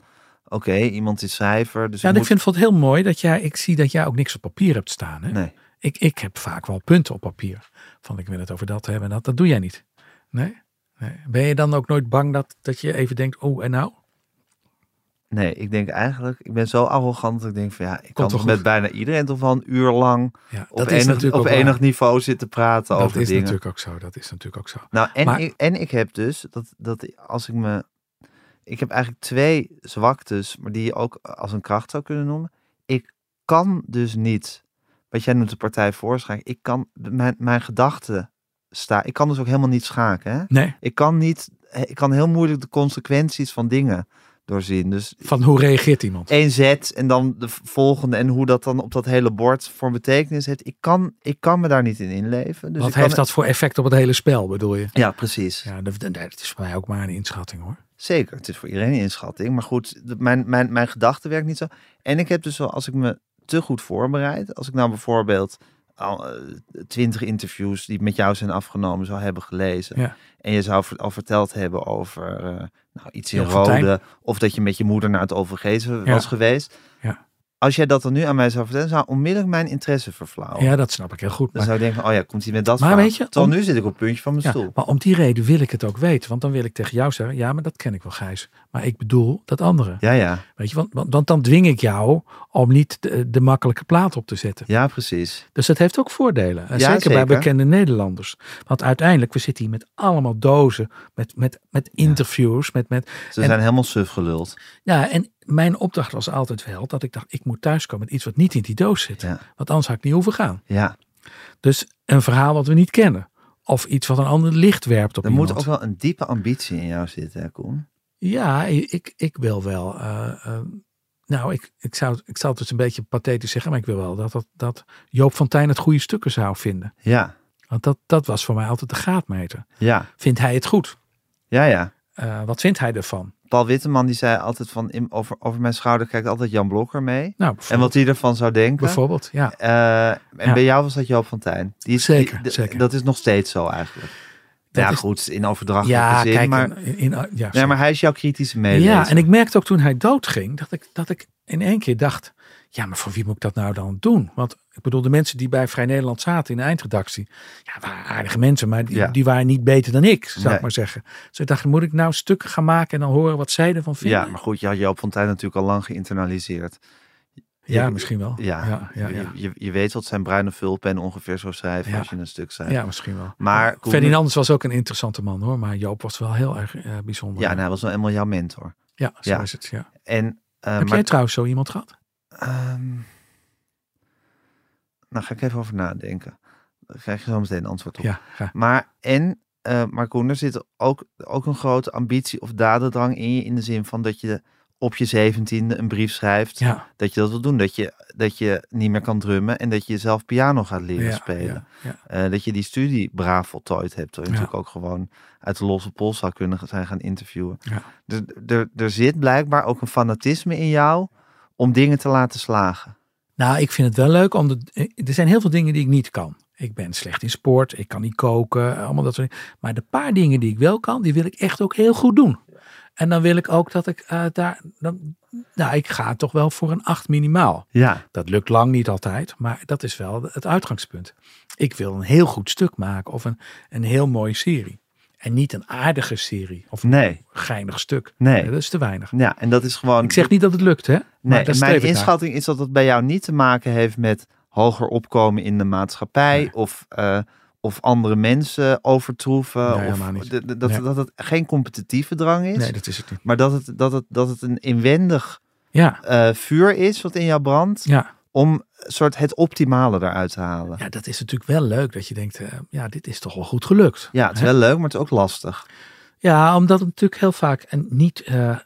Speaker 1: oké, iemand is cijfer. Dus
Speaker 2: Ja,
Speaker 1: ik
Speaker 2: en Nou, ik
Speaker 1: moet...
Speaker 2: vind het heel mooi dat jij, ik zie dat jij ook niks op papier hebt staan. Hè?
Speaker 1: Nee.
Speaker 2: Ik, ik heb vaak wel punten op papier. Van ik wil het over dat hebben en dat. Dat doe jij niet. Nee? nee. Ben je dan ook nooit bang dat, dat je even denkt, oh en nou?
Speaker 1: nee, ik denk eigenlijk, ik ben zo arrogant dat ik denk van ja, ik
Speaker 2: wel
Speaker 1: kan toch
Speaker 2: goed.
Speaker 1: met bijna iedereen toch wel een uur lang
Speaker 2: Ja,
Speaker 1: op, enig, op
Speaker 2: ook waar.
Speaker 1: enig niveau zitten praten
Speaker 2: Dat
Speaker 1: over
Speaker 2: is
Speaker 1: dingen.
Speaker 2: natuurlijk ook zo. Dat is natuurlijk ook zo.
Speaker 1: Nou, en,
Speaker 2: Maar-
Speaker 1: ik, en ik heb dus dat, dat als ik me. Ik heb eigenlijk twee zwaktes, maar die je ook als een kracht zou kunnen noemen. Ik kan dus niet. Wat jij noemt de partij voorschaken. Ik kan mijn, mijn gedachten staan. Ik kan dus ook helemaal niet schaken. Hè?
Speaker 2: Nee,
Speaker 1: Ik kan niet. Ik kan heel moeilijk de consequenties van dingen doorzien. Dus
Speaker 2: van hoe reageert iemand?
Speaker 1: één zet en dan de v- volgende en hoe dat dan op dat hele bord voor betekenis heeft. Ik kan, ik kan me daar niet in inleven. Dus
Speaker 2: Wat
Speaker 1: ik kan-
Speaker 2: heeft dat voor effect op het hele spel, bedoel je?
Speaker 1: Ja, precies.
Speaker 2: Ja, dat, dat- dat is voor mij ook maar een inschatting hoor.
Speaker 1: Zeker, het is voor iedereen een inschatting. Maar goed, de- mijn, mijn, mijn gedachten werkt niet zo. En ik heb dus wel, als ik me te goed voorbereid, als ik nou bijvoorbeeld eh, twintig interviews die met jou zijn afgenomen zou hebben gelezen.
Speaker 2: Ja.
Speaker 1: En je zou ver- al verteld hebben over eh, nou, iets in
Speaker 2: Jan Fontijn.
Speaker 1: rode. Of dat je met je moeder naar het OVG was
Speaker 2: Ja.
Speaker 1: geweest.
Speaker 2: Ja.
Speaker 1: Als jij dat dan nu aan mij zou vertellen, zou onmiddellijk mijn interesse verflauwen.
Speaker 2: Ja, dat snap ik heel
Speaker 1: Dan
Speaker 2: goed. Maar,
Speaker 1: zou ik denken, oh ja, komt hij met dat
Speaker 2: Maar
Speaker 1: verhaal?
Speaker 2: weet je,
Speaker 1: Terwijl
Speaker 2: om-
Speaker 1: nu zit ik op het puntje van mijn
Speaker 2: ja,
Speaker 1: stoel.
Speaker 2: maar om die reden wil ik het ook weten. Want dan wil ik tegen jou zeggen, ja, maar dat ken ik wel Gijs. Maar ik bedoel dat andere.
Speaker 1: Ja, ja.
Speaker 2: Weet je, want, want, want dan dwing ik jou om niet de, de makkelijke plaat op te zetten.
Speaker 1: Ja, precies.
Speaker 2: Dus dat heeft ook voordelen. En
Speaker 1: Ja,
Speaker 2: zeker,
Speaker 1: zeker.
Speaker 2: bij bekende Nederlanders. Want uiteindelijk, we zitten hier met allemaal dozen. Met, met, met interviews. Met, met,
Speaker 1: Ze
Speaker 2: En-
Speaker 1: zijn helemaal suf geluld.
Speaker 2: ja, en mijn opdracht was altijd wel dat ik dacht, ik moet thuiskomen met iets wat niet in die doos zit.
Speaker 1: Ja.
Speaker 2: Want anders had ik niet hoeven gaan.
Speaker 1: Ja,
Speaker 2: Dus een verhaal wat we niet kennen. Of iets wat een ander licht werpt op
Speaker 1: er
Speaker 2: iemand.
Speaker 1: moet ook wel een diepe ambitie in jou zitten, hè, Koen?
Speaker 2: Ja, ik, ik wil wel. eh, eh, nou, ik, ik, zou, ik zal het dus een beetje pathetisch zeggen, maar ik wil wel dat, dat, dat Joop van Tijn het goede stukken zou vinden.
Speaker 1: Ja,
Speaker 2: Want dat, dat was voor mij altijd de graadmeter.
Speaker 1: ja,
Speaker 2: Vindt hij het goed?
Speaker 1: ja, ja.
Speaker 2: Eh, wat vindt hij ervan?
Speaker 1: Paul Witteman die zei altijd van, in- over, over mijn schouder kijkt altijd Jan Blokker mee.
Speaker 2: Nou,
Speaker 1: En
Speaker 2: bijvoorbeeld,
Speaker 1: wat hij ervan zou denken.
Speaker 2: bijvoorbeeld ja.
Speaker 1: Eh, en
Speaker 2: Ja.
Speaker 1: bij jou was dat Joop van Tijn. Die is- die-
Speaker 2: Zeker,
Speaker 1: de-
Speaker 2: zeker.
Speaker 1: Dat is nog steeds zo eigenlijk.
Speaker 2: Dat
Speaker 1: ja,
Speaker 2: is-
Speaker 1: goed, in overdrachtelijke
Speaker 2: Ja,
Speaker 1: zin.
Speaker 2: kijk,
Speaker 1: maar,
Speaker 2: in, in, ja,
Speaker 1: nee,
Speaker 2: sorry.
Speaker 1: maar hij is jouw kritische medelezer.
Speaker 2: Ja, en ik merkte ook toen hij doodging dat ik, dat ik in één keer dacht: ja, maar voor wie moet ik dat nou dan doen? Want ik bedoel, de mensen die bij Vrij Nederland zaten in de eindredactie, ja, waren aardige mensen, maar die,
Speaker 1: Ja.
Speaker 2: die waren niet beter dan ik, zou
Speaker 1: Nee.
Speaker 2: ik maar zeggen. Dus ik dacht: moet ik nou stukken gaan maken en dan horen wat zij ervan vinden?
Speaker 1: Ja, maar goed, je had Joop van Tijn natuurlijk al lang geïnternaliseerd.
Speaker 2: Ja,
Speaker 1: je-
Speaker 2: misschien wel.
Speaker 1: Ja,
Speaker 2: ja, ja, ja.
Speaker 1: Je, je weet wat zijn bruine vulpen ongeveer zou schrijven
Speaker 2: Ja.
Speaker 1: als je een stuk schrijft.
Speaker 2: Ja, misschien wel.
Speaker 1: Maar Koen-
Speaker 2: Ferdinandus was ook een interessante man hoor, maar Joop was wel heel erg eh, bijzonder.
Speaker 1: Ja, en hij was nou eenmaal jouw mentor.
Speaker 2: ja, zo
Speaker 1: ja.
Speaker 2: is het. Ja.
Speaker 1: En, eh,
Speaker 2: Heb
Speaker 1: maar,
Speaker 2: jij trouwens zo iemand gehad?
Speaker 1: ehm, nou, ga ik even over nadenken. Dan krijg je zo meteen een antwoord op.
Speaker 2: Ja, ga.
Speaker 1: Maar en, eh maar Koen, er zit ook, ook een grote ambitie of dadendrang in je. In de zin van dat je op je zeventiende een brief schrijft.
Speaker 2: Ja,
Speaker 1: Dat je dat wil doen. Dat je, dat je niet meer kan drummen. En dat je zelf piano gaat leren
Speaker 2: ja,
Speaker 1: spelen.
Speaker 2: ja, ja.
Speaker 1: Eh, dat je die studie braaf voltooid hebt. Terwijl je
Speaker 2: Ja.
Speaker 1: natuurlijk ook gewoon uit de losse pols zou kunnen zijn gaan interviewen.
Speaker 2: Ja.
Speaker 1: Dus er- er zit blijkbaar ook een fanatisme in jou om dingen te laten slagen.
Speaker 2: Nou, ik vind het wel leuk, omdat eh, er zijn heel veel dingen die ik niet kan. Ik ben slecht in sport, ik kan niet koken, eh, allemaal dat soort dingen. Maar de paar dingen die ik wel kan, die wil ik echt ook heel goed doen. En dan wil ik ook dat ik eh, daar, dan, nou, ik ga toch wel voor een 8 minimaal.
Speaker 1: Ja,
Speaker 2: Dat lukt lang niet altijd, maar dat is wel het uitgangspunt. Ik wil een heel goed stuk maken of een, een heel mooie serie. En niet een aardige serie of een
Speaker 1: nee,
Speaker 2: geinig stuk.
Speaker 1: nee.
Speaker 2: Dat is te weinig.
Speaker 1: Ja, en dat is gewoon.
Speaker 2: Ik zeg niet dat het lukt, hè?
Speaker 1: nee,
Speaker 2: maar
Speaker 1: en
Speaker 2: daar
Speaker 1: mijn
Speaker 2: streef ik naar.
Speaker 1: inschatting is dat dat bij jou niet te maken heeft met hoger opkomen in de maatschappij
Speaker 2: Nee.
Speaker 1: of, eh, of andere mensen overtroeven.
Speaker 2: Nee,
Speaker 1: of
Speaker 2: helemaal niet.
Speaker 1: de- de- dat,
Speaker 2: Nee.
Speaker 1: dat het geen competitieve drang is,
Speaker 2: Nee, dat is het niet.
Speaker 1: maar dat het, dat, het, dat het een inwendig
Speaker 2: Ja,
Speaker 1: eh, vuur is wat in jou brandt.
Speaker 2: ja.
Speaker 1: om een soort het optimale eruit te halen. Ja,
Speaker 2: Ja, dat is natuurlijk wel leuk dat je denkt, eh, ja, dit is toch wel goed gelukt.
Speaker 1: het is wel leuk, maar het is ook lastig.
Speaker 2: Ja, omdat het natuurlijk heel vaak en niet eh, eh,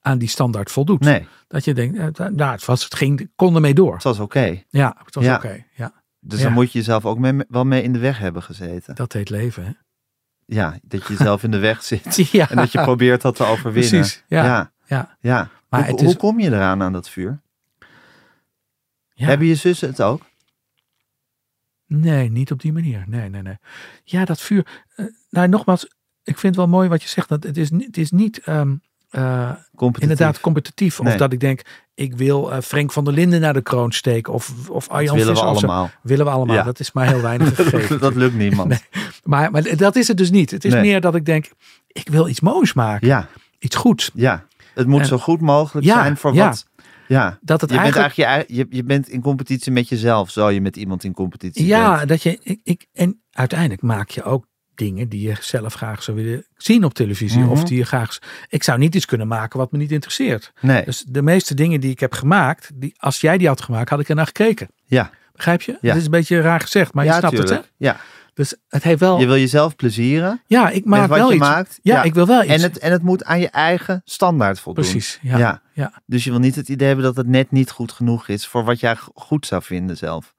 Speaker 2: aan die standaard voldoet.
Speaker 1: Nee,
Speaker 2: Dat je denkt, eh, da- nou, het, was, het ging, kon ermee door.
Speaker 1: het was oké.
Speaker 2: Ja, het was
Speaker 1: Ja.
Speaker 2: oké. Ja,
Speaker 1: Dus
Speaker 2: Ja.
Speaker 1: dan moet je jezelf ook mee, wel mee in de weg hebben gezeten.
Speaker 2: dat heet leven. Hè?
Speaker 1: Ja, dat je jezelf in de weg zit
Speaker 2: Ja,
Speaker 1: en dat je probeert dat te overwinnen.
Speaker 2: precies. Ja, ja.
Speaker 1: ja. ja.
Speaker 2: Maar
Speaker 1: hoe,
Speaker 2: het is-
Speaker 1: hoe kom je eraan aan dat vuur?
Speaker 2: Ja.
Speaker 1: Hebben je zussen het ook?
Speaker 2: Nee, niet op die manier. Nee, nee, nee. Ja, dat vuur. eh, nou, nogmaals, ik vind het wel mooi wat je zegt. Dat het, is, ni- het is niet ehm, eh,
Speaker 1: Competitief.
Speaker 2: inderdaad competitief.
Speaker 1: Nee.
Speaker 2: Of dat ik denk, ik wil eh, Frank van der Linden naar de kroon steken. Of, of
Speaker 1: dat
Speaker 2: Arjan
Speaker 1: willen we
Speaker 2: Visser of zo.
Speaker 1: allemaal.
Speaker 2: Willen we allemaal.
Speaker 1: Ja.
Speaker 2: Dat is maar heel weinig gegeven.
Speaker 1: dat lukt niemand.
Speaker 2: Maar, maar dat is het dus niet. Het is
Speaker 1: Nee.
Speaker 2: meer dat ik denk, ik wil iets moois maken.
Speaker 1: Ja,
Speaker 2: Iets goeds.
Speaker 1: ja. Het moet
Speaker 2: En-
Speaker 1: zo goed mogelijk
Speaker 2: Ja,
Speaker 1: zijn voor
Speaker 2: ja.
Speaker 1: wat. Ja.
Speaker 2: Dat het
Speaker 1: Je, bent
Speaker 2: eigenlijk...
Speaker 1: eigenlijk je, ei- je, je bent in competitie met jezelf, zou je met iemand in competitie bent.
Speaker 2: ja, dat je... Ik, ik, en uiteindelijk maak je ook dingen die je zelf graag zou willen zien op televisie.
Speaker 1: Mhm.
Speaker 2: Of die je graag... Ik zou niet iets kunnen maken wat me niet interesseert.
Speaker 1: Nee,
Speaker 2: Dus de meeste dingen die ik heb gemaakt, die, als jij die had gemaakt, had ik ernaar gekeken.
Speaker 1: ja.
Speaker 2: Begrijp je?
Speaker 1: Ja.
Speaker 2: Dat is een beetje raar gezegd, maar
Speaker 1: ja,
Speaker 2: je snapt
Speaker 1: tuurlijk.
Speaker 2: het,
Speaker 1: Ja,
Speaker 2: hè? Dus het heeft wel...
Speaker 1: je wil jezelf plezieren
Speaker 2: ja, ik maak
Speaker 1: met wat
Speaker 2: wel
Speaker 1: je
Speaker 2: iets.
Speaker 1: maakt.
Speaker 2: Ja, ik wil wel iets.
Speaker 1: En, het, en het moet aan je eigen standaard voldoen.
Speaker 2: Precies,
Speaker 1: Ja.
Speaker 2: ja. ja. ja.
Speaker 1: Dus je wil niet het idee hebben dat het net niet goed genoeg is voor wat jij g- goed zou vinden zelf.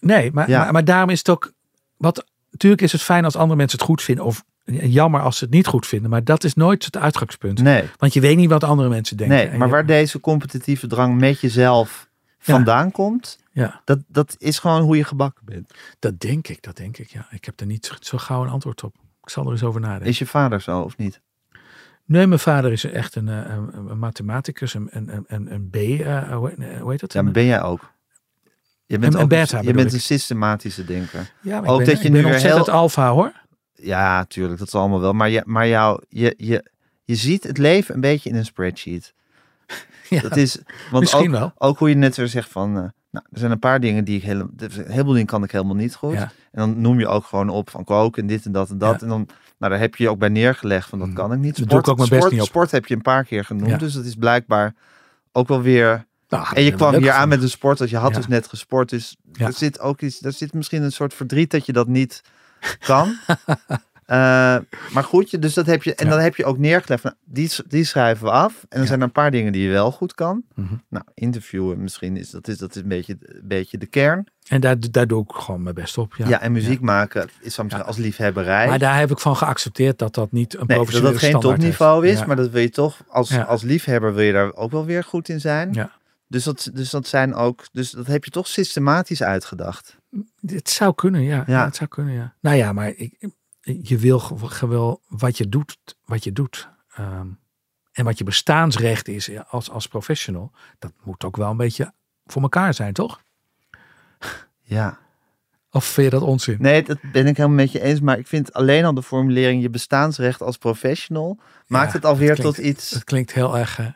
Speaker 2: Nee, maar,
Speaker 1: Ja.
Speaker 2: maar, maar daarom is het ook. Wat, natuurlijk is het fijn als andere mensen het goed vinden. Of jammer als ze het niet goed vinden. Maar dat is nooit het uitgangspunt.
Speaker 1: Nee,
Speaker 2: Want je weet niet wat andere mensen denken.
Speaker 1: nee.
Speaker 2: En
Speaker 1: maar
Speaker 2: je-
Speaker 1: waar deze competitieve drang met jezelf vandaan komt,
Speaker 2: Ja,
Speaker 1: dat, dat is gewoon hoe je gebakken bent.
Speaker 2: dat denk ik. Dat denk ik. Ja, ik heb er niet zo, zo gauw een antwoord op. Ik zal er eens over nadenken.
Speaker 1: Is je vader zo of niet?
Speaker 2: Nee, mijn vader is echt een, eh, een, een mathematicus, een, een, een, een B, eh, hoe heet- hoe heet dat?
Speaker 1: Ja, maar ben jij ook? Je bent,
Speaker 2: En- en
Speaker 1: ook je
Speaker 2: beta bedoel
Speaker 1: bent
Speaker 2: ik.
Speaker 1: een systematische denker.
Speaker 2: Ja, maar
Speaker 1: ook
Speaker 2: ik ben,
Speaker 1: dat je
Speaker 2: ik ben
Speaker 1: nu weer
Speaker 2: ontzettend
Speaker 1: heel-
Speaker 2: alfa hoor.
Speaker 1: Ja, tuurlijk, dat is allemaal wel. Maar, je, maar jou, je, je, je ziet het leven een beetje in een spreadsheet.
Speaker 2: Ja,
Speaker 1: Dat is, want
Speaker 2: misschien
Speaker 1: ook,
Speaker 2: wel.
Speaker 1: ook hoe je net weer zegt van, eh, nou, er zijn een paar dingen die ik helemaal, er zijn een heleboel dingen kan ik helemaal niet goed.
Speaker 2: Ja.
Speaker 1: En dan noem je ook gewoon op van koken en dit en dat en dat.
Speaker 2: Ja.
Speaker 1: En dan, nou, daar heb je je ook bij neergelegd van dat
Speaker 2: Mm.
Speaker 1: kan ik niet.
Speaker 2: Daar doe ik ook mijn best
Speaker 1: sport,
Speaker 2: niet op.
Speaker 1: sport heb je een paar keer genoemd,
Speaker 2: Ja.
Speaker 1: dus dat is blijkbaar ook wel weer...
Speaker 2: Nou,
Speaker 1: En je kwam
Speaker 2: leuk
Speaker 1: hier aan
Speaker 2: gevonden.
Speaker 1: met een sport, dat je had
Speaker 2: Ja.
Speaker 1: dus net gesport. Dus
Speaker 2: Ja.
Speaker 1: er zit ook iets, er zit misschien een soort verdriet dat je dat niet kan. Eh, maar goed, je- dus dat heb je, en
Speaker 2: Ja.
Speaker 1: dan heb je ook neergelegd, nou, die, s- die schrijven we af. En er
Speaker 2: Ja.
Speaker 1: zijn er een paar dingen die je wel goed kan.
Speaker 2: Mhm.
Speaker 1: Nou, interviewen misschien, is, dat is, dat is een, beetje, een beetje de kern.
Speaker 2: En daar, daar doe ik gewoon mijn best op. Ja.
Speaker 1: Ja, en muziek maken is soms
Speaker 2: Ja.
Speaker 1: als liefhebberij.
Speaker 2: Maar daar heb ik van geaccepteerd dat dat niet een
Speaker 1: Nee, dat
Speaker 2: professionele
Speaker 1: dat geen
Speaker 2: standaard
Speaker 1: topniveau
Speaker 2: heeft.
Speaker 1: is,
Speaker 2: Ja.
Speaker 1: maar dat wil je toch, als,
Speaker 2: Ja.
Speaker 1: als liefhebber wil je daar ook wel weer goed in zijn.
Speaker 2: Ja.
Speaker 1: Dus, dat, dus dat zijn ook, dus dat heb je toch systematisch uitgedacht.
Speaker 2: Het zou kunnen, ja.
Speaker 1: Ja.
Speaker 2: ja. het zou kunnen, ja. Nou ja, maar ik, je wil ge- ge- wel wat je doet, wat je doet. Ehm, en wat je bestaansrecht is als, als professional, dat moet ook wel een beetje voor elkaar zijn, toch?
Speaker 1: Ja.
Speaker 2: Of vind je dat onzin?
Speaker 1: Nee, dat ben ik helemaal met je eens. Maar ik vind alleen al de formulering je bestaansrecht als professional maakt het alweer
Speaker 2: dat klinkt-
Speaker 1: tot iets.
Speaker 2: Dat klinkt heel erg. eh.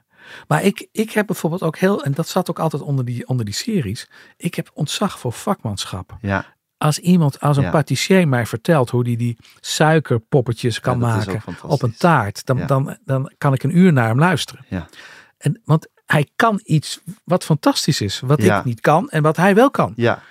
Speaker 2: maar ik, ik heb bijvoorbeeld ook heel, en dat zat ook altijd onder die, onder die series. Ik heb ontzag voor vakmanschap.
Speaker 1: Ja,
Speaker 2: Als iemand, als een
Speaker 1: Ja.
Speaker 2: patissier mij vertelt hoe die die suikerpoppetjes kan
Speaker 1: Ja, dat is ook
Speaker 2: maken op een
Speaker 1: fantastisch.
Speaker 2: taart, dan,
Speaker 1: Ja.
Speaker 2: dan, dan kan ik een uur naar hem luisteren.
Speaker 1: Ja.
Speaker 2: En, want hij kan iets wat fantastisch is, wat
Speaker 1: Ja.
Speaker 2: ik niet kan en wat hij wel kan.
Speaker 1: ja,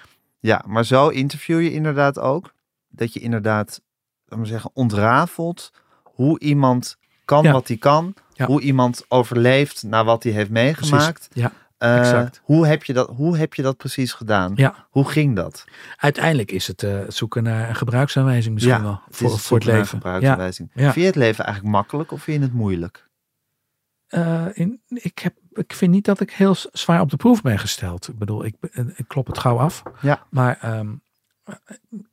Speaker 1: ja. Maar zo interview je inderdaad ook. Dat je inderdaad, laten we zeggen, ontrafelt hoe iemand kan
Speaker 2: Ja.
Speaker 1: wat hij kan.
Speaker 2: Ja.
Speaker 1: Hoe iemand overleeft naar wat hij heeft meegemaakt.
Speaker 2: Ja,
Speaker 1: Eh,
Speaker 2: exact.
Speaker 1: hoe, heb je dat, hoe heb je dat precies gedaan?
Speaker 2: ja.
Speaker 1: Hoe ging dat?
Speaker 2: Uiteindelijk is het eh, het zoeken naar een gebruiksaanwijzing misschien
Speaker 1: Ja,
Speaker 2: wel
Speaker 1: het is
Speaker 2: voor
Speaker 1: het
Speaker 2: het, voor het
Speaker 1: zoeken naar
Speaker 2: leven. Ja.
Speaker 1: gebruiksaanwijzing.
Speaker 2: Ja.
Speaker 1: Vind je het leven eigenlijk makkelijk of vind je het moeilijk?
Speaker 2: Eh, in, ik, heb, ik vind niet dat ik heel s- zwaar op de proef ben gesteld. Ik bedoel, ik, eh, ik klop het gauw af.
Speaker 1: Ja.
Speaker 2: Maar ehm,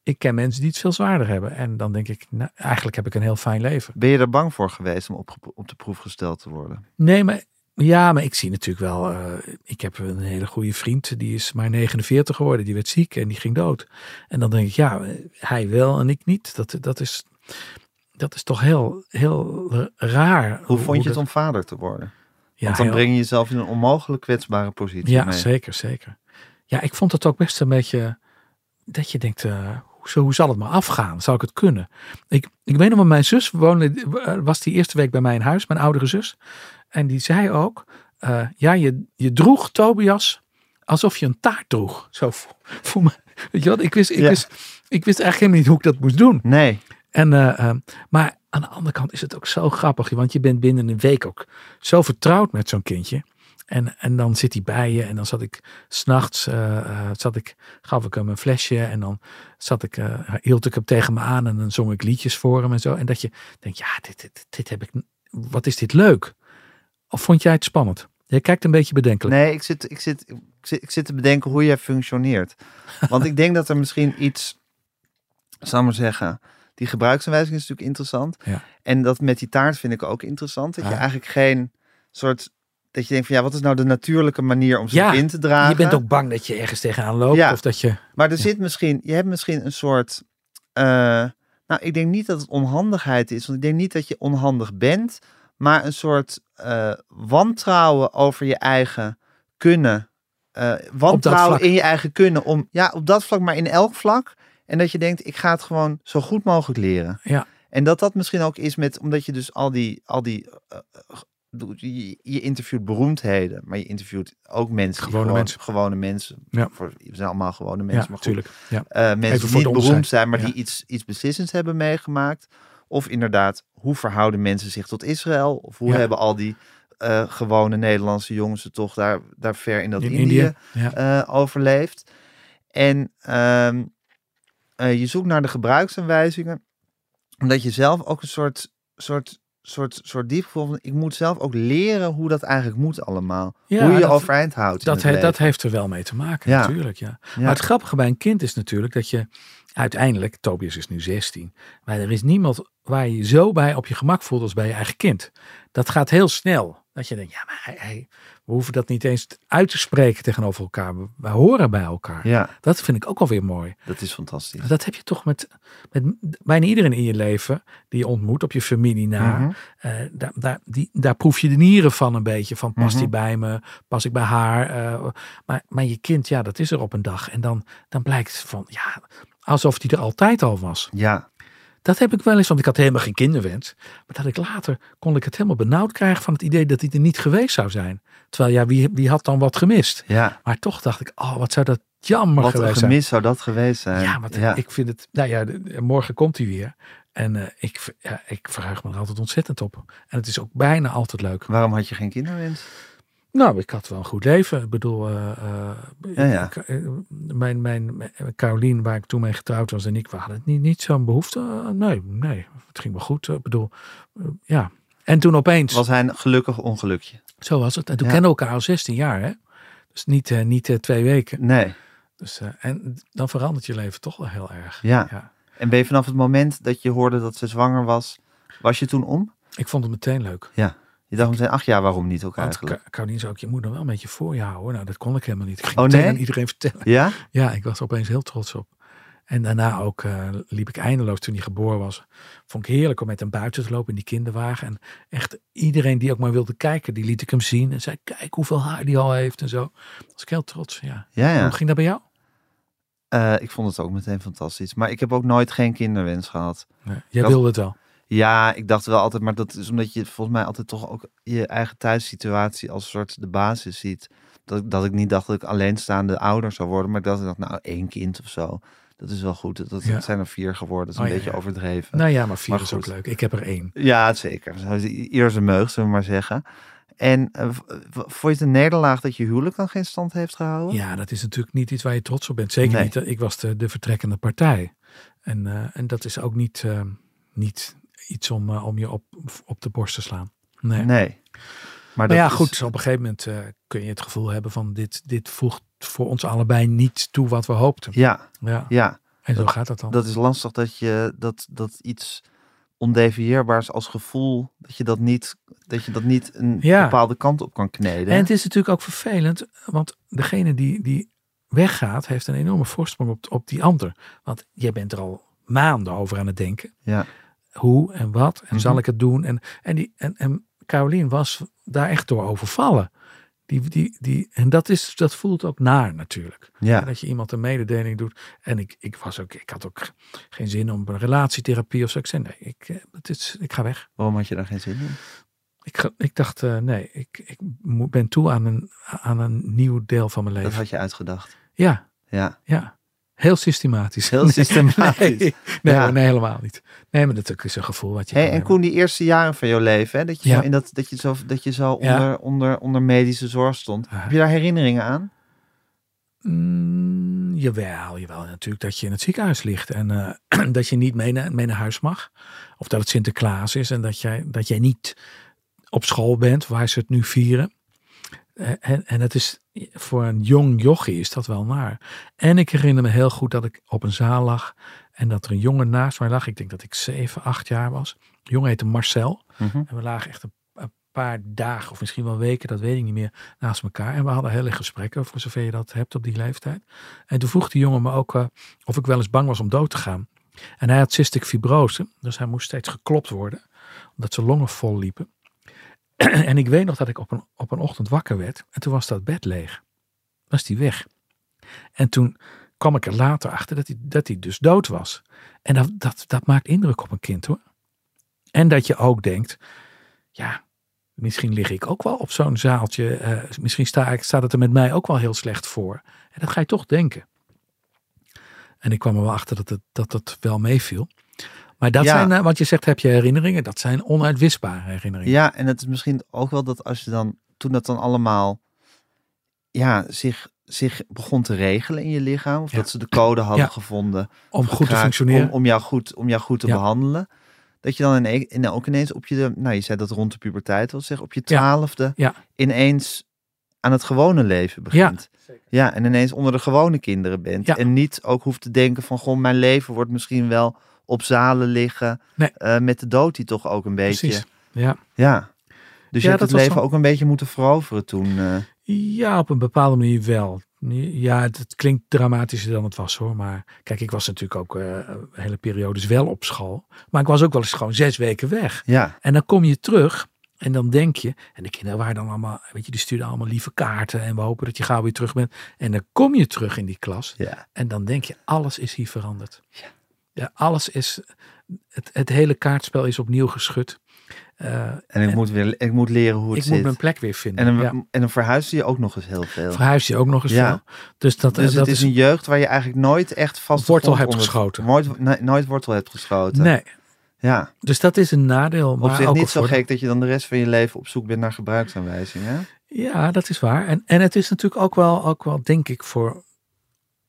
Speaker 2: ik ken mensen die het veel zwaarder hebben. En dan denk ik, nou, eigenlijk heb ik een heel fijn leven.
Speaker 1: Ben je er bang voor geweest om op, op de proef gesteld te worden?
Speaker 2: Nee, maar ja, maar ik zie natuurlijk wel. eh, ik heb een hele goede vriend, die is maar 49 geworden. Die werd ziek en die ging dood. En dan denk ik, ja, eh, hij wel en ik niet. Dat, dat, is, dat is toch heel, heel raar.
Speaker 1: Hoe vond je
Speaker 2: dat-
Speaker 1: het om vader te worden?
Speaker 2: Ja,
Speaker 1: Want dan
Speaker 2: heel-
Speaker 1: breng je jezelf in een onmogelijk kwetsbare positie
Speaker 2: Ja,
Speaker 1: mee.
Speaker 2: zeker, zeker. Ja, ik vond het ook best een beetje dat je denkt, eh, hoe, zo- hoe zal het maar afgaan? Zou ik het kunnen? Ik, ik weet nog wel, mijn zus woonde, eh, was die eerste week bij mij in huis, mijn oudere zus. En die zei ook, eh, ja, je, je droeg Tobias alsof je een taart droeg. Zo voor, voor me. Weet je wat? Ik wist, ik,
Speaker 1: Ja.
Speaker 2: wist, ik wist eigenlijk helemaal niet hoe ik dat moest doen.
Speaker 1: Nee,
Speaker 2: En, eh, ehm, maar aan de andere kant is het ook zo grappig. Want je bent binnen een week ook zo vertrouwd met zo'n kindje. En, en dan zit hij bij je. En dan zat ik s'nachts, eh eh, zat ik, gaf ik hem een flesje. En dan zat ik, eh, hield ik hem tegen me aan. En dan zong ik liedjes voor hem en zo. En dat je denkt, ja, dit, dit, dit heb ik, wat is dit leuk. Of vond jij het spannend? Je kijkt een beetje bedenkelijk.
Speaker 1: nee ik, zit, ik, zit, ik, zit, ik zit te bedenken hoe jij functioneert. Want ik denk dat er misschien iets, zal ik maar zeggen, die gebruiksaanwijzing is natuurlijk interessant.
Speaker 2: Ja.
Speaker 1: En dat met die taart vind ik ook interessant. Dat je
Speaker 2: Ja.
Speaker 1: eigenlijk geen soort, dat je denkt van ja, wat is nou de natuurlijke manier om zo'n
Speaker 2: Ja,
Speaker 1: kind te dragen?
Speaker 2: Je bent ook bang dat je ergens tegenaan loopt.
Speaker 1: eh, Ja.
Speaker 2: Of dat je,
Speaker 1: Maar er zit misschien, je hebt misschien een soort. eh, nou, ik denk niet dat het onhandigheid is, want ik denk niet dat je onhandig bent, maar een soort eh, wantrouwen over je eigen kunnen. Eh, wantrouwen
Speaker 2: vlak.
Speaker 1: in je eigen kunnen om, ja, op dat vlak, maar in elk vlak. En dat je denkt, ik ga het gewoon zo goed mogelijk leren.
Speaker 2: Ja.
Speaker 1: En dat dat misschien ook is met, omdat je dus al die, al die, eh, eh, doe- je, je interviewt beroemdheden, maar je interviewt ook mensen. die
Speaker 2: Gewone
Speaker 1: gewoon-
Speaker 2: mensen.
Speaker 1: Gewone mensen.
Speaker 2: Ja.
Speaker 1: Voor, we zijn allemaal gewone mensen.
Speaker 2: ja,
Speaker 1: maar goed.
Speaker 2: natuurlijk. Ja.
Speaker 1: Eh, mensen
Speaker 2: Even
Speaker 1: die
Speaker 2: voor de
Speaker 1: niet beroemd
Speaker 2: onderscheid.
Speaker 1: zijn, maar
Speaker 2: Ja.
Speaker 1: die iets, iets beslissends hebben meegemaakt. Of inderdaad, hoe verhouden mensen zich tot Israël? Of hoe
Speaker 2: Ja.
Speaker 1: hebben al die eh, gewone Nederlandse jongens het toch daar, daar ver in dat
Speaker 2: In
Speaker 1: Indië,
Speaker 2: India. Ja.
Speaker 1: eh, overleefd? En ehm, eh, je zoekt naar de gebruiksaanwijzingen, omdat je zelf ook een soort, soort, soort, soort diep gevoel van, ik moet zelf ook leren hoe dat eigenlijk moet allemaal.
Speaker 2: Ja,
Speaker 1: hoe je je
Speaker 2: dat-
Speaker 1: overeind houdt. in
Speaker 2: Dat,
Speaker 1: het
Speaker 2: he-
Speaker 1: leven.
Speaker 2: dat heeft er wel mee te maken,
Speaker 1: Ja.
Speaker 2: natuurlijk. Ja.
Speaker 1: Ja.
Speaker 2: Maar het grappige bij een kind is natuurlijk dat je Uiteindelijk, Tobias is nu 16. Maar er is niemand waar je je zo bij op je gemak voelt als bij je eigen kind. Dat gaat heel snel. Dat je denkt, ja, maar hij, hij- we hoeven dat niet eens uit te spreken tegenover elkaar. We, we horen bij elkaar.
Speaker 1: Ja,
Speaker 2: Dat vind ik ook alweer mooi.
Speaker 1: dat is fantastisch.
Speaker 2: Maar Dat heb je toch met, met bijna iedereen in je leven die je ontmoet op je familie na.
Speaker 1: Mhm.
Speaker 2: Eh, daar, daar, die, daar proef je de nieren van een beetje. Van past die
Speaker 1: Mhm.
Speaker 2: bij me? Pas ik bij haar? Eh, maar, maar je kind, ja, dat is er op een dag. En dan, dan blijkt van, ja, alsof die er altijd al was.
Speaker 1: Ja,
Speaker 2: Dat heb ik wel eens, want ik had helemaal geen kinderwens. Maar dat ik later, kon ik het helemaal benauwd krijgen van het idee dat hij er niet geweest zou zijn. Terwijl, ja, wie, wie had dan wat gemist?
Speaker 1: ja.
Speaker 2: Maar toch dacht ik, oh, wat zou dat jammer
Speaker 1: Wat een
Speaker 2: geweest zijn.
Speaker 1: gemis zou dat geweest zijn.
Speaker 2: Ja, want ik vind het. Nou ja, de- de- morgen komt hij weer. En eh, ik, ver- ja, ik verheug me er altijd ontzettend op. En het is ook bijna altijd leuk.
Speaker 1: Waarom had je geen kinderwens?
Speaker 2: Nou, ik had wel een goed leven. Ik bedoel, eh, eh,
Speaker 1: Ja, ja.
Speaker 2: ik- eh, mijn, mijn, mijn Carolien, waar ik toen mee getrouwd was en ik, we hadden het niet, niet zo'n behoefte. Eh, nee, nee, het ging wel goed. Eh, Ik bedoel, eh, ja. En toen opeens,
Speaker 1: Was hij een gelukkig ongelukje?
Speaker 2: zo was het. En toen
Speaker 1: Ja.
Speaker 2: kennen we elkaar al 16 jaar, hè? Dus niet, eh, niet eh, twee weken.
Speaker 1: Nee.
Speaker 2: Dus, eh, en dan verandert je leven toch wel heel erg.
Speaker 1: Ja.
Speaker 2: ja.
Speaker 1: En ben je vanaf het moment dat je hoorde dat ze zwanger was, was je toen om?
Speaker 2: Ik vond het meteen leuk.
Speaker 1: Je dacht meteen, ach ja, waarom niet ook
Speaker 2: Want
Speaker 1: eigenlijk?
Speaker 2: Ka- Carolien zei ook, je moet er wel een beetje voor je houden. Nou, dat kon ik helemaal niet. Ik ging
Speaker 1: Oh,
Speaker 2: meteen
Speaker 1: nee?
Speaker 2: aan iedereen vertellen.
Speaker 1: Ja?
Speaker 2: Ja, ik was er opeens heel trots op. En daarna ook eh, liep ik eindeloos toen hij geboren was. Vond ik heerlijk om met hem buiten te lopen in die kinderwagen. En echt iedereen die ook maar wilde kijken, die liet ik hem zien. En zei, kijk hoeveel haar die al heeft en zo. was ik heel trots, ja.
Speaker 1: Ja, ja.
Speaker 2: Hoe ging dat bij jou?
Speaker 1: Eh, ik vond het ook meteen fantastisch. Maar ik heb ook nooit geen kinderwens gehad.
Speaker 2: Nee, jij
Speaker 1: Dat-
Speaker 2: wilde het wel.
Speaker 1: Ja, ik dacht wel altijd, maar dat is omdat je volgens mij altijd toch ook je eigen thuissituatie als soort de basis ziet. Dat, ik- dat ik niet dacht dat ik alleenstaande ouder zou worden, maar dat ik dacht, nou, één kind of zo. Dat is wel goed. Dat, dat
Speaker 2: Ja.
Speaker 1: zijn er vier geworden. Dat is een
Speaker 2: Oh, ja,
Speaker 1: beetje
Speaker 2: ja.
Speaker 1: overdreven.
Speaker 2: Nou ja, maar vier
Speaker 1: Maar
Speaker 2: is ook
Speaker 1: goed.
Speaker 2: leuk. Ik heb er één.
Speaker 1: Ja, zeker. Zo is i- Ieder zijn meug, zullen we maar zeggen. En eh, v- v- vond je het een nederlaag dat je huwelijk dan geen stand heeft gehouden?
Speaker 2: Ja, dat is natuurlijk niet iets waar je trots op bent. Zeker
Speaker 1: Nee.
Speaker 2: niet. eh, Ik was de, de vertrekkende partij. En, eh, en dat is ook niet, eh, niet iets om, eh, om je op, op de borst te slaan. Nee.
Speaker 1: Nee. Maar,
Speaker 2: Maar ja,
Speaker 1: dat is-
Speaker 2: goed. Op een gegeven moment eh, kun je het gevoel hebben van dit, dit voegt voor ons allebei niet toe wat we hoopten.
Speaker 1: Ja,
Speaker 2: Ja.
Speaker 1: ja,
Speaker 2: En zo gaat dat dan.
Speaker 1: dat is lastig dat je dat, dat iets ondefinieerbaars als gevoel, dat je dat niet, dat je dat niet een
Speaker 2: Ja.
Speaker 1: bepaalde kant op kan kneden.
Speaker 2: En het is natuurlijk ook vervelend, want degene die, die weggaat, heeft een enorme voorsprong op, op die ander. Want jij bent er al maanden over aan het denken.
Speaker 1: Ja.
Speaker 2: Hoe en wat en
Speaker 1: Mhm.
Speaker 2: zal ik het doen? En, en, die, en, en Carolien was daar echt door overvallen. Die, die, die, en dat, is, dat voelt ook naar natuurlijk.
Speaker 1: ja.
Speaker 2: Dat je iemand een mededeling doet. En ik, ik, was ook, ik had ook geen zin om een relatietherapie of zo. Ik zei nee, ik, eh, het is, ik ga weg.
Speaker 1: Waarom had je daar geen zin in?
Speaker 2: Ik, ga- ik dacht, eh, nee, ik, ik mo- ben toe aan een, aan een nieuw deel van mijn
Speaker 1: Dat
Speaker 2: leven.
Speaker 1: had je uitgedacht.
Speaker 2: Ja,
Speaker 1: Ja,
Speaker 2: ja. Heel systematisch.
Speaker 1: heel
Speaker 2: Nee,
Speaker 1: systematisch.
Speaker 2: Nee, nee,
Speaker 1: Ja.
Speaker 2: hoor, nee, helemaal niet. Nee, maar dat is een gevoel wat je
Speaker 1: Hey,
Speaker 2: kan
Speaker 1: en
Speaker 2: hebben.
Speaker 1: Koen, die eerste jaren van jouw leven, hè, dat je
Speaker 2: Ja.
Speaker 1: zo, in dat, dat je zo, dat je zo
Speaker 2: Ja.
Speaker 1: onder, onder, onder medische zorg stond.
Speaker 2: Ja.
Speaker 1: Heb je daar herinneringen aan?
Speaker 2: Mm, jawel, jawel. Natuurlijk dat je in het ziekenhuis ligt en eh, dat je niet mee naar, mee naar huis mag. Of dat het Sinterklaas is en dat jij, dat jij niet op school bent waar ze het nu vieren. Eh, En, en het is voor een jong jochie is dat wel naar. En ik herinner me heel goed dat ik op een zaal lag en dat er een jongen naast mij lag. Ik denk dat ik 7, 8 jaar was. De jongen heette Marcel. En we lagen echt een, een paar dagen of misschien wel weken, dat weet ik niet meer, naast elkaar. En we hadden hele gesprekken, voor zover je dat hebt op die leeftijd. En toen vroeg die jongen me ook eh, of ik wel eens bang was om dood te gaan. En hij had cystic fibrose, dus hij moest steeds geklopt worden, omdat zijn longen vol liepen. en ik weet nog dat ik op een, op een ochtend wakker werd en toen was dat bed leeg. Was die weg. En toen kwam ik er later achter dat hij, dat hij dus dood was. En dat, dat, dat maakt indruk op een kind hoor. En dat je ook denkt, ja, misschien lig ik ook wel op zo'n zaaltje. eh, misschien sta ik, staat het er met mij ook wel heel slecht voor. En dat ga je toch denken. En ik kwam er wel achter dat het, dat, dat wel meeviel. Maar dat
Speaker 1: Ja.
Speaker 2: zijn, eh, wat je zegt, heb je herinneringen? Dat zijn onuitwisbare herinneringen.
Speaker 1: Ja, en het is misschien ook wel dat als je dan, toen dat dan allemaal ja, zich, zich begon te regelen in je lichaam, of
Speaker 2: Ja.
Speaker 1: dat ze de code hadden
Speaker 2: Ja.
Speaker 1: gevonden
Speaker 2: om goed te
Speaker 1: gekraakt
Speaker 2: functioneren.
Speaker 1: Om, om, jou goed, om jou goed te
Speaker 2: Ja.
Speaker 1: behandelen. Dat je dan in, e- in, ook ineens op je, de- nou je zei dat rond de puberteit was, zeg, op je
Speaker 2: Ja.
Speaker 1: twaalfde
Speaker 2: Ja.
Speaker 1: ineens aan het gewone leven begint. Ja. Ja, en ineens onder de gewone kinderen bent.
Speaker 2: Ja.
Speaker 1: En niet ook hoeft te denken van, goh, mijn leven wordt misschien wel op zalen liggen.
Speaker 2: Nee.
Speaker 1: eh, met de dood die toch ook een beetje.
Speaker 2: Precies. Ja.
Speaker 1: Ja. Dus je
Speaker 2: Ja,
Speaker 1: hebt
Speaker 2: dat
Speaker 1: het
Speaker 2: was
Speaker 1: leven
Speaker 2: zo'n-
Speaker 1: ook een beetje moeten veroveren toen. eh,
Speaker 2: ja, op een bepaalde manier wel. Ja, het, het klinkt dramatischer dan het was hoor. Maar kijk, ik was natuurlijk ook eh, hele periodes wel op school. Maar ik was ook wel eens gewoon zes weken weg.
Speaker 1: ja.
Speaker 2: En dan kom je terug en dan denk je, en de kinderen waren dan allemaal, weet je, die stuurden allemaal lieve kaarten en we hopen dat je gauw weer terug bent. En dan kom je terug in die klas
Speaker 1: ja.
Speaker 2: en dan denk je, alles is hier veranderd. Ja, alles is, het, het hele kaartspel is opnieuw geschud. Eh,
Speaker 1: En ik, moet weer, ik moet leren hoe het
Speaker 2: ik
Speaker 1: zit.
Speaker 2: moet mijn plek weer vinden.
Speaker 1: en, dan,
Speaker 2: ja.
Speaker 1: en dan verhuisde je ook nog eens heel veel.
Speaker 2: Verhuis je ook nog eens
Speaker 1: Ja.
Speaker 2: wel. Dus dat, eh,
Speaker 1: Dus
Speaker 2: dat
Speaker 1: het is een jeugd waar je eigenlijk nooit echt vast de
Speaker 2: Wortel
Speaker 1: grond
Speaker 2: hebt
Speaker 1: onder-
Speaker 2: geschoten.
Speaker 1: Nooit, nee, nooit wortel hebt geschoten.
Speaker 2: Nee,
Speaker 1: Ja.
Speaker 2: dus dat is een nadeel.
Speaker 1: Op
Speaker 2: Maar
Speaker 1: zich
Speaker 2: ook
Speaker 1: niet
Speaker 2: een
Speaker 1: zo
Speaker 2: voordeel.
Speaker 1: gek dat je dan de rest van je leven op zoek bent naar gebruiksaanwijzingen.
Speaker 2: Ja, dat is waar. En, en het is natuurlijk ook wel, ook wel, denk ik, voor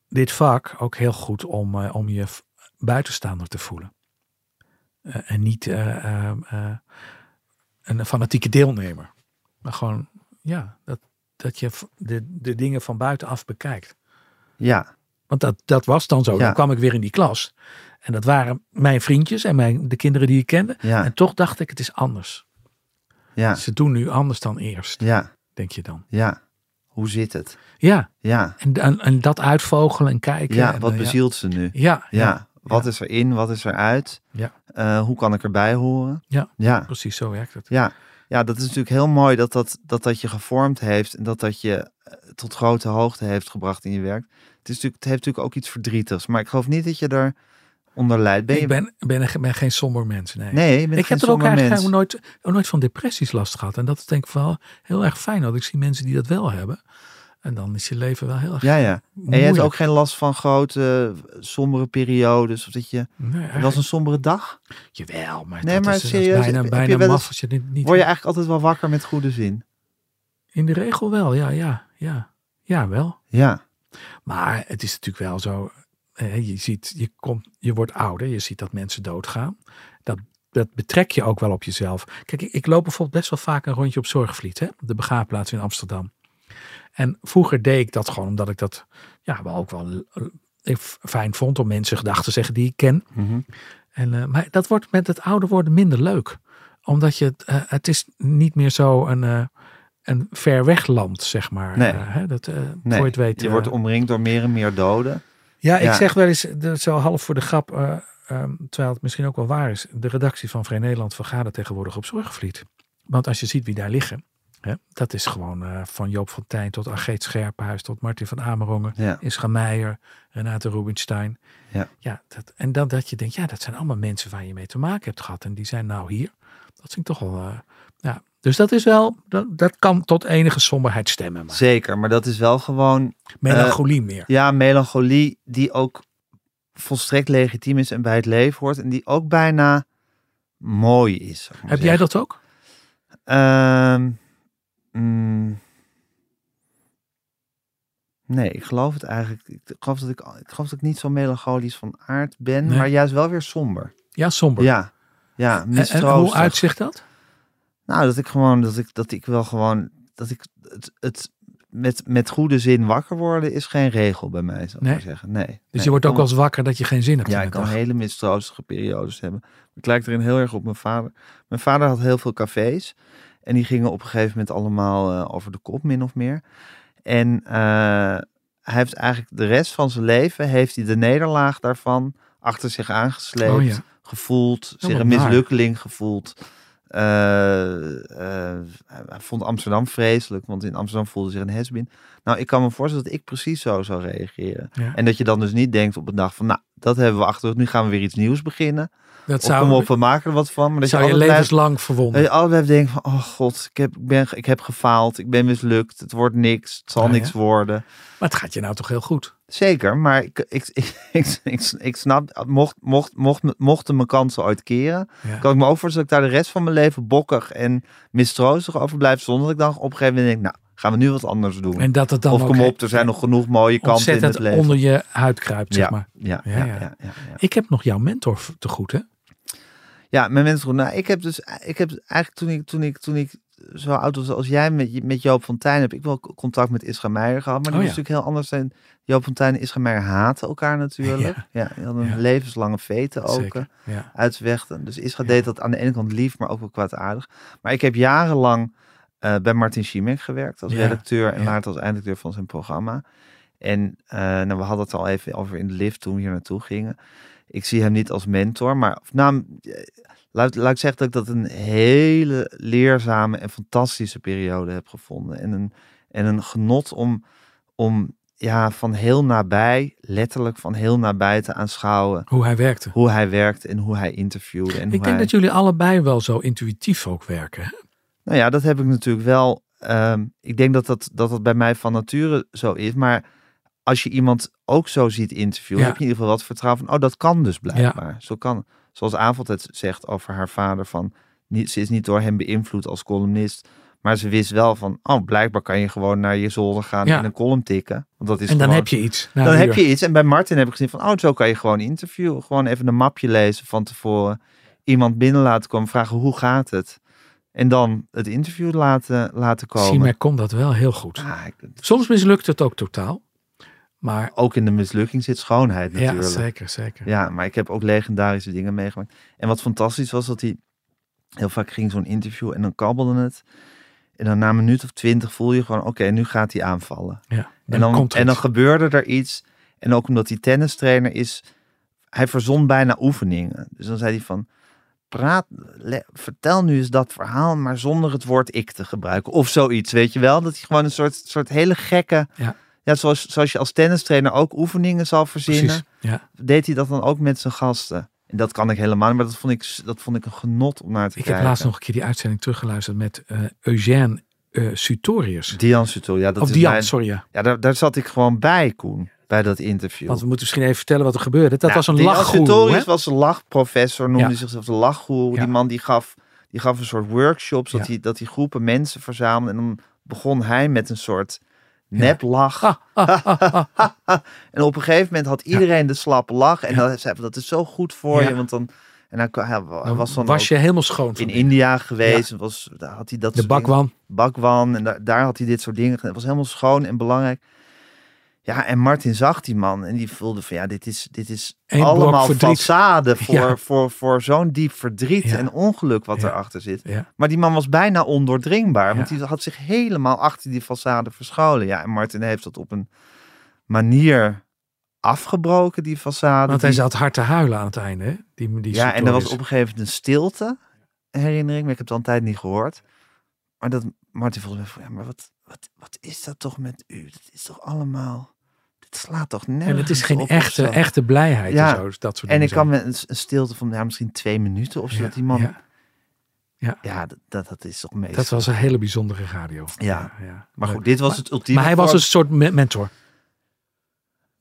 Speaker 2: dit vak ook heel goed om, eh, om je v- buitenstaander te voelen. Eh, en niet eh, eh, eh, een fanatieke deelnemer. Maar gewoon, ja, dat, dat je v- de, de dingen van buitenaf bekijkt.
Speaker 1: Ja.
Speaker 2: Want dat, dat was dan zo.
Speaker 1: Ja.
Speaker 2: Dan kwam ik weer in die klas. En dat waren mijn vriendjes en mijn, de kinderen die ik kende.
Speaker 1: Ja.
Speaker 2: En toch dacht ik, het is anders.
Speaker 1: Ja.
Speaker 2: Ze doen nu anders dan eerst,
Speaker 1: Ja.
Speaker 2: denk je dan.
Speaker 1: Ja. Hoe zit het?
Speaker 2: Ja,
Speaker 1: Ja.
Speaker 2: En, en, en dat uitvogelen en kijken.
Speaker 1: Ja,
Speaker 2: en,
Speaker 1: wat
Speaker 2: eh,
Speaker 1: bezielt ze nu?
Speaker 2: Ja, ja,
Speaker 1: Ja, wat
Speaker 2: ja.
Speaker 1: is erin, wat is eruit?
Speaker 2: Ja.
Speaker 1: Eh, hoe kan ik erbij horen?
Speaker 2: Ja.
Speaker 1: ja.
Speaker 2: precies zo werkt het.
Speaker 1: Ja. Ja, dat is natuurlijk heel mooi dat dat, dat dat je gevormd heeft en dat dat je eh, tot grote hoogte heeft gebracht in je werk. Het, is natuurlijk, het heeft natuurlijk ook iets verdrietigs, maar ik geloof niet dat je daar onder lijdt. Ben je...
Speaker 2: ik ben, ben, een- ben geen somber mens, nee.
Speaker 1: Nee, je bent
Speaker 2: ik
Speaker 1: geen
Speaker 2: heb er ook
Speaker 1: somber
Speaker 2: eigenlijk
Speaker 1: mens.
Speaker 2: nooit, ook nooit van depressies last gehad. En dat is denk ik wel heel erg fijn. Want ik zie mensen die dat wel hebben. En dan is je leven wel heel erg
Speaker 1: Ja, ja. En je
Speaker 2: moeilijk.
Speaker 1: hebt ook geen last van grote, eh, sombere periodes of dat je...
Speaker 2: Nee,
Speaker 1: Het
Speaker 2: eigenlijk-
Speaker 1: was een sombere dag.
Speaker 2: Jawel, maar,
Speaker 1: Nee,
Speaker 2: dat,
Speaker 1: maar
Speaker 2: is, eh, dat is
Speaker 1: serieus, heb
Speaker 2: bijna,
Speaker 1: je
Speaker 2: bijna
Speaker 1: wel eens-
Speaker 2: maf als je dit niet...
Speaker 1: Word je eigenlijk altijd wel wakker met goede zin.
Speaker 2: In de regel wel, ja, ja, ja. Ja, wel.
Speaker 1: Ja,
Speaker 2: Maar het is natuurlijk wel zo. eh, Je, ziet, je, komt, je wordt ouder, je ziet dat mensen doodgaan. Dat, dat betrek je ook wel op jezelf. Kijk, ik, ik loop bijvoorbeeld best wel vaak een rondje op Zorgvliet, hè? op de begraafplaats in Amsterdam. En vroeger deed ik dat gewoon omdat ik dat ja, wel ook wel eh, ik f- fijn vond om mensen gedachten te zeggen die ik ken. En, eh, maar dat wordt met het ouder worden minder leuk. Omdat je, het, eh, het is niet meer zo een, eh, een ver weg land, zeg maar.
Speaker 1: Nee.
Speaker 2: Eh, hè, dat, eh,
Speaker 1: nee.
Speaker 2: voor je het weet,
Speaker 1: je
Speaker 2: eh,
Speaker 1: wordt omringd door meer en meer doden.
Speaker 2: ja, ik
Speaker 1: Ja.
Speaker 2: zeg wel eens, de- zo half voor de grap, eh, ehm, terwijl het misschien ook wel waar is. De redactie van Vrij Nederland vergadert tegenwoordig op Zorgvliet. Want als je ziet wie daar liggen, hè, dat is gewoon eh, van Joop van Tijn tot Ageet Scherpenhuis tot Martin van Amerongen,
Speaker 1: Ja,
Speaker 2: Ischa Meijer, Renate Rubinstein.
Speaker 1: Ja.
Speaker 2: ja dat, en dan dat je denkt, ja, dat zijn allemaal mensen waar je mee te maken hebt gehad. En die zijn nou hier. Dat vind ik toch wel, eh, ja. Dus dat is wel, dat, dat kan tot enige somberheid stemmen. Maar
Speaker 1: zeker. Maar dat is wel gewoon
Speaker 2: melancholie meer.
Speaker 1: Eh, Ja, melancholie die ook volstrekt legitiem is en bij het leven hoort. En die ook bijna mooi is. zou ik maar
Speaker 2: Heb jij
Speaker 1: zeggen.
Speaker 2: dat ook?
Speaker 1: Ehm, mm, nee, ik geloof het eigenlijk. Ik geloof dat ik, ik geloof dat ik niet zo melancholisch van aard ben.
Speaker 2: Nee.
Speaker 1: Maar juist wel weer somber.
Speaker 2: Ja, somber.
Speaker 1: Ja, ja
Speaker 2: En- En, Eh, hoe
Speaker 1: mistroostig.
Speaker 2: uitzicht dat? Dus
Speaker 1: Nou, dat ik gewoon, dat ik, dat ik wel gewoon, dat ik het, het met, met goede zin wakker worden is geen regel bij mij, zou ik
Speaker 2: Nee.
Speaker 1: maar zeggen. Nee.
Speaker 2: Dus je wordt ook wel
Speaker 1: als
Speaker 2: eens wakker dat je geen zin hebt.
Speaker 1: Ja,
Speaker 2: in
Speaker 1: ik
Speaker 2: de
Speaker 1: kan
Speaker 2: dag.
Speaker 1: hele mistroostige periodes hebben. Ik lijk erin heel erg op mijn vader. Mijn vader had heel veel cafés. En die gingen op een gegeven moment allemaal eh, over de kop, min of meer. En eh, hij heeft eigenlijk de rest van zijn leven... heeft hij de nederlaag daarvan achter zich aangesleept.
Speaker 2: Oh ja.
Speaker 1: Gevoeld,
Speaker 2: Oh,
Speaker 1: zich
Speaker 2: wat
Speaker 1: een
Speaker 2: naar.
Speaker 1: mislukkeling gevoeld. Eh, eh, hij vond Amsterdam vreselijk, want in Amsterdam voelde hij zich een hesbin. Nou, ik kan me voorstellen dat ik precies zo zou reageren.
Speaker 2: Ja.
Speaker 1: En dat je dan dus niet denkt op een dag van, nou, dat hebben we achter, de rug, nu gaan we weer iets nieuws beginnen.
Speaker 2: Dat
Speaker 1: Of kom
Speaker 2: zou,
Speaker 1: op, we maken er wat van. Maar dat
Speaker 2: zou
Speaker 1: je
Speaker 2: je
Speaker 1: altijd blijft-
Speaker 2: levenslang verwonden.
Speaker 1: dat je altijd blijft denken van, oh god, ik heb, ik, ben, ik heb gefaald, ik ben mislukt, het wordt niks, het zal
Speaker 2: Ah, Ja, ja.
Speaker 1: niks worden.
Speaker 2: Maar het gaat je nou toch heel goed.
Speaker 1: Zeker, maar ik, ik, ik, ik, ik, ik snap, mocht, mocht, mocht, mochten mijn kansen ooit keren,
Speaker 2: Ja.
Speaker 1: kan ik me ook voorstellen dat ik daar de rest van mijn leven bokkig en mistroostig over blijf, zonder dat ik dan op een gegeven moment denk, nou, gaan we nu wat anders doen.
Speaker 2: En dat het dan
Speaker 1: of
Speaker 2: ook
Speaker 1: kom op, er zijn nog genoeg mooie kanten in het
Speaker 2: ontzettend
Speaker 1: leven.
Speaker 2: onder je huid kruipt, zeg maar.
Speaker 1: Ja,
Speaker 2: Ja,
Speaker 1: ja,
Speaker 2: ja.
Speaker 1: ja, ja, ja, ja.
Speaker 2: Ik heb nog jouw mentor v- te goed, hè?
Speaker 1: Ja, mijn mensen Nou, ik heb dus, ik heb eigenlijk toen ik, toen ik, toen ik zo oud was als jij met, met Joop van Tijn heb ik wel c- contact met Isra Meijer gehad. Maar die
Speaker 2: Oh,
Speaker 1: was
Speaker 2: ja.
Speaker 1: natuurlijk heel anders. En Joop van Tijn en Isra Meijer haten elkaar natuurlijk. Ja,
Speaker 2: Ja.
Speaker 1: die hadden een
Speaker 2: Ja.
Speaker 1: levenslange vete ook. eh,
Speaker 2: Zeker. Ja.
Speaker 1: uit de weg. Dus Isra
Speaker 2: Ja.
Speaker 1: deed dat aan de ene kant lief, maar ook wel kwaadaardig. Maar ik heb jarenlang eh, bij Martin Schimek gewerkt als
Speaker 2: Ja,
Speaker 1: redacteur en
Speaker 2: ja.
Speaker 1: later als eindredacteur van zijn programma. En eh, nou, we hadden het al even over in de lift toen we hier naartoe gingen. Ik zie hem niet als mentor, maar of nou, eh, laat, laat ik zeggen dat ik dat een hele leerzame en fantastische periode heb gevonden. En een, en een genot om, om ja, van heel nabij, letterlijk van heel nabij te aanschouwen
Speaker 2: Hoe hij werkte.
Speaker 1: hoe hij werkt en hoe hij interviewde. En hoe
Speaker 2: Ik denk
Speaker 1: hij...
Speaker 2: dat jullie allebei wel zo intuïtief ook werken. hè?
Speaker 1: Nou ja, dat heb ik natuurlijk wel. ehm, ik denk dat dat, dat dat bij mij van nature zo is. Maar als je iemand ook zo ziet interviewen,
Speaker 2: Ja.
Speaker 1: heb je in ieder geval wat vertrouwen van, oh, dat kan dus blijkbaar. Zo kan, zoals Avond het zegt over haar vader, van, niet, ze is niet door hem beïnvloed als columnist. Maar ze wist wel van, oh, blijkbaar kan je gewoon naar je zolder gaan
Speaker 2: Ja.
Speaker 1: en een column tikken. Want dat is
Speaker 2: En dan
Speaker 1: gewoon-
Speaker 2: heb je iets. na
Speaker 1: dan
Speaker 2: een
Speaker 1: heb
Speaker 2: uur.
Speaker 1: je iets. En bij Martin heb ik gezien van, oh, zo kan je gewoon interviewen. Gewoon even een mapje lezen van tevoren. Iemand binnen laten komen, vragen hoe gaat het? En dan het interview laten, laten komen.
Speaker 2: Simek kon dat wel heel goed.
Speaker 1: Ah, ik-
Speaker 2: Soms mislukt het ook totaal. Maar
Speaker 1: ook in de mislukking zit schoonheid natuurlijk.
Speaker 2: ja, zeker, zeker.
Speaker 1: Ja, maar ik heb ook legendarische dingen meegemaakt. En wat fantastisch was, dat hij heel vaak ging zo'n interview en dan kabbelde het. En dan na een minuut of twintig voel je gewoon, oké, nu gaat hij aanvallen.
Speaker 2: Ja,
Speaker 1: En dan,
Speaker 2: komt het.
Speaker 1: en dan gebeurde er iets. En ook omdat hij tennistrainer is, hij verzon bijna oefeningen. Dus dan zei hij van, praat, le- vertel nu eens dat verhaal, maar zonder het woord ik te gebruiken. Of zoiets, weet je wel? Dat hij gewoon een soort, soort hele gekke...
Speaker 2: Ja.
Speaker 1: Ja, zoals, zoals je als tennistrainer ook oefeningen zal verzinnen
Speaker 2: Precies. Ja.
Speaker 1: deed hij dat dan ook met zijn gasten. En dat kan ik helemaal niet, maar dat vond ik, dat vond ik een genot om naar te
Speaker 2: Ik
Speaker 1: kijken.
Speaker 2: heb laatst nog een keer die uitzending teruggeluisterd met eh, Eugène eh, Sutorius.
Speaker 1: Dian Sutil, ja, dat
Speaker 2: of
Speaker 1: is
Speaker 2: Dian,
Speaker 1: mijn-
Speaker 2: sorry. Ja.
Speaker 1: Ja, daar, daar zat ik gewoon bij, Koen, bij dat interview.
Speaker 2: Want we moeten misschien even vertellen wat er gebeurde. Dat
Speaker 1: Ja,
Speaker 2: was een
Speaker 1: Dian
Speaker 2: lachgoeroe.
Speaker 1: Sutorius
Speaker 2: hè?
Speaker 1: was een lachprofessor, noemde
Speaker 2: Ja.
Speaker 1: zichzelf de lachgoeroe.
Speaker 2: Ja.
Speaker 1: Die man die gaf, die gaf een soort workshops, dat,
Speaker 2: Ja.
Speaker 1: hij, dat hij groepen mensen verzamelde. En dan begon hij met een soort neplach.
Speaker 2: Ah, ah, ah, ah.
Speaker 1: En op een gegeven moment had iedereen de slappe lach. En dan zei hij, dat is zo goed voor
Speaker 2: Ja.
Speaker 1: je, want dan... En hij, hij
Speaker 2: Dan
Speaker 1: was dan ook
Speaker 2: je helemaal schoon. van
Speaker 1: in
Speaker 2: binnen.
Speaker 1: India geweest. en Was, daar had hij dat
Speaker 2: de
Speaker 1: soort dingen-
Speaker 2: bakwan.
Speaker 1: bakwan. En daar, daar had hij dit soort dingen gedaan. Het was helemaal schoon en belangrijk. Ja, en Martin zag die man en die voelde van ja, dit is, dit is
Speaker 2: Eén blok
Speaker 1: allemaal
Speaker 2: verdriet.
Speaker 1: façade voor,
Speaker 2: Ja.
Speaker 1: voor, voor zo'n diep verdriet
Speaker 2: Ja.
Speaker 1: en ongeluk wat
Speaker 2: Ja.
Speaker 1: erachter zit.
Speaker 2: Ja.
Speaker 1: Maar die man was bijna ondoordringbaar, want
Speaker 2: Ja.
Speaker 1: die had zich helemaal achter die façade verscholen. Ja, en Martin heeft dat op een manier afgebroken, die façade.
Speaker 2: Want hij
Speaker 1: die-
Speaker 2: zat hard te huilen aan het einde. Hè? Die, die
Speaker 1: ja, en er was
Speaker 2: Sutorius.
Speaker 1: op een gegeven moment een stilte, herinner ik me. Ik heb het al een tijd niet gehoord. Maar dat Martin volgens mij van, ja, maar wat, wat, wat is dat toch met u? Dat is toch allemaal, dit slaat toch nergens
Speaker 2: En het is
Speaker 1: op
Speaker 2: geen
Speaker 1: of
Speaker 2: echte,
Speaker 1: zo.
Speaker 2: echte blijheid.
Speaker 1: Ja.
Speaker 2: En, zo, dus dat soort
Speaker 1: En
Speaker 2: dingen
Speaker 1: ik kan
Speaker 2: zijn.
Speaker 1: met een, s- een stilte van ja, misschien twee minuten of zo.
Speaker 2: Ja,
Speaker 1: dat die man, ja,
Speaker 2: ja.
Speaker 1: dat, dat, dat is toch meest.
Speaker 2: Dat was een hele bijzondere radio.
Speaker 1: Ja.
Speaker 2: ja.
Speaker 1: maar
Speaker 2: Leuk.
Speaker 1: goed, dit was
Speaker 2: Maar-
Speaker 1: het ultieme.
Speaker 2: Maar hij was dus- een
Speaker 1: voorbeeld.
Speaker 2: soort me- mentor.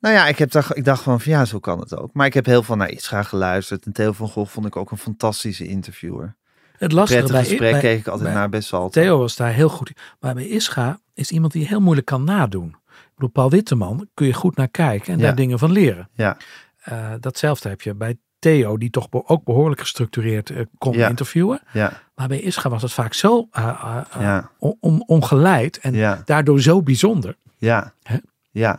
Speaker 1: Nou ja, ik, heb dacht, ik dacht van, van ja, zo kan het ook. Maar ik heb heel veel naar Isra geluisterd. En Theo van Gogh vond ik ook een fantastische interviewer.
Speaker 2: Het lastige
Speaker 1: Prettig
Speaker 2: bij,
Speaker 1: gesprek
Speaker 2: bij
Speaker 1: keek ik altijd
Speaker 2: bij-
Speaker 1: naar bij Salto.
Speaker 2: Theo was daar heel goed in. Maar bij Ischa is iemand die heel moeilijk kan nadoen. Ik bedoel, Paul Witteman kun je goed naar kijken en
Speaker 1: Ja.
Speaker 2: daar dingen van leren.
Speaker 1: Ja.
Speaker 2: Eh, datzelfde heb je bij Theo, die toch be- ook behoorlijk gestructureerd eh, kon
Speaker 1: Ja.
Speaker 2: interviewen.
Speaker 1: Ja,
Speaker 2: Maar bij Ischa was het vaak zo eh, eh, eh,
Speaker 1: ja,
Speaker 2: on- on- ongeleid en
Speaker 1: ja.
Speaker 2: daardoor zo bijzonder.
Speaker 1: Ja.
Speaker 2: Hè?
Speaker 1: Ja.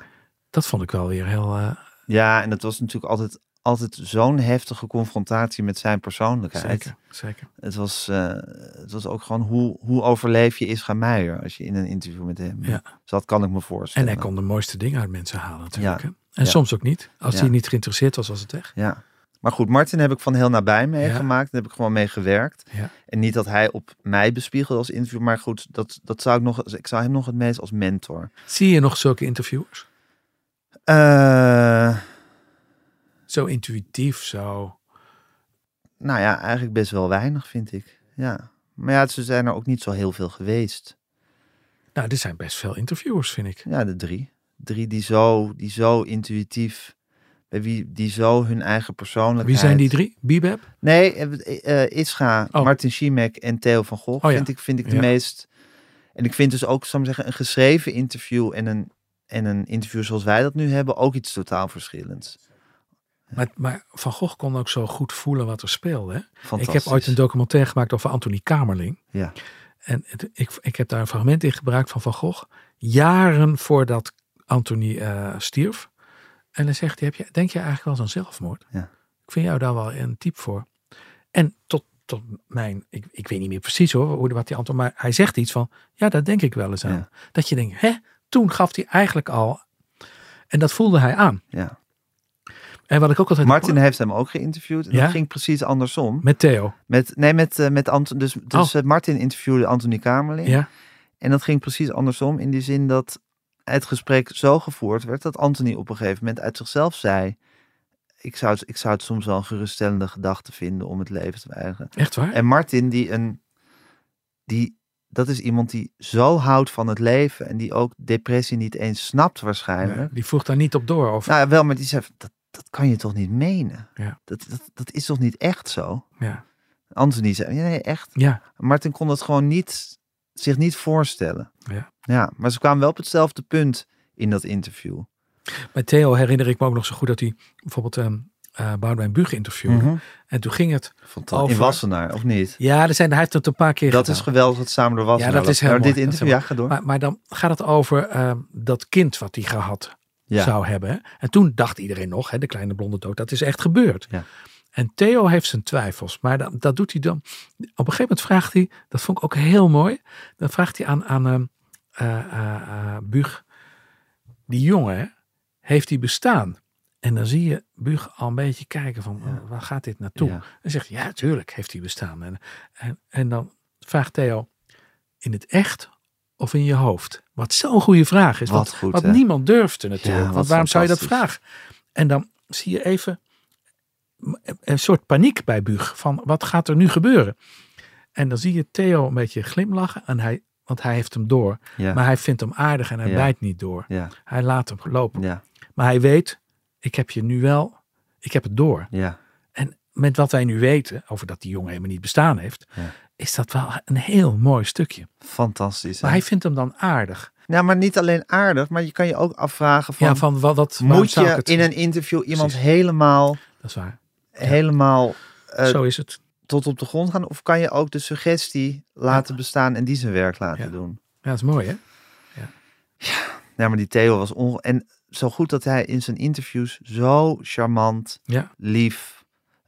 Speaker 2: Dat vond ik wel weer heel... eh,
Speaker 1: ja, en dat was natuurlijk altijd, altijd zo'n heftige confrontatie met zijn persoonlijkheid.
Speaker 2: zeker, zeker.
Speaker 1: Het, was, eh, het was ook gewoon hoe, hoe overleef je Isra Meijer als je in een interview met hem
Speaker 2: Ja.
Speaker 1: zat, kan ik me
Speaker 2: En
Speaker 1: voorstellen.
Speaker 2: hij kon de mooiste dingen uit mensen halen natuurlijk.
Speaker 1: Ja.
Speaker 2: hè. En
Speaker 1: Ja.
Speaker 2: soms ook niet. Als
Speaker 1: Ja.
Speaker 2: hij niet geïnteresseerd was, was het weg.
Speaker 1: Ja. Maar goed, Martin heb ik van heel nabij meegemaakt. Daar heb ik gewoon mee gewerkt.
Speaker 2: Ja.
Speaker 1: En niet dat hij op mij bespiegelde als interview, maar goed, dat, dat zou ik nog, ik zou hem nog het meest als mentor.
Speaker 2: Zie je nog zulke interviewers?
Speaker 1: Eh,
Speaker 2: Zo intuïtief, zo...
Speaker 1: nou ja, eigenlijk best wel weinig, vind ik. Ja. Maar ja, ze zijn er ook niet zo heel veel geweest.
Speaker 2: Nou, er zijn best veel interviewers, vind ik.
Speaker 1: Ja, de drie. Drie die zo, die zo intuïtief, bij wie, die zo hun eigen persoonlijkheid...
Speaker 2: Wie zijn die drie? Bibeb?
Speaker 1: Nee, eh, eh, Ischa,
Speaker 2: Oh.
Speaker 1: Martin Schimek en Theo van Gogh
Speaker 2: Oh ja.
Speaker 1: vind, ik, vind ik de
Speaker 2: Ja.
Speaker 1: meest... En ik vind dus ook, zal ik maar zeggen, een geschreven interview en een, en een interview zoals wij dat nu hebben, ook iets totaal verschillends.
Speaker 2: Maar, maar Van Gogh kon ook zo goed voelen wat er speelde. hè? Ik
Speaker 1: Fantastisch.
Speaker 2: heb ooit een documentaire gemaakt over Anthony Kamerling.
Speaker 1: Ja.
Speaker 2: en het- ik, ik heb daar een fragment in gebruikt van Van Gogh. Jaren voordat Anthony eh, stierf. En dan zegt hij, heb je, denk je eigenlijk wel eens aan zelfmoord?
Speaker 1: Ja.
Speaker 2: Ik vind jou daar wel een type voor. En tot, tot mijn, ik, ik weet niet meer precies hoor, hoe, wat hij antwoordt. Maar hij zegt iets van, ja, daar denk ik wel eens aan.
Speaker 1: Ja.
Speaker 2: Dat je denkt, hè, toen gaf hij eigenlijk al. En dat voelde hij aan.
Speaker 1: Ja.
Speaker 2: En wat ik ook altijd...
Speaker 1: Martin heeft hem ook geïnterviewd. En
Speaker 2: Ja?
Speaker 1: dat ging precies andersom.
Speaker 2: Met Theo.
Speaker 1: Met, nee, met, eh, met Anton, dus, dus
Speaker 2: Oh.
Speaker 1: eh, Martin interviewde Anthony Kamerling.
Speaker 2: Ja.
Speaker 1: En dat ging precies andersom in die zin dat het gesprek zo gevoerd werd dat Anthony op een gegeven moment uit zichzelf zei: Ik zou, het- ik zou het soms wel een geruststellende gedachte vinden om het leven te weigeren.
Speaker 2: Echt waar?
Speaker 1: En Martin, die een. Die, dat is iemand die zo houdt van het leven en die ook depressie niet eens snapt, waarschijnlijk.
Speaker 2: Ja, die vroeg daar niet op door. Of,
Speaker 1: Nou ja, wel, maar die zei: dat, dat kan je toch niet menen?
Speaker 2: Ja.
Speaker 1: Dat, dat, dat is toch niet echt zo?
Speaker 2: ja.
Speaker 1: Anthony zei: "Ja, Nee, echt.
Speaker 2: ja,
Speaker 1: Martin kon dat gewoon niet, zich niet voorstellen.
Speaker 2: Ja.
Speaker 1: ja, maar ze kwamen wel op hetzelfde punt in dat interview.
Speaker 2: bij Theo herinner ik me ook nog zo goed dat hij bijvoorbeeld ehm eh Boudewijn Buug
Speaker 1: Mhm.
Speaker 2: interviewde. En toen ging het...
Speaker 1: Fantastisch.
Speaker 2: Over-
Speaker 1: In Wassenaar, of niet?
Speaker 2: Ja, er zijn, hij heeft het een paar keer
Speaker 1: Dat
Speaker 2: gedaan.
Speaker 1: is geweldig dat samen door Wassenaar.
Speaker 2: dat is heel
Speaker 1: maar
Speaker 2: mooi,
Speaker 1: dit
Speaker 2: dat is
Speaker 1: interview, ja,
Speaker 2: heel
Speaker 1: ga door.
Speaker 2: Maar, maar dan gaat het over ehm, dat kind wat hij gehad
Speaker 1: Ja.
Speaker 2: zou hebben. hè. En toen dacht iedereen nog, hè, de kleine blonde dood, dat is echt gebeurd.
Speaker 1: Ja.
Speaker 2: En Theo heeft zijn twijfels, maar dat, dat doet hij dan. Op een gegeven moment vraagt hij, dat vond ik ook heel mooi. Dan vraagt hij aan, aan ehm, eh, eh, eh, Buug, die jongen, hè, heeft hij bestaan? En dan zie je Buug al een beetje kijken van,
Speaker 1: Ja.
Speaker 2: eh, waar gaat dit naartoe?
Speaker 1: Ja.
Speaker 2: En zegt, hij, ja, tuurlijk heeft hij bestaan. En, en, en dan vraagt Theo, in het echt of in je hoofd? Wat zo'n goede vraag is.
Speaker 1: Wat
Speaker 2: want-
Speaker 1: goed,
Speaker 2: want
Speaker 1: hè?
Speaker 2: niemand durfde natuurlijk.
Speaker 1: Ja,
Speaker 2: want
Speaker 1: wat
Speaker 2: waarom zou je dat
Speaker 1: fantastisch.
Speaker 2: vragen? En dan zie je even een soort paniek bij Buug. Van wat gaat er nu gebeuren? En dan zie je Theo een beetje glimlachen. En hij, want hij heeft hem door.
Speaker 1: Ja,
Speaker 2: Maar hij vindt hem aardig en hij
Speaker 1: Ja.
Speaker 2: bijt niet door.
Speaker 1: ja,
Speaker 2: Hij laat hem lopen.
Speaker 1: ja,
Speaker 2: Maar hij weet, ik heb je nu wel, ik heb het door.
Speaker 1: ja.
Speaker 2: En met wat wij nu weten over dat die jongen helemaal niet bestaan heeft.
Speaker 1: Ja.
Speaker 2: Is dat wel een heel mooi stukje.
Speaker 1: Fantastisch. hè?
Speaker 2: Maar hij vindt hem dan aardig.
Speaker 1: Nou, maar niet alleen aardig, maar je kan je ook afvragen van...
Speaker 2: ja, van wat, wat waarom
Speaker 1: moet
Speaker 2: zou ik
Speaker 1: je
Speaker 2: het
Speaker 1: in een interview iemand
Speaker 2: Precies.
Speaker 1: helemaal,
Speaker 2: Dat is waar.
Speaker 1: helemaal eh,
Speaker 2: Zo is het.
Speaker 1: tot op de grond gaan? Of kan je ook de suggestie laten bestaan en die zijn werk laten
Speaker 2: Ja.
Speaker 1: doen?
Speaker 2: Ja, dat is mooi, hè?
Speaker 1: Ja, maar die Theo was onge... En zo goed dat hij in zijn interviews zo charmant,
Speaker 2: Ja.
Speaker 1: lief,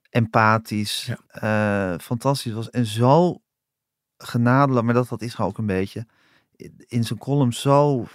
Speaker 1: empathisch, eh, fantastisch was. En zo genadeloos, maar dat, dat is gewoon ook een beetje, in zijn column zo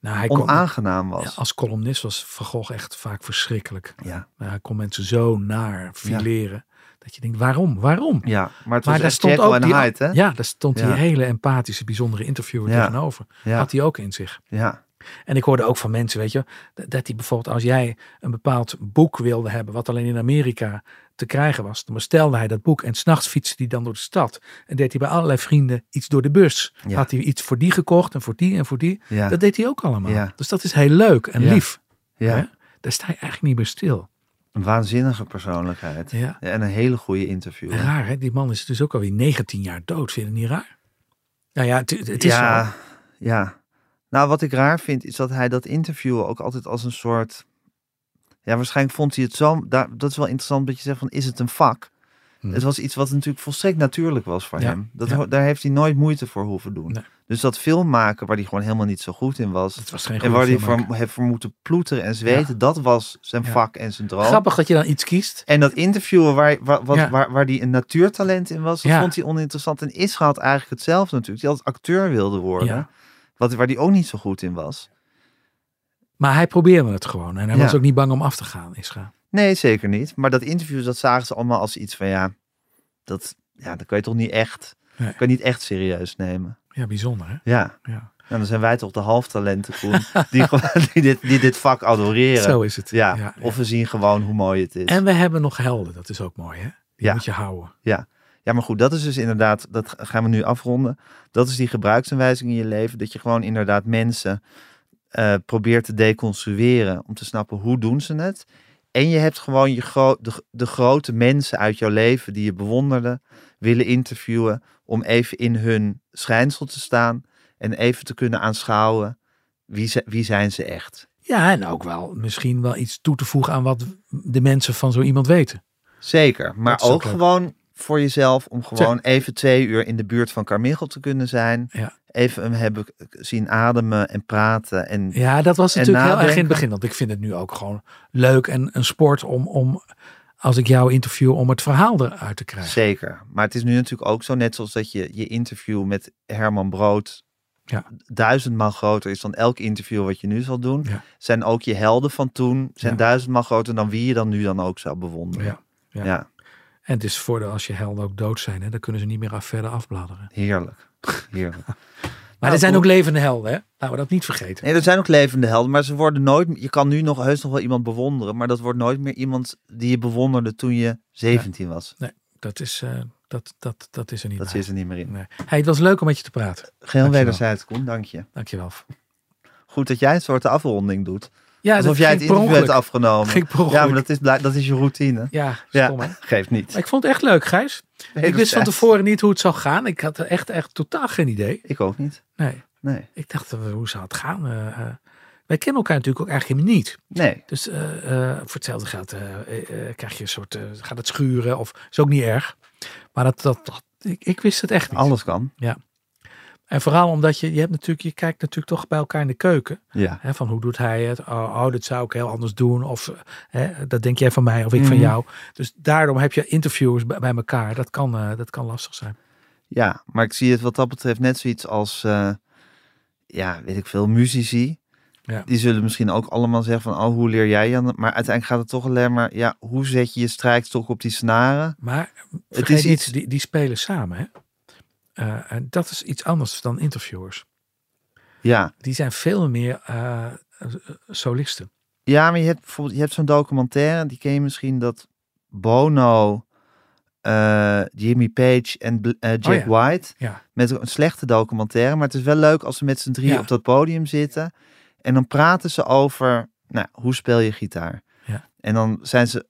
Speaker 2: Nou, hij kon,
Speaker 1: onaangenaam
Speaker 2: ja,
Speaker 1: was. Ja,
Speaker 2: als columnist was Van Gogh echt vaak verschrikkelijk.
Speaker 1: ja.
Speaker 2: Nou, hij kon mensen zo naar fileren. Dat je denkt, waarom? Waarom?
Speaker 1: maar het
Speaker 2: Maar
Speaker 1: was
Speaker 2: daar
Speaker 1: echt
Speaker 2: stond
Speaker 1: Jekyll
Speaker 2: ook
Speaker 1: en
Speaker 2: die,
Speaker 1: Hyde, hè?
Speaker 2: ja, daar stond
Speaker 1: Ja.
Speaker 2: die hele empathische, bijzondere interviewer
Speaker 1: Ja.
Speaker 2: tegenover.
Speaker 1: Ja,
Speaker 2: Had hij ook in zich.
Speaker 1: ja,
Speaker 2: En ik hoorde ook van mensen, weet je, dat- dat hij bijvoorbeeld als jij een bepaald boek wilde hebben, wat alleen in Amerika te krijgen was, dan bestelde hij dat boek en s'nachts fietste hij dan door de stad. En deed hij bij allerlei vrienden iets door de bus.
Speaker 1: Ja.
Speaker 2: Had hij iets voor die gekocht en voor die en voor die.
Speaker 1: ja,
Speaker 2: Dat deed hij ook allemaal.
Speaker 1: Ja.
Speaker 2: Dus dat is heel leuk en
Speaker 1: Ja.
Speaker 2: lief. Hè?
Speaker 1: ja.
Speaker 2: Daar sta je eigenlijk niet bij stil.
Speaker 1: Een waanzinnige persoonlijkheid.
Speaker 2: Ja.
Speaker 1: Ja, en een hele goede interview.
Speaker 2: Raar, hè? Die man is dus ook alweer 19 jaar dood. Vind je het niet raar? Nou ja, het, het is
Speaker 1: ja,
Speaker 2: zo.
Speaker 1: ja. Nou, wat ik raar vind is dat hij dat interview ook altijd als een soort. Ja, waarschijnlijk vond hij het zo. Daar, dat is wel interessant dat je zegt van is het een vak?
Speaker 2: Hmm.
Speaker 1: Het was iets wat natuurlijk volstrekt natuurlijk was voor
Speaker 2: Ja,
Speaker 1: hem. Dat,
Speaker 2: ja.
Speaker 1: ho- Daar heeft hij nooit moeite voor hoeven doen.
Speaker 2: Nee.
Speaker 1: Dus dat filmmaken waar hij gewoon helemaal niet zo goed in was.
Speaker 2: Het was geen
Speaker 1: En
Speaker 2: goede
Speaker 1: waar hij
Speaker 2: filmmaker.
Speaker 1: voor, heeft voor moeten ploeteren en zweten. Dat was zijn
Speaker 2: Ja.
Speaker 1: vak en zijn droom.
Speaker 2: Grappig dat je dan iets kiest.
Speaker 1: En dat interviewen waar, waar, wat,
Speaker 2: Ja.
Speaker 1: waar, waar die een natuurtalent in was, dat
Speaker 2: Ja.
Speaker 1: vond hij oninteressant. En Isra had eigenlijk hetzelfde natuurlijk. Die altijd acteur wilde worden.
Speaker 2: Ja.
Speaker 1: Wat, waar die ook niet zo goed in was.
Speaker 2: Maar hij probeerde het gewoon. En hij
Speaker 1: Ja.
Speaker 2: was ook niet bang om af te gaan, Isra.
Speaker 1: Nee, zeker niet. Maar dat interview, dat zagen ze allemaal als iets van ja, dat, ja, dat kan je toch niet echt,
Speaker 2: Nee.
Speaker 1: dat kan je niet echt serieus nemen.
Speaker 2: Ja, bijzonder, hè?
Speaker 1: Ja,
Speaker 2: Ja.
Speaker 1: nou, dan zijn wij toch de halftalenten, Koen, die, gewoon- die, dit, die dit vak adoreren.
Speaker 2: Zo is het.
Speaker 1: ja, of we zien gewoon hoe mooi het is.
Speaker 2: En we hebben nog helden. Dat is ook mooi, hè? Die
Speaker 1: Ja.
Speaker 2: moet je houden.
Speaker 1: Ja, maar goed, dat is dus inderdaad, dat gaan we nu afronden. Dat is die gebruiksaanwijzing in je leven. Dat je gewoon inderdaad mensen eh, probeert te deconstrueren. Om te snappen hoe doen ze het. En je hebt gewoon je gro- de, de grote mensen uit jouw leven die je bewonderde willen interviewen. Om even in hun schijnsel te staan. En even te kunnen aanschouwen wie, ze, wie zijn ze echt.
Speaker 2: Ja, en ook wel misschien wel iets toe te voegen aan wat de mensen van zo iemand weten.
Speaker 1: Zeker, maar
Speaker 2: Dat is ook
Speaker 1: ook
Speaker 2: leuk.
Speaker 1: gewoon voor jezelf om gewoon even twee uur in de buurt van Carmichael te kunnen zijn.
Speaker 2: Ja.
Speaker 1: Even hem hebben zien ademen en praten. En
Speaker 2: Ja, dat was
Speaker 1: En
Speaker 2: natuurlijk heel erg in het
Speaker 1: nadenken.
Speaker 2: begin. Want ik vind het nu ook gewoon leuk en een sport om, om als ik jou interview, om het verhaal eruit te krijgen.
Speaker 1: zeker. Maar het is nu natuurlijk ook zo, net zoals dat je je interview met Herman Brood
Speaker 2: Ja.
Speaker 1: duizendmaal groter is dan elk interview wat je nu zal doen.
Speaker 2: Ja.
Speaker 1: Zijn ook je helden van toen, zijn
Speaker 2: Ja.
Speaker 1: duizendmaal groter dan wie je dan nu dan ook zou bewonderen.
Speaker 2: Ja.
Speaker 1: Ja,
Speaker 2: En het is voordeel als je helden ook dood zijn. Hè? Dan kunnen ze niet meer af, verder afbladeren.
Speaker 1: heerlijk. Heerlijk.
Speaker 2: Maar
Speaker 1: Nou,
Speaker 2: er zijn
Speaker 1: goed.
Speaker 2: ook levende helden. Hè? Laten we dat niet vergeten.
Speaker 1: Nee, er zijn ook levende helden, maar ze worden nooit. Je kan nu nog heus nog wel iemand bewonderen, maar dat wordt nooit meer iemand die je bewonderde toen je 17 was.
Speaker 2: Dat, is, eh, dat, dat, dat is er niet
Speaker 1: Dat
Speaker 2: bij.
Speaker 1: zit er niet meer in.
Speaker 2: Nee. Hey, het was leuk om met je te praten.
Speaker 1: Geheel
Speaker 2: Dankjewel.
Speaker 1: wederzijds, Koen, dank je.
Speaker 2: Dankjewel.
Speaker 1: Goed dat jij een soort afronding doet.
Speaker 2: Ja,
Speaker 1: Alsof
Speaker 2: dat
Speaker 1: jij het
Speaker 2: ging per
Speaker 1: interview hebt
Speaker 2: ongeluk.
Speaker 1: afgenomen.
Speaker 2: Ging per
Speaker 1: ja,
Speaker 2: ongeluk.
Speaker 1: maar dat is, bla- dat is je routine.
Speaker 2: Ja,
Speaker 1: Ja.
Speaker 2: stom hè.
Speaker 1: Geeft niet.
Speaker 2: Maar ik vond het echt leuk, Gijs. Ik wist van
Speaker 1: Wederzijds.
Speaker 2: tevoren niet hoe het zou gaan. Ik had er echt, echt totaal geen idee.
Speaker 1: Ik ook niet.
Speaker 2: Nee.
Speaker 1: Nee.
Speaker 2: Ik dacht, eh, hoe zou het gaan? Eh, eh, wij kennen elkaar natuurlijk ook eigenlijk helemaal niet.
Speaker 1: Nee.
Speaker 2: Dus eh, eh, voor hetzelfde geld eh, eh, eh, krijg je een soort, eh, gaat het schuren of is ook niet erg. Maar dat, dat, dat- ik, ik wist het echt niet.
Speaker 1: Alles kan.
Speaker 2: En vooral omdat je, je, hebt natuurlijk, je kijkt natuurlijk toch bij elkaar in de keuken.
Speaker 1: Ja.
Speaker 2: Hè, van hoe doet hij het? Oh, oh, dat zou ik heel anders doen. Of eh, hè, dat denk jij van mij of ik van
Speaker 1: Mhm.
Speaker 2: jou. Dus daarom heb je interviews bij, bij elkaar. Dat kan, eh, dat kan lastig zijn.
Speaker 1: Ja, maar ik zie het wat dat betreft net zoiets als, eh, ja, weet ik veel, muzici.
Speaker 2: Ja.
Speaker 1: Die zullen misschien ook allemaal zeggen van, oh, hoe leer jij dan? Maar uiteindelijk gaat het toch alleen maar, ja, hoe zet je je strijkstok op die snaren?
Speaker 2: Maar
Speaker 1: Het
Speaker 2: het
Speaker 1: is
Speaker 2: is
Speaker 1: iets-
Speaker 2: iets... die, die spelen samen. Hè? Eh, en dat is iets anders dan interviewers.
Speaker 1: Ja,
Speaker 2: die zijn veel meer eh, solisten.
Speaker 1: ja maar je hebt bijvoorbeeld, je hebt zo'n documentaire, die ken je misschien, dat Bono, eh, Jimmy Page en Bl- eh, Jack
Speaker 2: Oh ja.
Speaker 1: White,
Speaker 2: Ja.
Speaker 1: met een slechte documentaire, maar het is wel leuk als ze met z'n drieën
Speaker 2: Ja.
Speaker 1: op dat podium zitten en dan praten ze over, nou, hoe speel je gitaar?
Speaker 2: Ja.
Speaker 1: En dan zijn ze,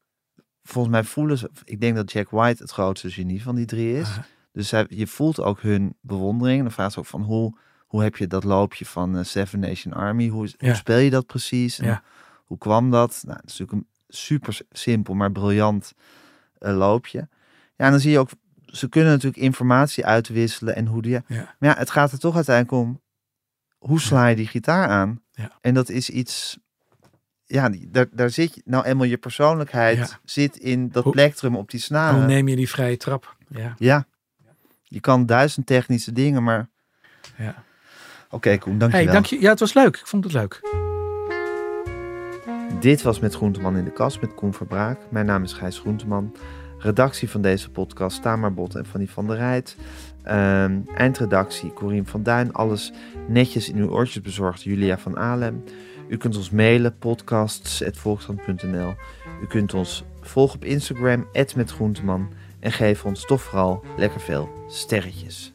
Speaker 1: volgens mij voelen ze, ik denk dat Jack White het grootste genie van die drie is.
Speaker 2: Aha.
Speaker 1: Dus zij- je voelt ook hun bewondering. Dan vraagt ze ook van hoe, hoe heb je dat loopje van eh, Seven Nation Army? Hoe, is- hoe
Speaker 2: Ja.
Speaker 1: speel je dat precies? En
Speaker 2: Ja.
Speaker 1: Hoe kwam dat? Nou, het is natuurlijk een super s- simpel, maar briljant eh, loopje. Ja, en dan zie je ook, ze kunnen natuurlijk informatie uitwisselen en hoe die.
Speaker 2: Ja.
Speaker 1: Maar ja, het gaat er toch uiteindelijk om, hoe sla je die gitaar aan?
Speaker 2: Ja.
Speaker 1: En dat is iets, ja, die- daar, daar zit je- nou eenmaal je persoonlijkheid
Speaker 2: Ja.
Speaker 1: zit in dat
Speaker 2: Hoe-
Speaker 1: plektrum op die snaren.
Speaker 2: Hoe neem je die vrije trap? Ja,
Speaker 1: Ja. Je kan duizend technische dingen, maar...
Speaker 2: ja.
Speaker 1: Oké, Koen, dankjewel.
Speaker 2: Hey, dank je. Ja, het was leuk. Ik vond het leuk.
Speaker 1: Dit was Met Groenteman in de Kast met Koen Verbraak. Mijn naam is Gijs Groenteman. Redactie van deze podcast Tamar Bot en Fanny van der Rijt. Ehm, eindredactie Corien van Duin. Alles netjes in uw oortjes bezorgd Julia van Alem. U kunt ons mailen podcasts.volkskrant.nl U kunt ons volgen op Instagram @metgroenteman En geef ons toch vooral lekker veel sterretjes.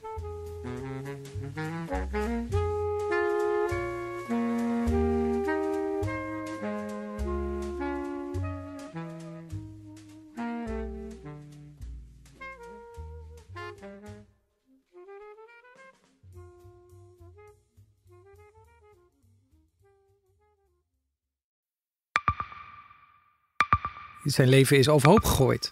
Speaker 3: Zijn leven is overhoop gegooid.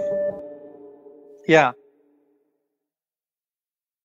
Speaker 4: ja,